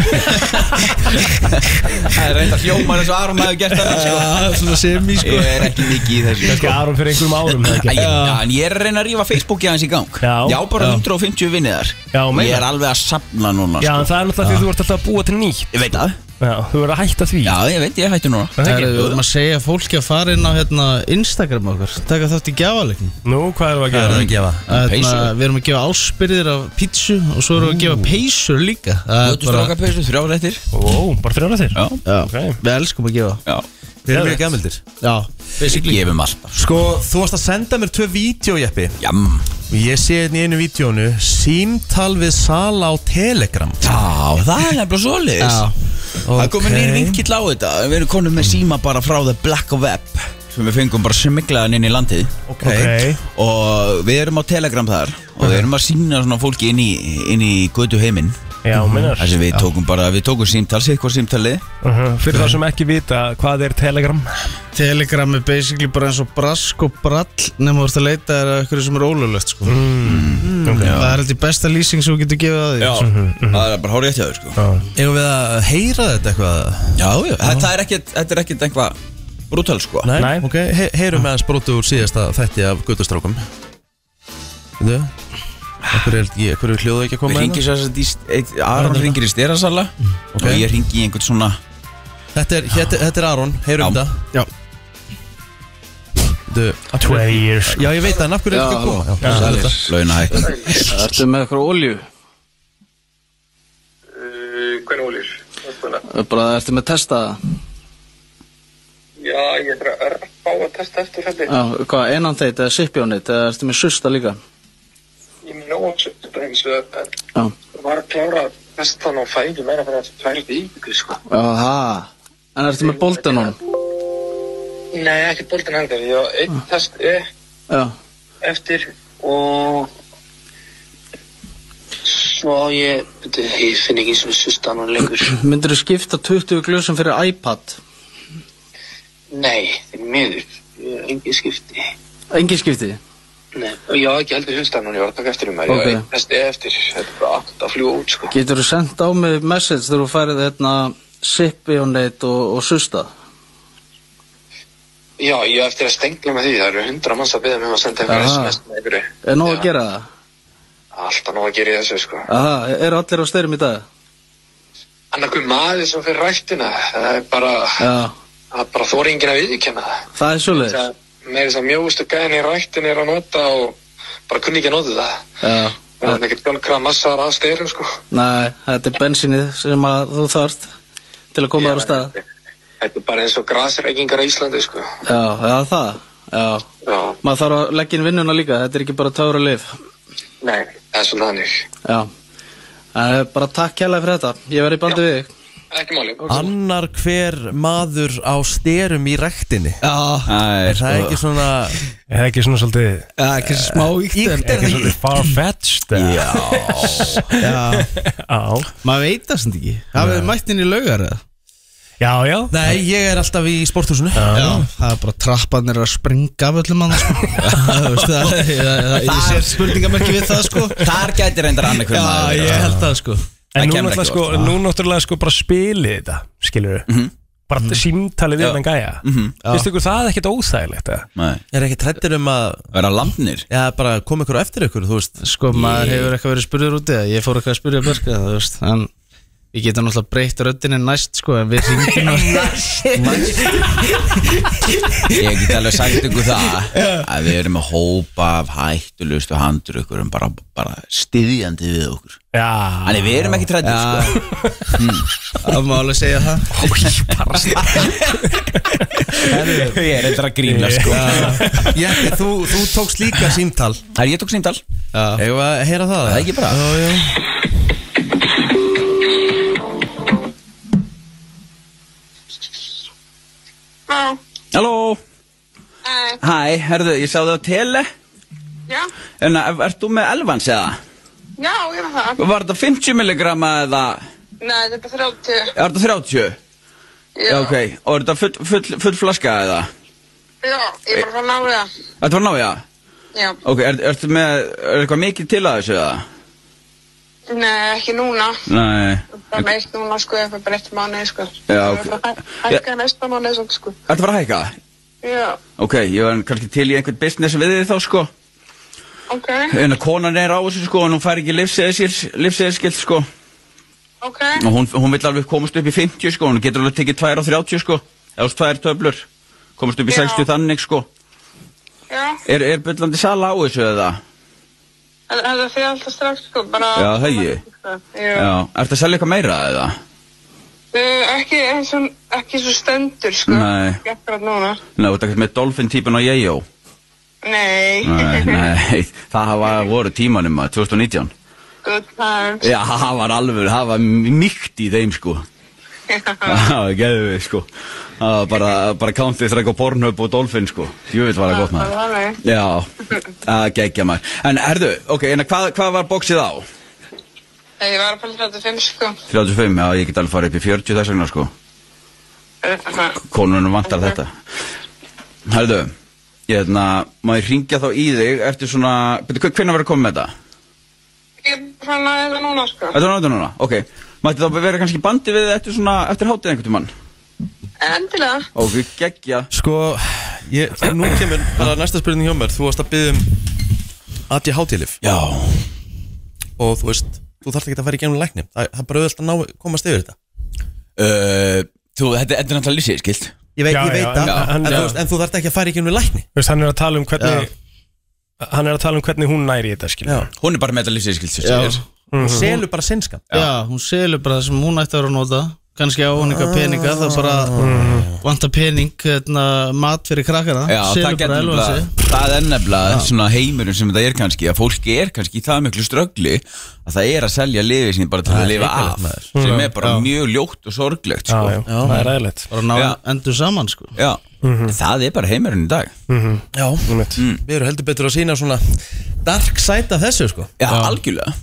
S2: Það er reynda hljómar eins og Aron maður gert það sko.
S9: Já, svona sko. sem í
S2: Ég er ekki mikið í þessu
S3: Kannski Aron fyrir einhverjum árum
S2: Æ,
S3: eða ekki?
S2: Já, en ég er að reyna að rífa Facebooki aðeins í gang
S3: Já.
S2: Já, bara 150 vinniðar
S3: Já, meina.
S2: Ég er alveg að safna núna
S3: Já,
S2: sko.
S3: en það er náttúrulega því þú ert alltaf að búa til nýtt
S2: Ég veit það
S3: Já, þú verður að hætta því
S2: Já, ég veit, ég hættu núna
S3: Er það
S9: Það er
S3: ekki?
S9: við vorum að segja fólki að fara inn á hérna, Instagram okkar, taka þátt í gjafalegnum
S3: Nú, hvað erum við að gera?
S1: gefa
S9: Að, hérna,
S2: Peysur.
S9: Við erum að gefa áspyrðir af pítsu og svo erum við að gefa peysur líka Það er
S2: Þú
S9: bara,
S2: stráka peysu, þrjá réttir
S3: Ó, bara þrjóra þér
S2: Já,
S9: já,
S3: Ok.
S9: Við elskum að gefa
S2: já
S1: Þeir eru mjög gamildir
S9: Já,
S2: Ég
S9: basically
S2: gefum alltaf
S1: Sko, þú varst að senda mér tvö vídjójeppi
S2: Jam
S1: Og ég sé hérna í einu vídjónu Símtal við Sala á Telegram
S2: Já, það er nefnilega svoleiðis
S9: Já.
S2: Það er komið nýr
S1: Ok.
S2: vinkill á þetta Við erum konum með síma bara frá The Black Web sem við fengum bara smiklaðan inn í landið
S1: Ok,
S3: Ok,
S2: og við erum á Telegram þar og við erum að sína svona fólki inn í, inn í götu heiminn
S3: já, minnar
S2: þar sem við tókum bara, við tókum símtal sér hvað símtali
S3: Mhm. Fyrir þá sem ekki vita hvað er Telegram
S9: Telegram er basically bara eins og brask og brall nema þú ert að leita þér að ykkur sem er ólulegt sko. Það er alltaf besta lýsing sem þú getur gefið að því
S2: það er bara hórið eftir þau sko
S1: eigum við að heyra þetta eitthvað?
S2: já, já, þetta er ekkert, þetta er ekkert einhvað brútal sko
S1: Nei,
S3: Nei.
S1: ok, He heyrum meðan sprótu úr síðasta þætti af guttastrákum Þú Akkur er, ég, akkur er hljóðu ekki að
S2: við
S1: koma
S2: ringir
S1: hérna?
S2: sér þess að Aron ringir í styrasala og ég ringi í einhvern svona
S1: Þetta er, hér, þetta er Aron, heyrum
S2: Já.
S1: þetta
S9: Já.
S1: Þú, akkur er,
S3: years
S1: já ég veit það, en af hverju er ekki að koma? Já, já, já,
S2: launahækkan
S5: Ertu með eitthvað olju?
S10: Hvernig ólýr?
S5: Eh, Bara ertu með testaða?
S10: Já, ég er að örfá að testa eftir þetta.
S5: Já, hvað, einan þeit eða sipjónit eða ertu með susta líka?
S10: Ég er með nóg að eins og en
S5: Já,
S10: var að klára að testa hann og fæ ekki meira fyrir að tvær viku, sko.
S5: já, það En ertu með boltan honum?
S10: Nei, ekki bóltan heldur. Ég var einn test e
S5: Já,
S10: eftir og svo á ég, Bíddu, ég finn ekki sem susta hann lengur.
S5: myndirðu skipta 20 glösum fyrir iPad?
S10: Nei, því miður. Ég er engin skipti.
S5: Engin skipti?
S10: Nei, og ég var ekki heldur susta hann og ég var að taka eftir um það. Ég var
S5: Ok.
S10: einn test e eftir. Þetta er bara akkurat að fljúa út, sko.
S5: Geturðu sendt á mig message þegar þú færið hérna sipjónit og, og susta?
S10: Já, ég á eftir að stengla með því, það eru hundra manns að byrja með að senda einhverja
S5: Aha.
S10: SMS með einhverju.
S5: Er nóg að
S10: Já,
S5: gera það?
S10: Alltaf nóg að gera í þessu, sko.
S5: Aha, eru allir á styrum í dag?
S10: Annarkur maður sem fyrir rættina, það er bara,
S5: Já,
S10: það er bara þóringin að viðkjanna það.
S5: það er svoleiðis.
S10: Með þess að mjóðustu gæðin í rættin er að nota og bara kunni ekki að nota það.
S5: Já,
S10: Það er ekkert bjálkrað massar að styrum, sko.
S5: næ, þetta er bensinið sem að þú þarft til að koma þér á stað.
S10: Þetta er bara eins og grasreikingar í Íslandi, sko.
S5: Já, eða það? Já,
S10: Já,
S5: maður þarf að leggja inn vinnuna líka, þetta er ekki bara töfra lif.
S10: nei, það er svona þannig.
S5: Já, en bara takk kærlega fyrir þetta, ég verði í bandi við þig.
S10: Ekki máli.
S1: Annar hver maður á styrum í rektinni
S9: Já,
S1: Er það ekki svona
S3: Er það ekki svona svolítið
S9: það er kannski smá íkt en-
S1: Íkt er
S3: Ekki svolítið farfetched eða? [LAUGHS]
S9: Já,
S3: Já
S9: maður veit það sem ekki Hafið þið mætt inn í laugar eða?
S3: Já, já
S1: Nei, ég er alltaf í sporthúsinu
S9: Já, það er bara trappanir að springa af öllum mann sko. Þú veist það, það, það, það Ég sé spurningamerki við það sko
S2: þar gæti reyndar annað hver
S9: Já,
S2: maður
S9: ég held það sko
S3: En
S2: Það
S3: nú
S2: kemur
S3: náttúrulega
S2: ekki
S3: sko,
S2: oft.
S3: nú náttúrulega sko bara spilið þetta, skilur við Bara símtalið við
S2: Já.
S3: hann gæja Vistu ykkur það er ekkert óþægilegt eða?
S2: Nei,
S1: Er ekki trættir um að
S2: vera landnir
S1: Já, bara koma ykkur á eftir ykkur, þú veist
S9: Sko, maður hefur eitthvað verið spurður úti eða Ég fór eitthvað að spurja Börka, þú veist En Við getum náttúrulega breytt röddinni næst sko En við ringdum
S2: Ég get alveg sagt ykkur það að við erum með hópa af hættulustu handur ykkur um bara, bara stiðjandi við okkur
S3: Já
S2: Þannig við erum ekki trættir sko
S1: [LAUGHS]
S9: Það má alveg segja það
S2: Ég er eitthvað að grína sko
S1: Jeppi, þú, þú tókst líka símtal
S2: Það er ég tók síndal
S1: Eða að heyra það
S2: Það er ekki bara Halló Hæ, herðu, ég sá það á tele
S11: Já,
S2: En eh, ert þú með elvans eða?
S11: já, ég var það.
S2: Var þetta 50 milligramma eða
S11: Nei, þetta er 30.
S2: er þetta 30?
S11: Já,
S2: ok, og er þetta full, full, full flaska eða?
S11: Já, ég var það náðu það.
S2: Þetta var nája?
S11: Já,
S2: Ok, er, ertu með, er eitthvað mikið til að þessu eða?
S11: nei, ekki núna.
S2: Nei
S11: Það er meitt núna, sko, ef það bara eitt mánuði, sko.
S2: Já, ok.
S11: Það er bara hæ- Hækka næsta mánuði, svona, sko.
S2: Ertu bara að hækka?
S11: Já,
S2: Ok, ég var kannski til í einhvern business við þið þá sko
S11: [LAUGHS] ok,
S2: En að konan er á þessu sko en hún fær ekki livseðskilt sko
S11: ok,
S2: Og hún, hún vill alveg komast upp í 50 sko Hún getur alveg tekið 2 á 30 sko Eða þú tvær töflur Komast upp í
S11: Já.
S2: 60 þannig sko
S11: já.
S2: Er, er byllandi sala á þessu eða?
S11: En þetta fyrir alltaf strax, sko, bara...
S2: Já, það ekki.
S11: Já.
S2: Já Ertu að selja eitthvað meira eða?
S11: Uh, ekki eins og, ekki svo stendur, sko.
S2: Nei.
S11: Ekki akkurat núna.
S2: Nei, þú takkast með Dolphin típun á Yeo
S11: Nei.
S2: Nei, nei, það var, voru tímanum að 2019
S11: [LAUGHS] Good times.
S2: Já, það var alveg, það var mýkt í þeim [LAUGHS] sko Já, geðu við sko Það var bara, bara countið þræk og Pornhub og Dolphin sko Jöfnvill var það gott maður
S11: Það er
S2: Já, það geggja maður En herðu, ok, en hvað, hvað var bóksið á?
S11: Nei, ég var að pæla 35, sko.
S2: 35, já, ég get alveg farið upp í 40 þess vegna sko
S11: Uh,
S2: Konunum vantar þetta Herðu, ég hefna, má ég ringja þá í þig eftir svona Byrju, hvernig var að koma með þetta?
S11: Ég er bara að næða þetta núna, sko.
S2: Þetta var náttúrulega núna, ok Mætti þá vera kannski í bandi við þig eftir svona, eftir hátið einhvern tímann
S11: Endilega.
S2: Ok, geggja
S1: Sko, ég, nú kemur bara næsta spurning hjá mér Þú varst að byggja um ADHD-lif
S2: Já
S1: Og þú veist, þú þarft ekki að fara í gegnum lækni Það, það er bara auðvitað að ná, komast yfir þetta
S2: uh, Þú, þetta þetta er náttúrulega lýsið, skilt
S1: Ég veit,
S3: Já,
S1: ég
S3: já,
S1: veit það,
S3: en-
S1: en,
S3: en-
S1: þú veist, en þú þarft ekki að fara í gegnum lækni
S3: Þú veist, hann er að tala um hvernig Hann er að tala um hvernig hún næri þetta, skilur
S1: Já.
S2: Hún er bara með þetta lýsið, skilt
S1: Hún
S3: Mhm.
S1: selur bara sinnskam
S9: Já, hún selur bara það sem hún ætti að vera að nota kannski á hún eitthvað peninga þá bara vantar pening hérna, mat fyrir krakkana
S2: Ah. Já, það
S9: selur bara
S2: getur
S9: elvan sig
S2: nefnilega Það er nefnilega svona heimurinn sem þetta er kannski að fólki er kannski í það miklu ströggli að það er að selja liðið sín bara til
S1: Það
S2: að
S1: er
S2: lifa
S1: hrikalegt,
S2: af
S1: maður.
S2: sem er bara mjög ljótt og sorglegt
S3: Já,
S2: sko.
S3: já, það er ræðilegt
S9: bara ná
S2: Já.
S9: endur saman sko
S2: Já, það er bara heimurinn í dag
S1: Já,
S9: Mm.
S1: við erum heldur betur að sína svona dark side af þessu sko
S2: Já, algjörlega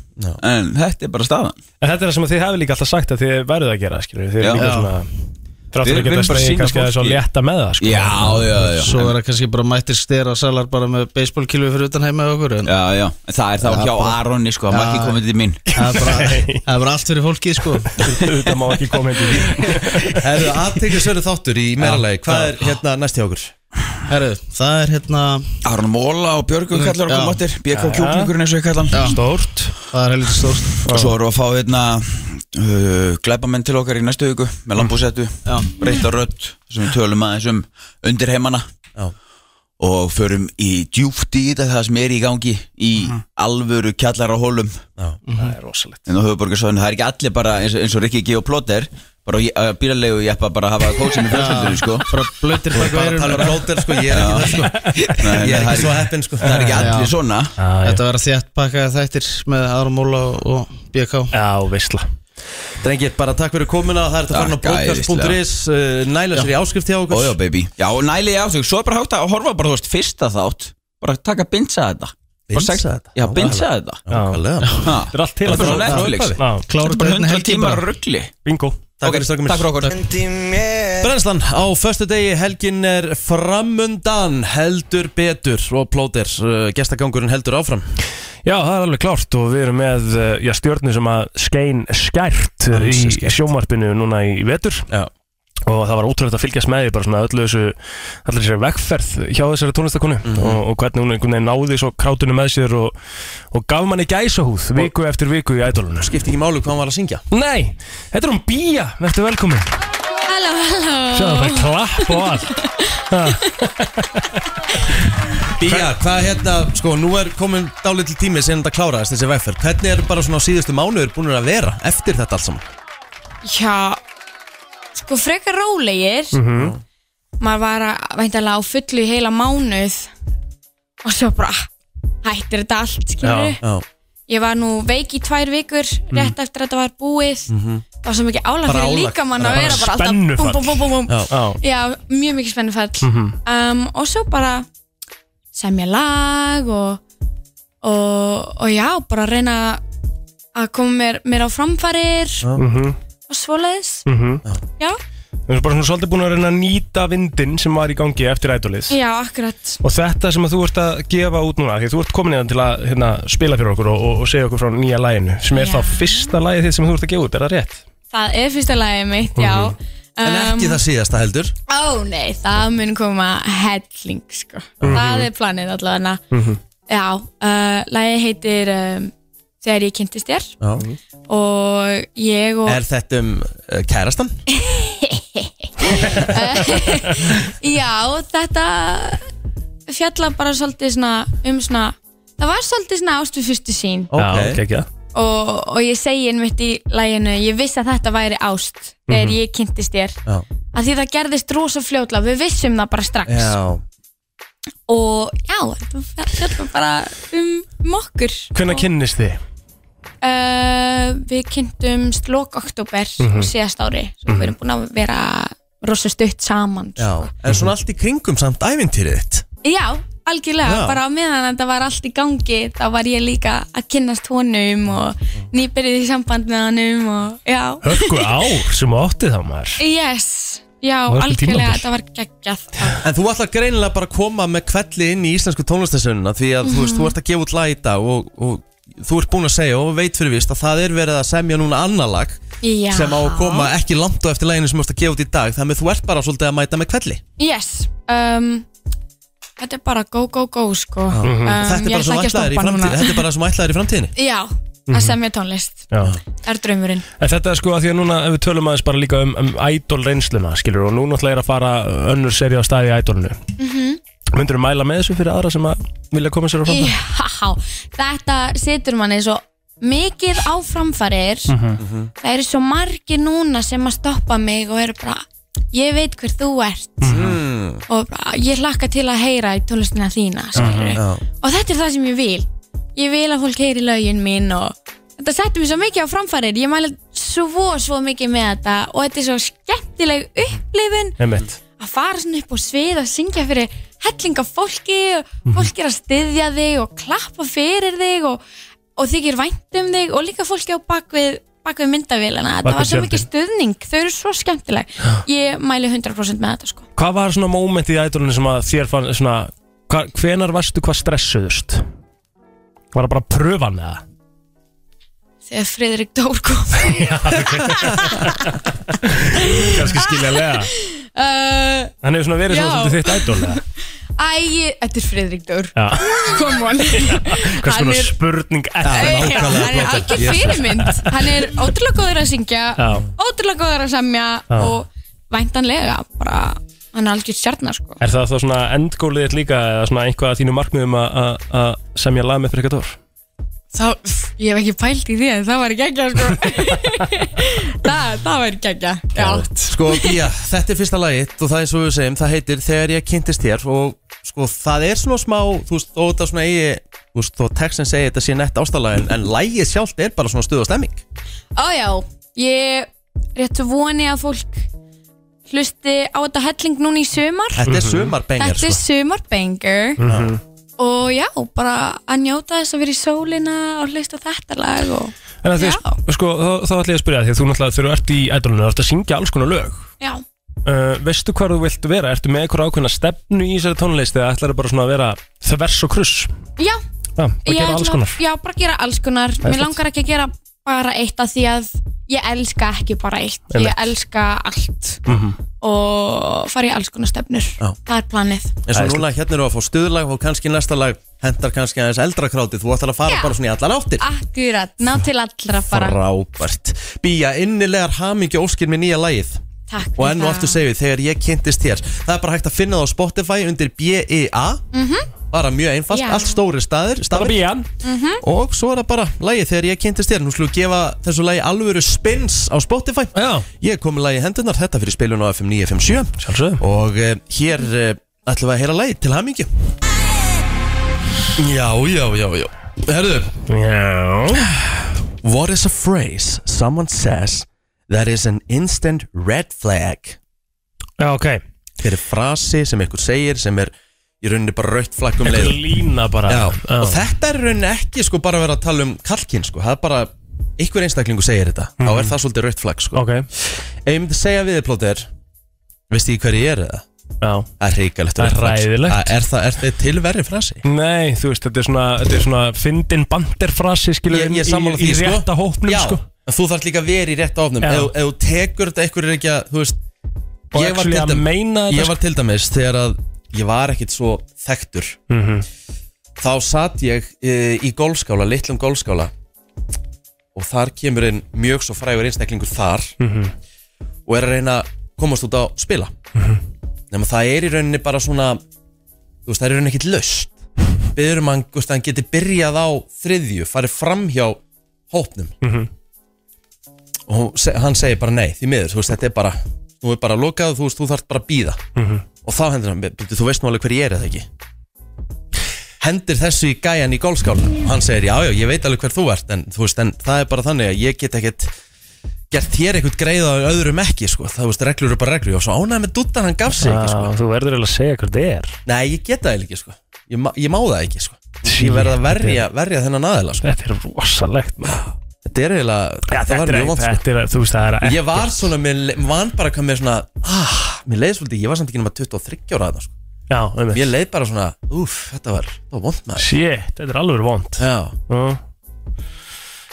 S2: En þetta er bara staðan
S3: En þetta er það sem þið hefði líka alltaf sagt að þið verðuð að gera, skilur Þið
S2: Já.
S3: er líka svona Þrátt
S2: Við
S3: fyrir að
S2: viljum
S3: geta
S2: bara
S3: stegið
S2: sýna
S3: kannski aðeins og
S2: fólki-
S3: létta með það, sko
S2: Já, já, já
S9: svo er það kannski bara mættir stera salar bara með baseballkilvi fyrir utan heima hjá okkur en
S2: Já, já, En það er þá hjá Aronni sko, hann var ekki komið til mín
S9: það er [LAUGHS] bara, það er bara allt fyrir fólkið sko
S3: Þetta má ekki koma hindi
S1: Herðu, aðteglisverðu þáttur í meðalagi Hvað er hérna næst hjá okkur?
S9: herru, það er hérna
S2: Aron Móla og Björgum kallar okkur
S9: Já.
S2: máttir BK kjúklingurinn eins og ég kallar hann
S3: Stórt
S9: það er heldur stórt
S2: Og svo erum við að fá hérna uh, glæbamenn til okkar í næstu viku
S1: Mm.
S2: með lambúsettu, breytta rödd sem við tölum aðeins um undir heimana
S1: Já.
S2: og förum í djúft í þetta það sem er í gangi í
S1: Mhm.
S2: alvöru kjallara hólum
S3: Það er rosalegt
S2: en á höfuborgarsvæðinu, það er ekki allir bara eins, eins og Rikki G. og Plóter bara á- á bílalegu jeppa bara að hafa kótsum í fjölsöldunum sko
S9: bara blöytir bak
S1: Bara að
S9: veirun
S1: tala um plóter sko, ég er ekki það sko
S2: Nei, nei,
S1: Ég er
S2: það
S1: ekki svo heppin sko
S2: það er ekki allir
S9: Já.
S2: svona
S9: þetta verður þétt pakkaði þættir með Aron Móla og- og BK
S3: Já, veistla
S1: Drengir, bara takk fyrir komuna Það er þetta farin á
S2: Takk,
S1: podcast.is uh, Næla sér í áskrift hjá okkur
S2: Ójá baby Já, næli ég á þig Svo er bara hátt að horfa bara, þú veist, fyrsta þátt Bara taka bindsa þetta Bara
S1: Binsa
S2: sex-
S1: þetta?
S2: Já, bindsa þetta
S1: Nákvæmlega.
S2: Ha.
S3: Þetta er allt til
S2: Þetta er bara
S3: að-
S2: Netflix
S3: Já,
S9: klára
S2: Bara
S9: þetta
S2: 100
S9: helgi
S2: tímar
S9: bara
S2: ruggli
S3: bingo
S1: Takk fyrir strákum
S2: Takk fyrir okkur
S1: Brennslan á föstu degi helgin er framundan heldur betur og plóter uh, gestagangurinn heldur áfram
S3: Já, það er alveg klárt og við erum með eh, já, stjörnu sem að skein skært eh,
S1: Ansi
S3: í
S1: skært.
S3: sjómarpinu núna í vetur
S1: Já.
S3: og það var ótrúlegt að fylgjast með því bara svona öllu þessu, allir þessari vegferð hjá þessari tónlistakonu og, og hvernig hún einhvern veginn náði svo krátunum með sér og, og gaf manni gæsahúð viku eftir viku í ædolunum
S1: Skipti ekki málu hvað hann var að syngja
S3: Nei, þetta er hún Bía, verður velkomin
S12: Halló, halló
S3: Sjáðu bara klapp og allt
S1: Bía, hvað hérna, sko, nú er komin dálítil tími sem þetta kláraðist þessi vegferð Hvernig er bara svona á síðustu mánuður búin að vera eftir þetta allt saman?
S12: Já, sko frekar rólegir
S1: -hmm.
S12: Maður var að væntanlega á fullu í heila mánuð Og svo bara "Ah, hættir þetta allt, skilur
S1: já.
S12: Ég var nú veik í tvær vikur Rétt eftir að þetta var búið
S1: Mhm.
S12: Það var svo mikið álag
S1: Bara
S12: fyrir
S1: álag.
S12: líkamann
S1: Bara
S12: að vera bara alltaf búm,
S3: spennufall.
S12: búm, búm, búm, búm.
S3: Já, já.
S12: Já, mjög mikið spennufall
S3: Mhm.
S12: um, Og svo bara semja lag og, og, og já, bara reyna að koma mér, mér á framfarir
S3: Mhm,
S12: og svoleiðis
S3: mhm.
S12: Já,
S3: Við erum bara svona svolítið búin að reyna að nýta vindin sem var í gangi eftir ædolið
S12: já, akkurat
S3: Og þetta sem að þú ert að gefa út núna Því að þú ert komin hérna til að hérna, spila fyrir okkur og, og, og segja okkur frá nýja læginu Sem er
S12: Já.
S3: þá fyrsta lægið þitt sem þú ert að gefa út, er það rétt?
S12: Það er fyrsta lagið mitt, já
S3: Mhm.
S1: En
S2: Um,
S1: ekki það síðasta heldur
S12: Ó nei, það mun koma helling sko
S1: Mhm.
S12: Það er planið allavega
S1: Mhm.
S12: Já, uh, lagið heitir um, Þegar ég kynntist þér
S1: Já.
S12: Og ég og
S1: Er þetta um uh, kærastan?
S12: Já, þetta fjalla bara svolítið svona um svona Það var svolítið svona ást við fyrstu sín
S3: Já, ok, ekki
S12: og, og ég segi einmitt í læginu Ég vissi að þetta væri ást Þegar
S3: Mhm.
S12: ég kynntist þér
S1: Já,
S12: að því það gerðist rosa fljótla við vissum það bara strax
S1: já
S12: og já, þetta fjallar bara um okkur
S3: Hvenær kynnist þið?
S12: uh, við kynntumst lok oktober
S1: Mhm.
S12: síðast ári svo við erum búin að vera rosa stutt saman
S1: Já, en svona allt í kringum samt ævintýrið þitt
S12: já, algjörlega,
S1: Já.
S12: bara á meðan þetta var allt í gangi þá var ég líka að kynnast honum og nýbyrðið í samband með honum og já
S3: Hörgu ár sem átti þá maður
S12: yes, já,
S1: Það var ekki
S12: algjörlega,
S1: tímabil.
S12: þetta var geggjað
S1: En þú ætlar greinilega bara að koma með kvelli inn í íslensku tónlistasönuna Því að þú veist,
S12: Mhm.
S1: þú ert að gefa út lag í dag og, og þú ert búin að segja og veit fyrir vist að það er verið að semja núna annar lag
S12: já.
S1: sem á að koma ekki langt á eftir læginu sem þú ert að gefa út í dag þannig að þú ert bara svolítið að mæta með kvelli
S12: Yes um, Þetta er bara go go go sko um,
S1: þetta er
S12: ég ætla
S1: bara sem
S12: ekki að
S1: ætlaðir í
S12: stoppa núna.
S1: framtíðinni þetta er bara sem ætlaðir í framtíðinni
S12: [LAUGHS] Já,
S3: Mhm.
S12: að semja tónlist
S3: Já.
S12: er draumurinn
S3: En þetta er sko að því að núna ef við tölum aðeins bara líka um, um idol reynsluna skilur og nú náttúrulega er að fara uh, önnur seri á staði í idolinu
S12: mm -hmm.
S3: Myndur þú mæla með þessu fyrir aðra sem að vilja koma sér á framfæri?
S12: Já, þetta situr manni svo mikið á framfarir
S3: Mhm.
S12: Það eru svo margir núna sem að stoppa mig og eru bara ég veit hver þú ert
S1: Mhm.
S12: og bara, ég hlakka til að heyra í tónlistina þína skilurðu.
S1: Já.
S12: og þetta er það sem ég vil ég vil að fólk heyri lögin mín og þetta setti mér svo mikið á framfærir ég mæla svo svo mikið með þetta og þetta er svo skemmtileg upplifun
S3: Einmitt.
S12: að fara svona upp á svið og syngja fyrir hellinga fólki og
S3: Mhm.
S12: fólk er að styðja þig og klappa fyrir þig og, og þykir vænt um þig og líka fólki á bakvið bakvið myndavélina,
S3: Bak
S12: þetta
S3: við
S12: var svo
S3: tjöldin.
S12: mikið stuðning þau eru svo skemmtileg ég mæli 100% með þetta sko
S3: Hvað var svona mómentið í idolinu sem að þér fann svona, hva, hvenar varstu hvað stressuðust? Var það bara að pröfa hann eða?
S12: þegar Friðrik Dór kom
S3: [LAUGHS] Kanski skilja lega
S12: uh,
S3: Hann hefur svona verið svona
S12: Já.
S3: svolítið þitt idol eða?
S12: Æ, ég- þetta er Friðrik Dór
S3: [LAUGHS] Já.
S12: Come on
S3: Hvers
S12: Hann
S3: konar
S12: er,
S3: spurning er
S12: Nei, hann er algjör fyrirmynd Hann er ótrúlega góður að syngja
S3: Já.
S12: Ótrúlega góður að semja
S3: Já.
S12: Og væntanlega bara, Hann er algjör stjarnar sko.
S3: Er það þá svona endgólið þitt líka eða svona eitthvað að þínu markmiðum að- að að semja lag með fyrir eitthvað dór?
S12: Þá, pff, Ég hef ekki pælt í því en Það var geggja sko. [LAUGHS] það, það var geggja Já,
S1: Sko, já, þetta er fyrsta lagið og það er svo við segjum, það heitir Þegar ég kynntist þér og sko, það er svona smá, þú veist, og þetta svona eigi, þú veist, þó textin segir þetta sé nett ástalag en, en lagið sjálft er bara svona stuð og stemming
S12: Ójá, ég rétt svo voni að fólk Hlusti á þetta helling núna í sumar
S1: Þetta er sko. sumarbengar,
S12: Þetta er sko. sumarbengar
S1: Mhm.
S12: Og já, bara að njóta þess að vera í sólina og hlusta á þetta lag og...
S3: En að því, að- sko, þá, þá ætlum ég að spyrja því að þú náttúrulega þegar þú ert í idolinu þú ert að syngja alls konar lög
S12: Já,
S3: uh, Veistu hvar þú vilt vera? Ertu með eitthvað ákveðna stefnu í þessari tónlist eða ætlar bara svona að vera þvers og kruss?
S12: já
S3: Já, bara
S12: ég
S3: gera
S12: ætla-
S3: alls konar
S12: Já, bara gera alls konar
S3: Það er
S12: Mér
S3: flott.
S12: langar ekki að gera bara eitt af því að ég elska ekki bara eitt,
S1: Einmitt.
S12: ég elska allt
S1: Mhm.
S12: og fara í alls konar stefnur
S1: Já.
S12: það er planið
S1: eins og núna hérna eru að fá stuðlag og kannski næsta lag hendar kannski aðeins eldra krátið þú ætlar að fara bara svona í allar áttir
S12: Akkurat, ná til allra bara
S1: frábært Bía, innilegar hamingju óskir með nýja lagið
S12: Takk
S1: og enn og
S12: það.
S1: aftur segjum við þegar ég kynntist hér það er bara hægt að finna það á Spotify undir B-E-A
S12: Mhm.
S1: bara mjög einfalt,
S12: Já.
S1: allt stóri staðir
S3: Bara Bían
S12: Mhm.
S1: og svo er það bara lagið þegar ég kynntist þér nú slúið gefa þessu lagi alvöru spins á Spotify
S3: Já.
S1: ég kom með lagið hendunar þetta fyrir spilun á FM 957 Sjálfsög. og uh, hér uh, ætlum við að heyra lagið til hamingju já, já, já, já herðu
S3: já.
S1: what is a phrase someone says that is an instant red flag
S3: já, ok
S1: þetta er frasi sem einhver segir sem er í rauninni bara rautt flagg um
S3: Einhver
S1: leið
S3: lína bara.
S1: já.
S3: Já.
S1: og þetta er í rauninni ekki sko bara að vera að tala um kalkinn sko það er bara einhver einstaklingu segir þetta þá
S3: Mhm.
S1: er það svolítið rautt flagg sko
S3: okay.
S1: ef ég myndi segja við þið plóter veist ég hver ég er eða
S3: já.
S1: það er hrikalegt
S3: Það er
S1: rautt flagg, sko.
S3: hræðilegt.
S1: Það er það er þetta tilverri frasi
S3: Nei, þú veist, þetta er svona, þetta er svona fyndin banderfrasi, skilur
S1: ég, ég er sammála
S3: í,
S1: því
S3: í
S1: sko
S3: rétta hópnum,
S1: já,
S3: sko
S1: en þú þarf líka að vera í rétta hópnum
S3: Já.
S1: ef, ef þú tekur þetta einhver er ekki að þú veist
S3: Og
S1: ég var,
S3: actually
S1: til
S3: að
S1: dæmis-
S3: meina þetta, sko.
S1: ég var til dæmis þegar að ég var ekkit svo þekktur
S3: Mhm.
S1: þá satt ég e, í golfskála, litlum golfskála og þar kemur einn mjög svo frægur einstaklingur þar
S3: Mhm.
S1: og er að reyna að komast út á spila
S3: Mhm.
S1: nema það er í rauninni bara svona þú veist, það er í rauninni ekkit löst Biður um að hann, þú veist, að hann geti byrjað á þriðju, farið fram hjá hópnum
S3: Mhm.
S1: og hún se- hann segir bara nei, því miður, þú veist, þetta er bara nú er bara lokað og þú veist, þú þarft bara að býða
S3: Mhm.
S1: og þá hendur hann, "Bíddu, þú veist nú alveg hver ég er eða ekki hendir þessu í gæjan í gólskálnum og hann segir, já, já, ég veit alveg hver þú ert en þú veist, en það er bara þannig að ég get ekkert gert þér eitthvað greiða og öðrum ekki, sko, það þú veist, reglur eru bara reglur ég var svo ánægð með duttan, hann gaf sig ekki, sko
S3: Þú verður eiginlega að segja hvað það er
S1: nei, ég geta það ekki, sko, ég, má- ég má það ekki, sko ég verð að verja, verja þennan aðeila, sko
S3: Þetta er rosalegt, maður
S1: Þetta er eiginlega, þetta var
S3: Þetta
S1: mjög
S3: er,
S1: vont, sko.
S3: þetta er, þú veist, það er
S1: Ég var svona, mér le- man bara hvað mér svona ah, Mér leið svolítið, ég var samt ekki nema 23 ára þarna sko.
S3: Já, einmitt.
S1: Mér leið bara svona, úff, þetta var, þetta var vond maður
S3: Shit, þetta er alveg vond
S1: Já
S3: uh.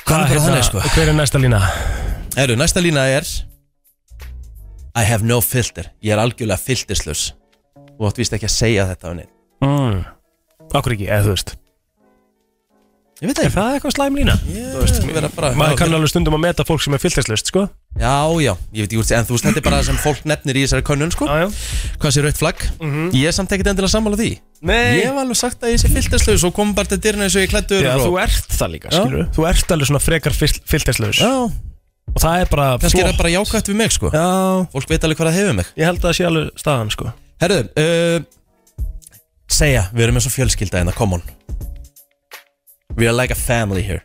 S1: Hvað er bara þannig sko?
S3: hérna- Hver er næsta lína?
S1: Eru, næsta lína er I have no filter Ég er algjörlega filterslaus Þú átt víst ekki að segja þetta á neinn
S3: Mm. Akkur ekki, eða þú veist
S1: Ég veit ekki
S3: Er það eitthvað slæm lína?
S1: Ég
S3: Þú veist,
S1: vera bara- Já,
S3: Maður kann alveg stundum að meta fólk sem er fylltislust, sko
S1: Já, já, ég veit ekki úr En þú veist, þetta er bara sem fólk nefnir í þessari könnun sko
S3: já, já.
S1: Hvað sé rautt flagg Ég er samt ekkert endilega sammála því
S3: Mhm. Nei.
S1: Ég hef alveg sagt að ég sé filterslaus og kom bara til dyrna eins og ég klættur
S3: Já, þú ert það líka, skilur Þú ert alveg svona frekar fylltislaus
S1: Já
S3: Og það er bara
S1: Kannski er
S3: flott.
S1: það bara jákvætt við mig sko
S3: Já
S1: Fólk veit alveg hvað það hefur mig
S3: Ég held að það sé alveg staðan sko
S1: Herðu, uh, segja, við erum eins og fjölskylda hérna, come on We are like a family here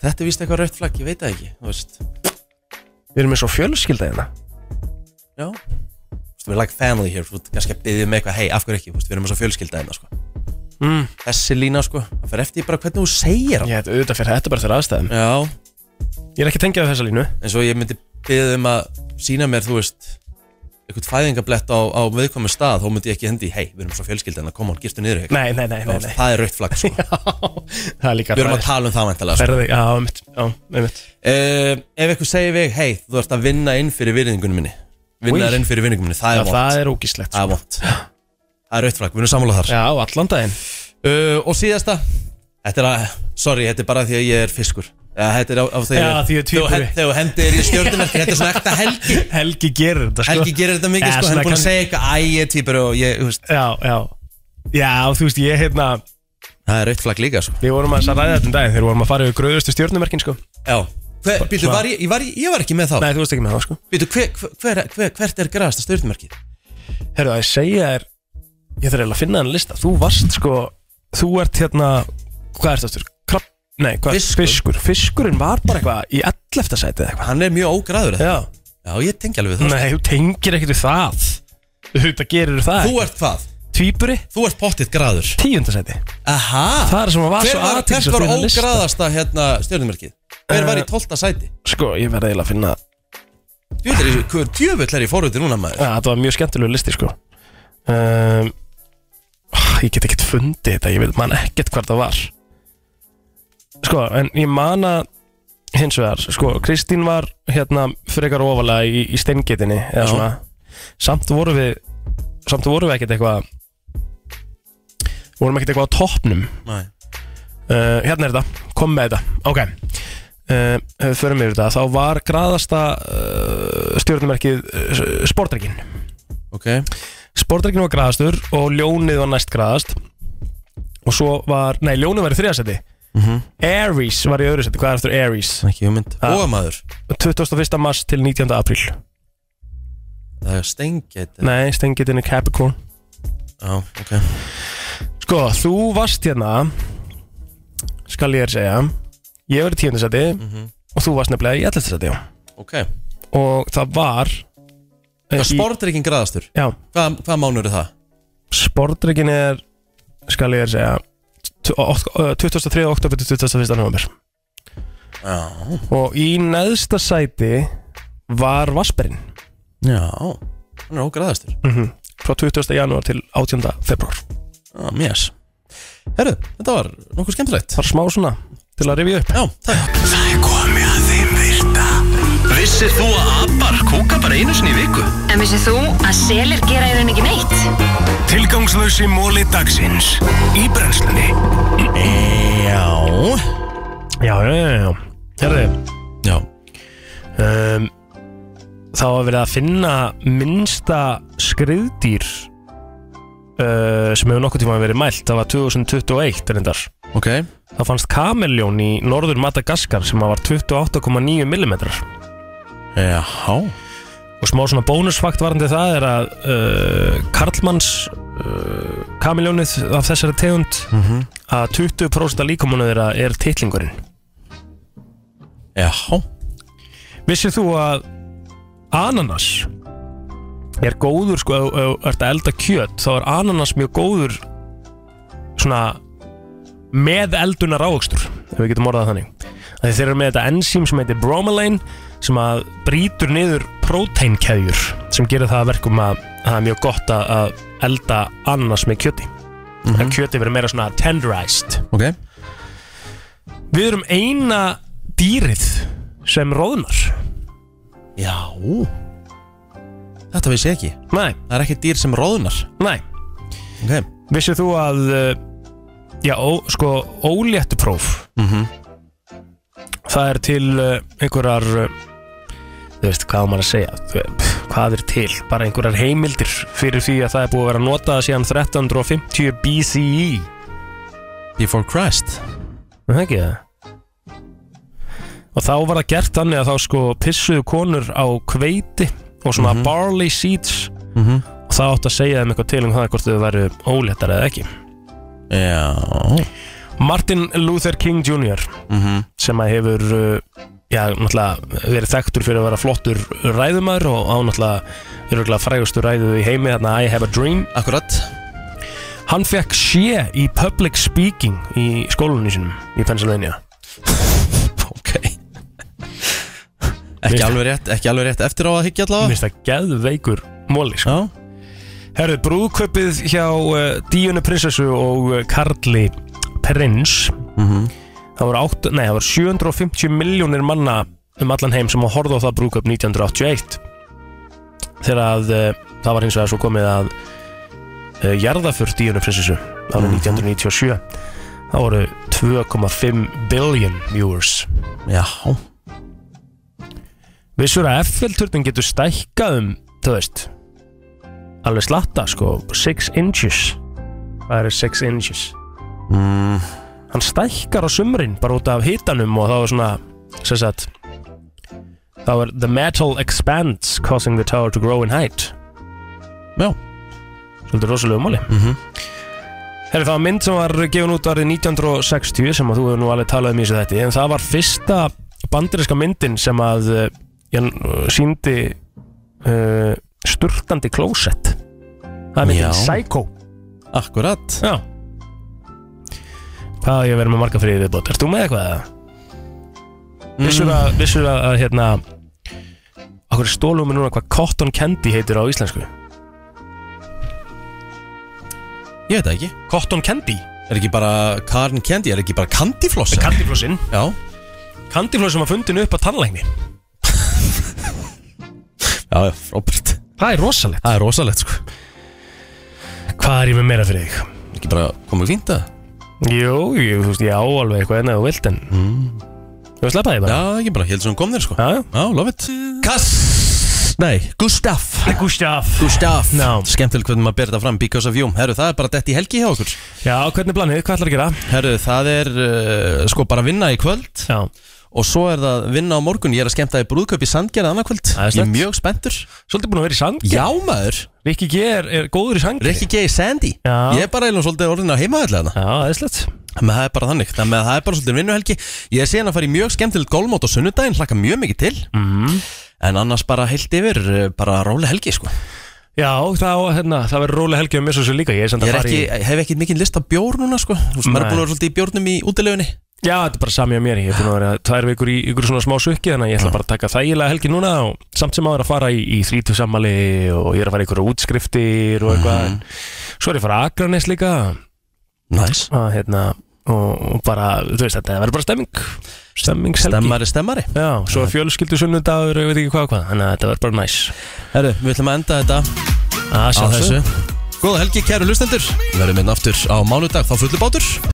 S1: Þetta er víst eitthvað rautt flagg, ég veit það ekki Þú veist, þú
S3: Við erum eins og fjölskylda hérna
S1: veist, we are like a family here Þú veist, kannski að byggja með eitthvað, hei, af hverju ekki Þú veist, Við erum eins og fjölskylda hérna, sko
S3: mm.
S1: Þessi lína, sko, það fer eftir bara hvernig þú segir hann
S3: Ég hef auðvitað fyrir þetta bara þegar aðstæðum
S1: Já
S3: Ég er ekki tengjað þessa línu
S1: En svo ég myndi byggja um að sína mér, þú veist eitthvað fæðingablett á, á viðkomu stað þá myndi ég ekki hendi, hei, við erum svo fjölskylda hérna, come on, girtu niður ekki
S3: Nei, nei, nei, nei, nei.
S1: Það er rautt flagg,
S3: [LAUGHS]
S1: sko
S3: Það er líka
S1: Við erum að tala um það vantilega
S3: Ferði, já, einmitt, já, einmitt
S1: Ef eitthvað segir við, hei, þú ert að vinna inn fyrir virðingunum minni Vinna
S3: Új.
S1: þér inn fyrir virðingunum minni, það
S3: Já,
S1: er vont
S3: það er ógíslegt
S1: Það er vont Það er rautflag, við erum sammála þar
S3: Já, allan daginn
S1: uh, Og síðasta, þetta er að, sorry, þetta er bara því að ég er fiskur Já, þetta er á, á þegar
S3: Já, því ég er tvíburi.
S1: Þegar- Þegar þú hendir í stjórnumerki, þetta er svona ekta helgi
S3: Helgi gerir þetta sko
S1: Helgi gerir þetta mikið,
S3: Já,
S1: sko, hann
S3: svona
S1: er búin að
S3: kann-
S1: segja eitthvað Æ, ég er tvíbur og ég, þú veist
S3: Já, já Já, þú veist, ég hérna
S1: Það er rautflag líka, sko
S3: Við vorum aðeins að ræða þetta um daginn Þegar vorum að fara yfir gröðustu stjórnumerkin sko
S1: Já Hver, býttu, var ég, ég, var, ég var ekki með þá
S3: Nei, þú veist ekki með það sko
S1: Býttu, hver, hver, hver, hver, hvert er græðasta stjórnumerkið?
S3: Herru, að ég segja þér Ég þarf eiginlega að finna hann lista Þú varst sko Þú ert hérna Hvað ert þáttur? Krabb Nei, hvað Fiskur Fiskur Fiskurinn var bara eitthvað Í 11. sæti eða eitthvað
S1: Hann er mjög ógræður
S3: Já
S1: Já, ég tengi alveg við það, sko.
S3: Nei, þú tengir ekkert við það Þetta gerir það
S1: sko. Þú ert hvað?
S3: Tvíburi
S1: Þú ert pottitt græður
S3: Tíundasæti
S1: Aha
S3: Það er sem að var
S1: Hver
S3: svo
S1: var,
S3: athyglisvert
S1: hvert var
S3: við þennan lista.
S1: ógræðasta hérna stjórnumerkið? Hver var í
S3: Eh,
S1: 12. sæti?
S3: Sko, ég verði eiginlega að finna
S1: Djöfull er ég- Hver djöfull er ég fórhundi núna maður?
S3: Ja, Þetta var mjög skemmtilegu listi sko um, ah, Ég get ekkert fundið þetta Ég veit man ekkert hvað það var Sko, en ég man að hins vegar, sko, Kristín var hérna frekar ofalega í, í steingetinni eða
S1: Já.
S3: svona samt voru við samt voru við ekkert eitthvað vorum ekkert eitthvað á toppnum
S1: Nei.
S3: uh, hérna er þetta, kom með þetta ok, uh, ef við förum yfir þetta þá var graðasta uh, stjórnumerkið uh, sportrekkin
S1: ok
S3: sportrekkin var graðastur og ljónið var næst graðast og svo var, nei, ljónið var í þriðasetti
S1: Mhm.
S3: Aries var í öðru seti, hvað er eftir Aries?
S1: Ekki hugmynd
S3: Ah.
S1: Óamaður
S3: 21. mars til 19. apríl
S1: Það er stengið
S3: Nei, stengitin er Capricorn
S1: Já, ok
S3: Sko, þú varst hérna Skal ég þér segja Ég var í tíundasæti mm Og þú varst nefnilega í ellastasæti
S1: Ok
S3: Og það var
S1: Það er sportreikin graðastur
S3: Já
S1: Hvað, hvað mánuður það?
S3: Sportreikin er Skal ég þér segja t- ótt- ö, 23. oktober til 21. november
S1: Já
S3: Og í neðsta sæti Var Vasperinn
S1: Já Hann er ógraðastur
S3: mm Frá 20. janúar til 18. februar
S1: Já, mjöss Herru, þetta var nokkuð skemmtilegt
S3: Það var smá svona til að rifja upp
S1: Já, takk
S13: Það er komið að þeim virta Vissir þú að abar kúka bara einu sinni í viku?
S8: En vissið þú að selir gera í rauninni ekki neitt?
S13: Tilgangslösi móli dagsins Í brennslunni
S1: Já
S3: Já, já, já, já Herði
S1: Já
S3: um, Þá var verið að finna minnsta skriðdýr uh, sem hefur nokkuð tíma verið mælt það var 2021 reyndar
S1: Ok
S3: Það fannst kameljón í norður Madagaskar sem var 28,9 mm
S1: Jaha
S3: Og smá svona bónusfakt varandi það er að uh, Karlmanns uh, kameljónið af þessari tegund
S1: Mhm.
S3: að 20% af líkamunum þeirra er titlingurinn
S1: Já
S3: Vissir þú að ananas er góður sko, ef ef þú ert að elda kjöt þá er ananas mjög góður svona með eldunar ávöxtur ef við getum orðað það þannig að þeir eru með þetta enzím sem heitir bromelain sem að brýtur niður próteinkeðjur sem gerir það að verkum að að það er mjög gott að- að elda ananas með kjöti að kjöti verður meira svona tenderized
S1: Ok
S3: Við erum eina dýrið sem róðnar
S1: Já Þetta vissi ég ekki
S3: Nei
S1: Það er ekki dýr sem róðunar
S3: Nei
S1: Ok
S3: Vissið þú að uh, Já, ó, sko, óléttu próf
S1: Mhm.
S3: Það er til uh, einhverjar uh, Þú veist, hvað á maður að segja Þú- pff, Hvað er til? Bara einhverjar heimildir Fyrir því að það er búið að vera notað síðan 1350 BCE
S1: Before Christ
S3: Það ekki það Og þá var það gert þannig að þá sko pissuðu konur á kveiti og svona barley seeds
S1: Mhm.
S3: og það átt að segja þeim eitthvað til um það hvort þau væru óléttar eða ekki
S1: Já
S3: Martin Luther King Jr.
S1: Mhm.
S3: sem að hefur uh, já, náttúrulega verið þekktur fyrir að vera flottur ræðumæður og á náttúrulega öruglega frægustu ræðu í heimi þarna I have a dream
S1: Akkurat
S3: Hann fekk sé í public speaking í skólunni sinum í Pennsylvania
S1: [LAUGHS] Ekki alveg rétt, ekki alveg rétt eftir á að higgja allavega
S3: Mér finnst það geðveikur móli sko. Herðu, brúðkaupið hjá uh, Díunu prinsessu og uh, Karli prins
S1: Mhm.
S3: það, voru átt, nei, það voru 750 miljónir manna um allan heim sem að horfa á það brúðkaup 1981 þegar að uh, það var hins vegar svo komið að uh, jarðafur Díunu prinsessu
S1: Mhm.
S3: árið 1997 það voru 2,5 billion viewers
S1: Já
S3: Vissur að F-filturnin getur stækkað um, þú veist Alveg slatta, sko, 6 inches Hvað eru 6 inches?
S1: mm.
S3: Hann stækkar á sumrin, bara út af hitanum Og þá er svona, sem sagt Þá er the metal expands Causing the tower to grow in height
S1: Já
S3: Svolítið rosalegu máli mm
S1: -hmm.
S3: Herri, það var mynd sem var gefin út árið 1960 sem að þú hefur nú alveg talað um í þessu þetta en það var fyrsta bandiriska myndin sem að eh, ég síndi uh, sturtandi klósett það er myndin
S1: Já.
S3: Psycho
S1: Akkurat
S3: Já Hvað á ég að vera með marga fyrir viðbót? Ert þú með eitthvað? Mm. Vissur að, vissur að, að hérna Akkur stólum við núna hvað Cotton Candy heitir á íslensku
S1: Ég veit það ekki
S3: Cotton Candy
S1: Er ekki bara Karen Candy, er ekki bara Candyflossin
S3: Candyflossin
S1: Já
S3: Kandiflóð sem var fundin upp á tannlækni
S1: Já, já, frábært
S3: Það er rosalegt
S1: Það er rosalegt, sko
S3: Hvað er ég með meira fyrir þig?
S1: Ekki bara komið fínt að
S3: Jú, jú, þú veist, ég á alveg eitthvað enn að þú vilt en mm. Þú veist, lappaði bara
S1: Já, ekki bara, heldur sem kom þér, sko
S3: Já,
S1: já, love it Kass Nei, Gustaf
S3: Gustaf
S1: Gustaf no. Skemmtileg hvernig maður ber þetta fram Because of you Herru, það er bara dett í helgi hjá okkur
S3: Já, hvernig er planið? Hvað ætlar að gera?
S1: Herru, það er uh, sko bara vinna í kvöld
S3: Já
S1: Og svo er það vinna á morgun Ég er að skemmta í brúðköp í Sandgerð annað kvöld Ég er mjög spenntur
S3: Svolítið búin að vera í Sandgerð
S1: Já, maður
S3: Rikki G er, er góður í Sandgerð
S1: Rikki G er Sandy Já Ég er bara eða svolítið orðin að heimaðallega hana
S3: Já, það er slett
S1: Það er bara þannig Þannig að það er bara svolítið vinnuhelgi Ég er síðan að fara í mjög skemmtilegt golfmót á sunnudaginn Hlakka mjög mikið til Mhm.
S3: mm.
S1: En annars bara heilt yfir eh, Bara róli helgi, sko
S3: Já, það, hérna, það verður rólega helgi um mér svo sem líka Ég, er samt að
S1: Ég er
S3: fara
S1: ekki,
S3: í...
S1: hef ekki mikið list á bjór núna sko Þú veist, maður er
S3: Nei.
S1: búin að vera svolítið í bjórnum í útilegunni
S3: Já, þetta er bara sami að mér Ég er búin að vera tvær vikur í ykkur svona smá sukki Þannig að ég ætla bara að taka þægilega helgi núna og Samt sem áður að fara í, í þrítusamali Og ég er að fara í ykkur útskriftir og eitthvað mm Svo er ég að fara að Akranes líka
S1: Næs
S3: að, hérna, og, og bara, þú veist, þetta verður bara stemming Stemming
S1: Stemmari, stemmari
S3: Já, svo er fjölskyldu sunnudagur og ég veit ekki hvað og hvað Þannig að þetta verður bara næs
S1: Herru, við ætlum að enda þetta
S3: Að sjá
S1: Á
S3: þessu.
S1: Góða helgi, kæru lustendur Verðum inn aftur á mánudag, þá fullu bátur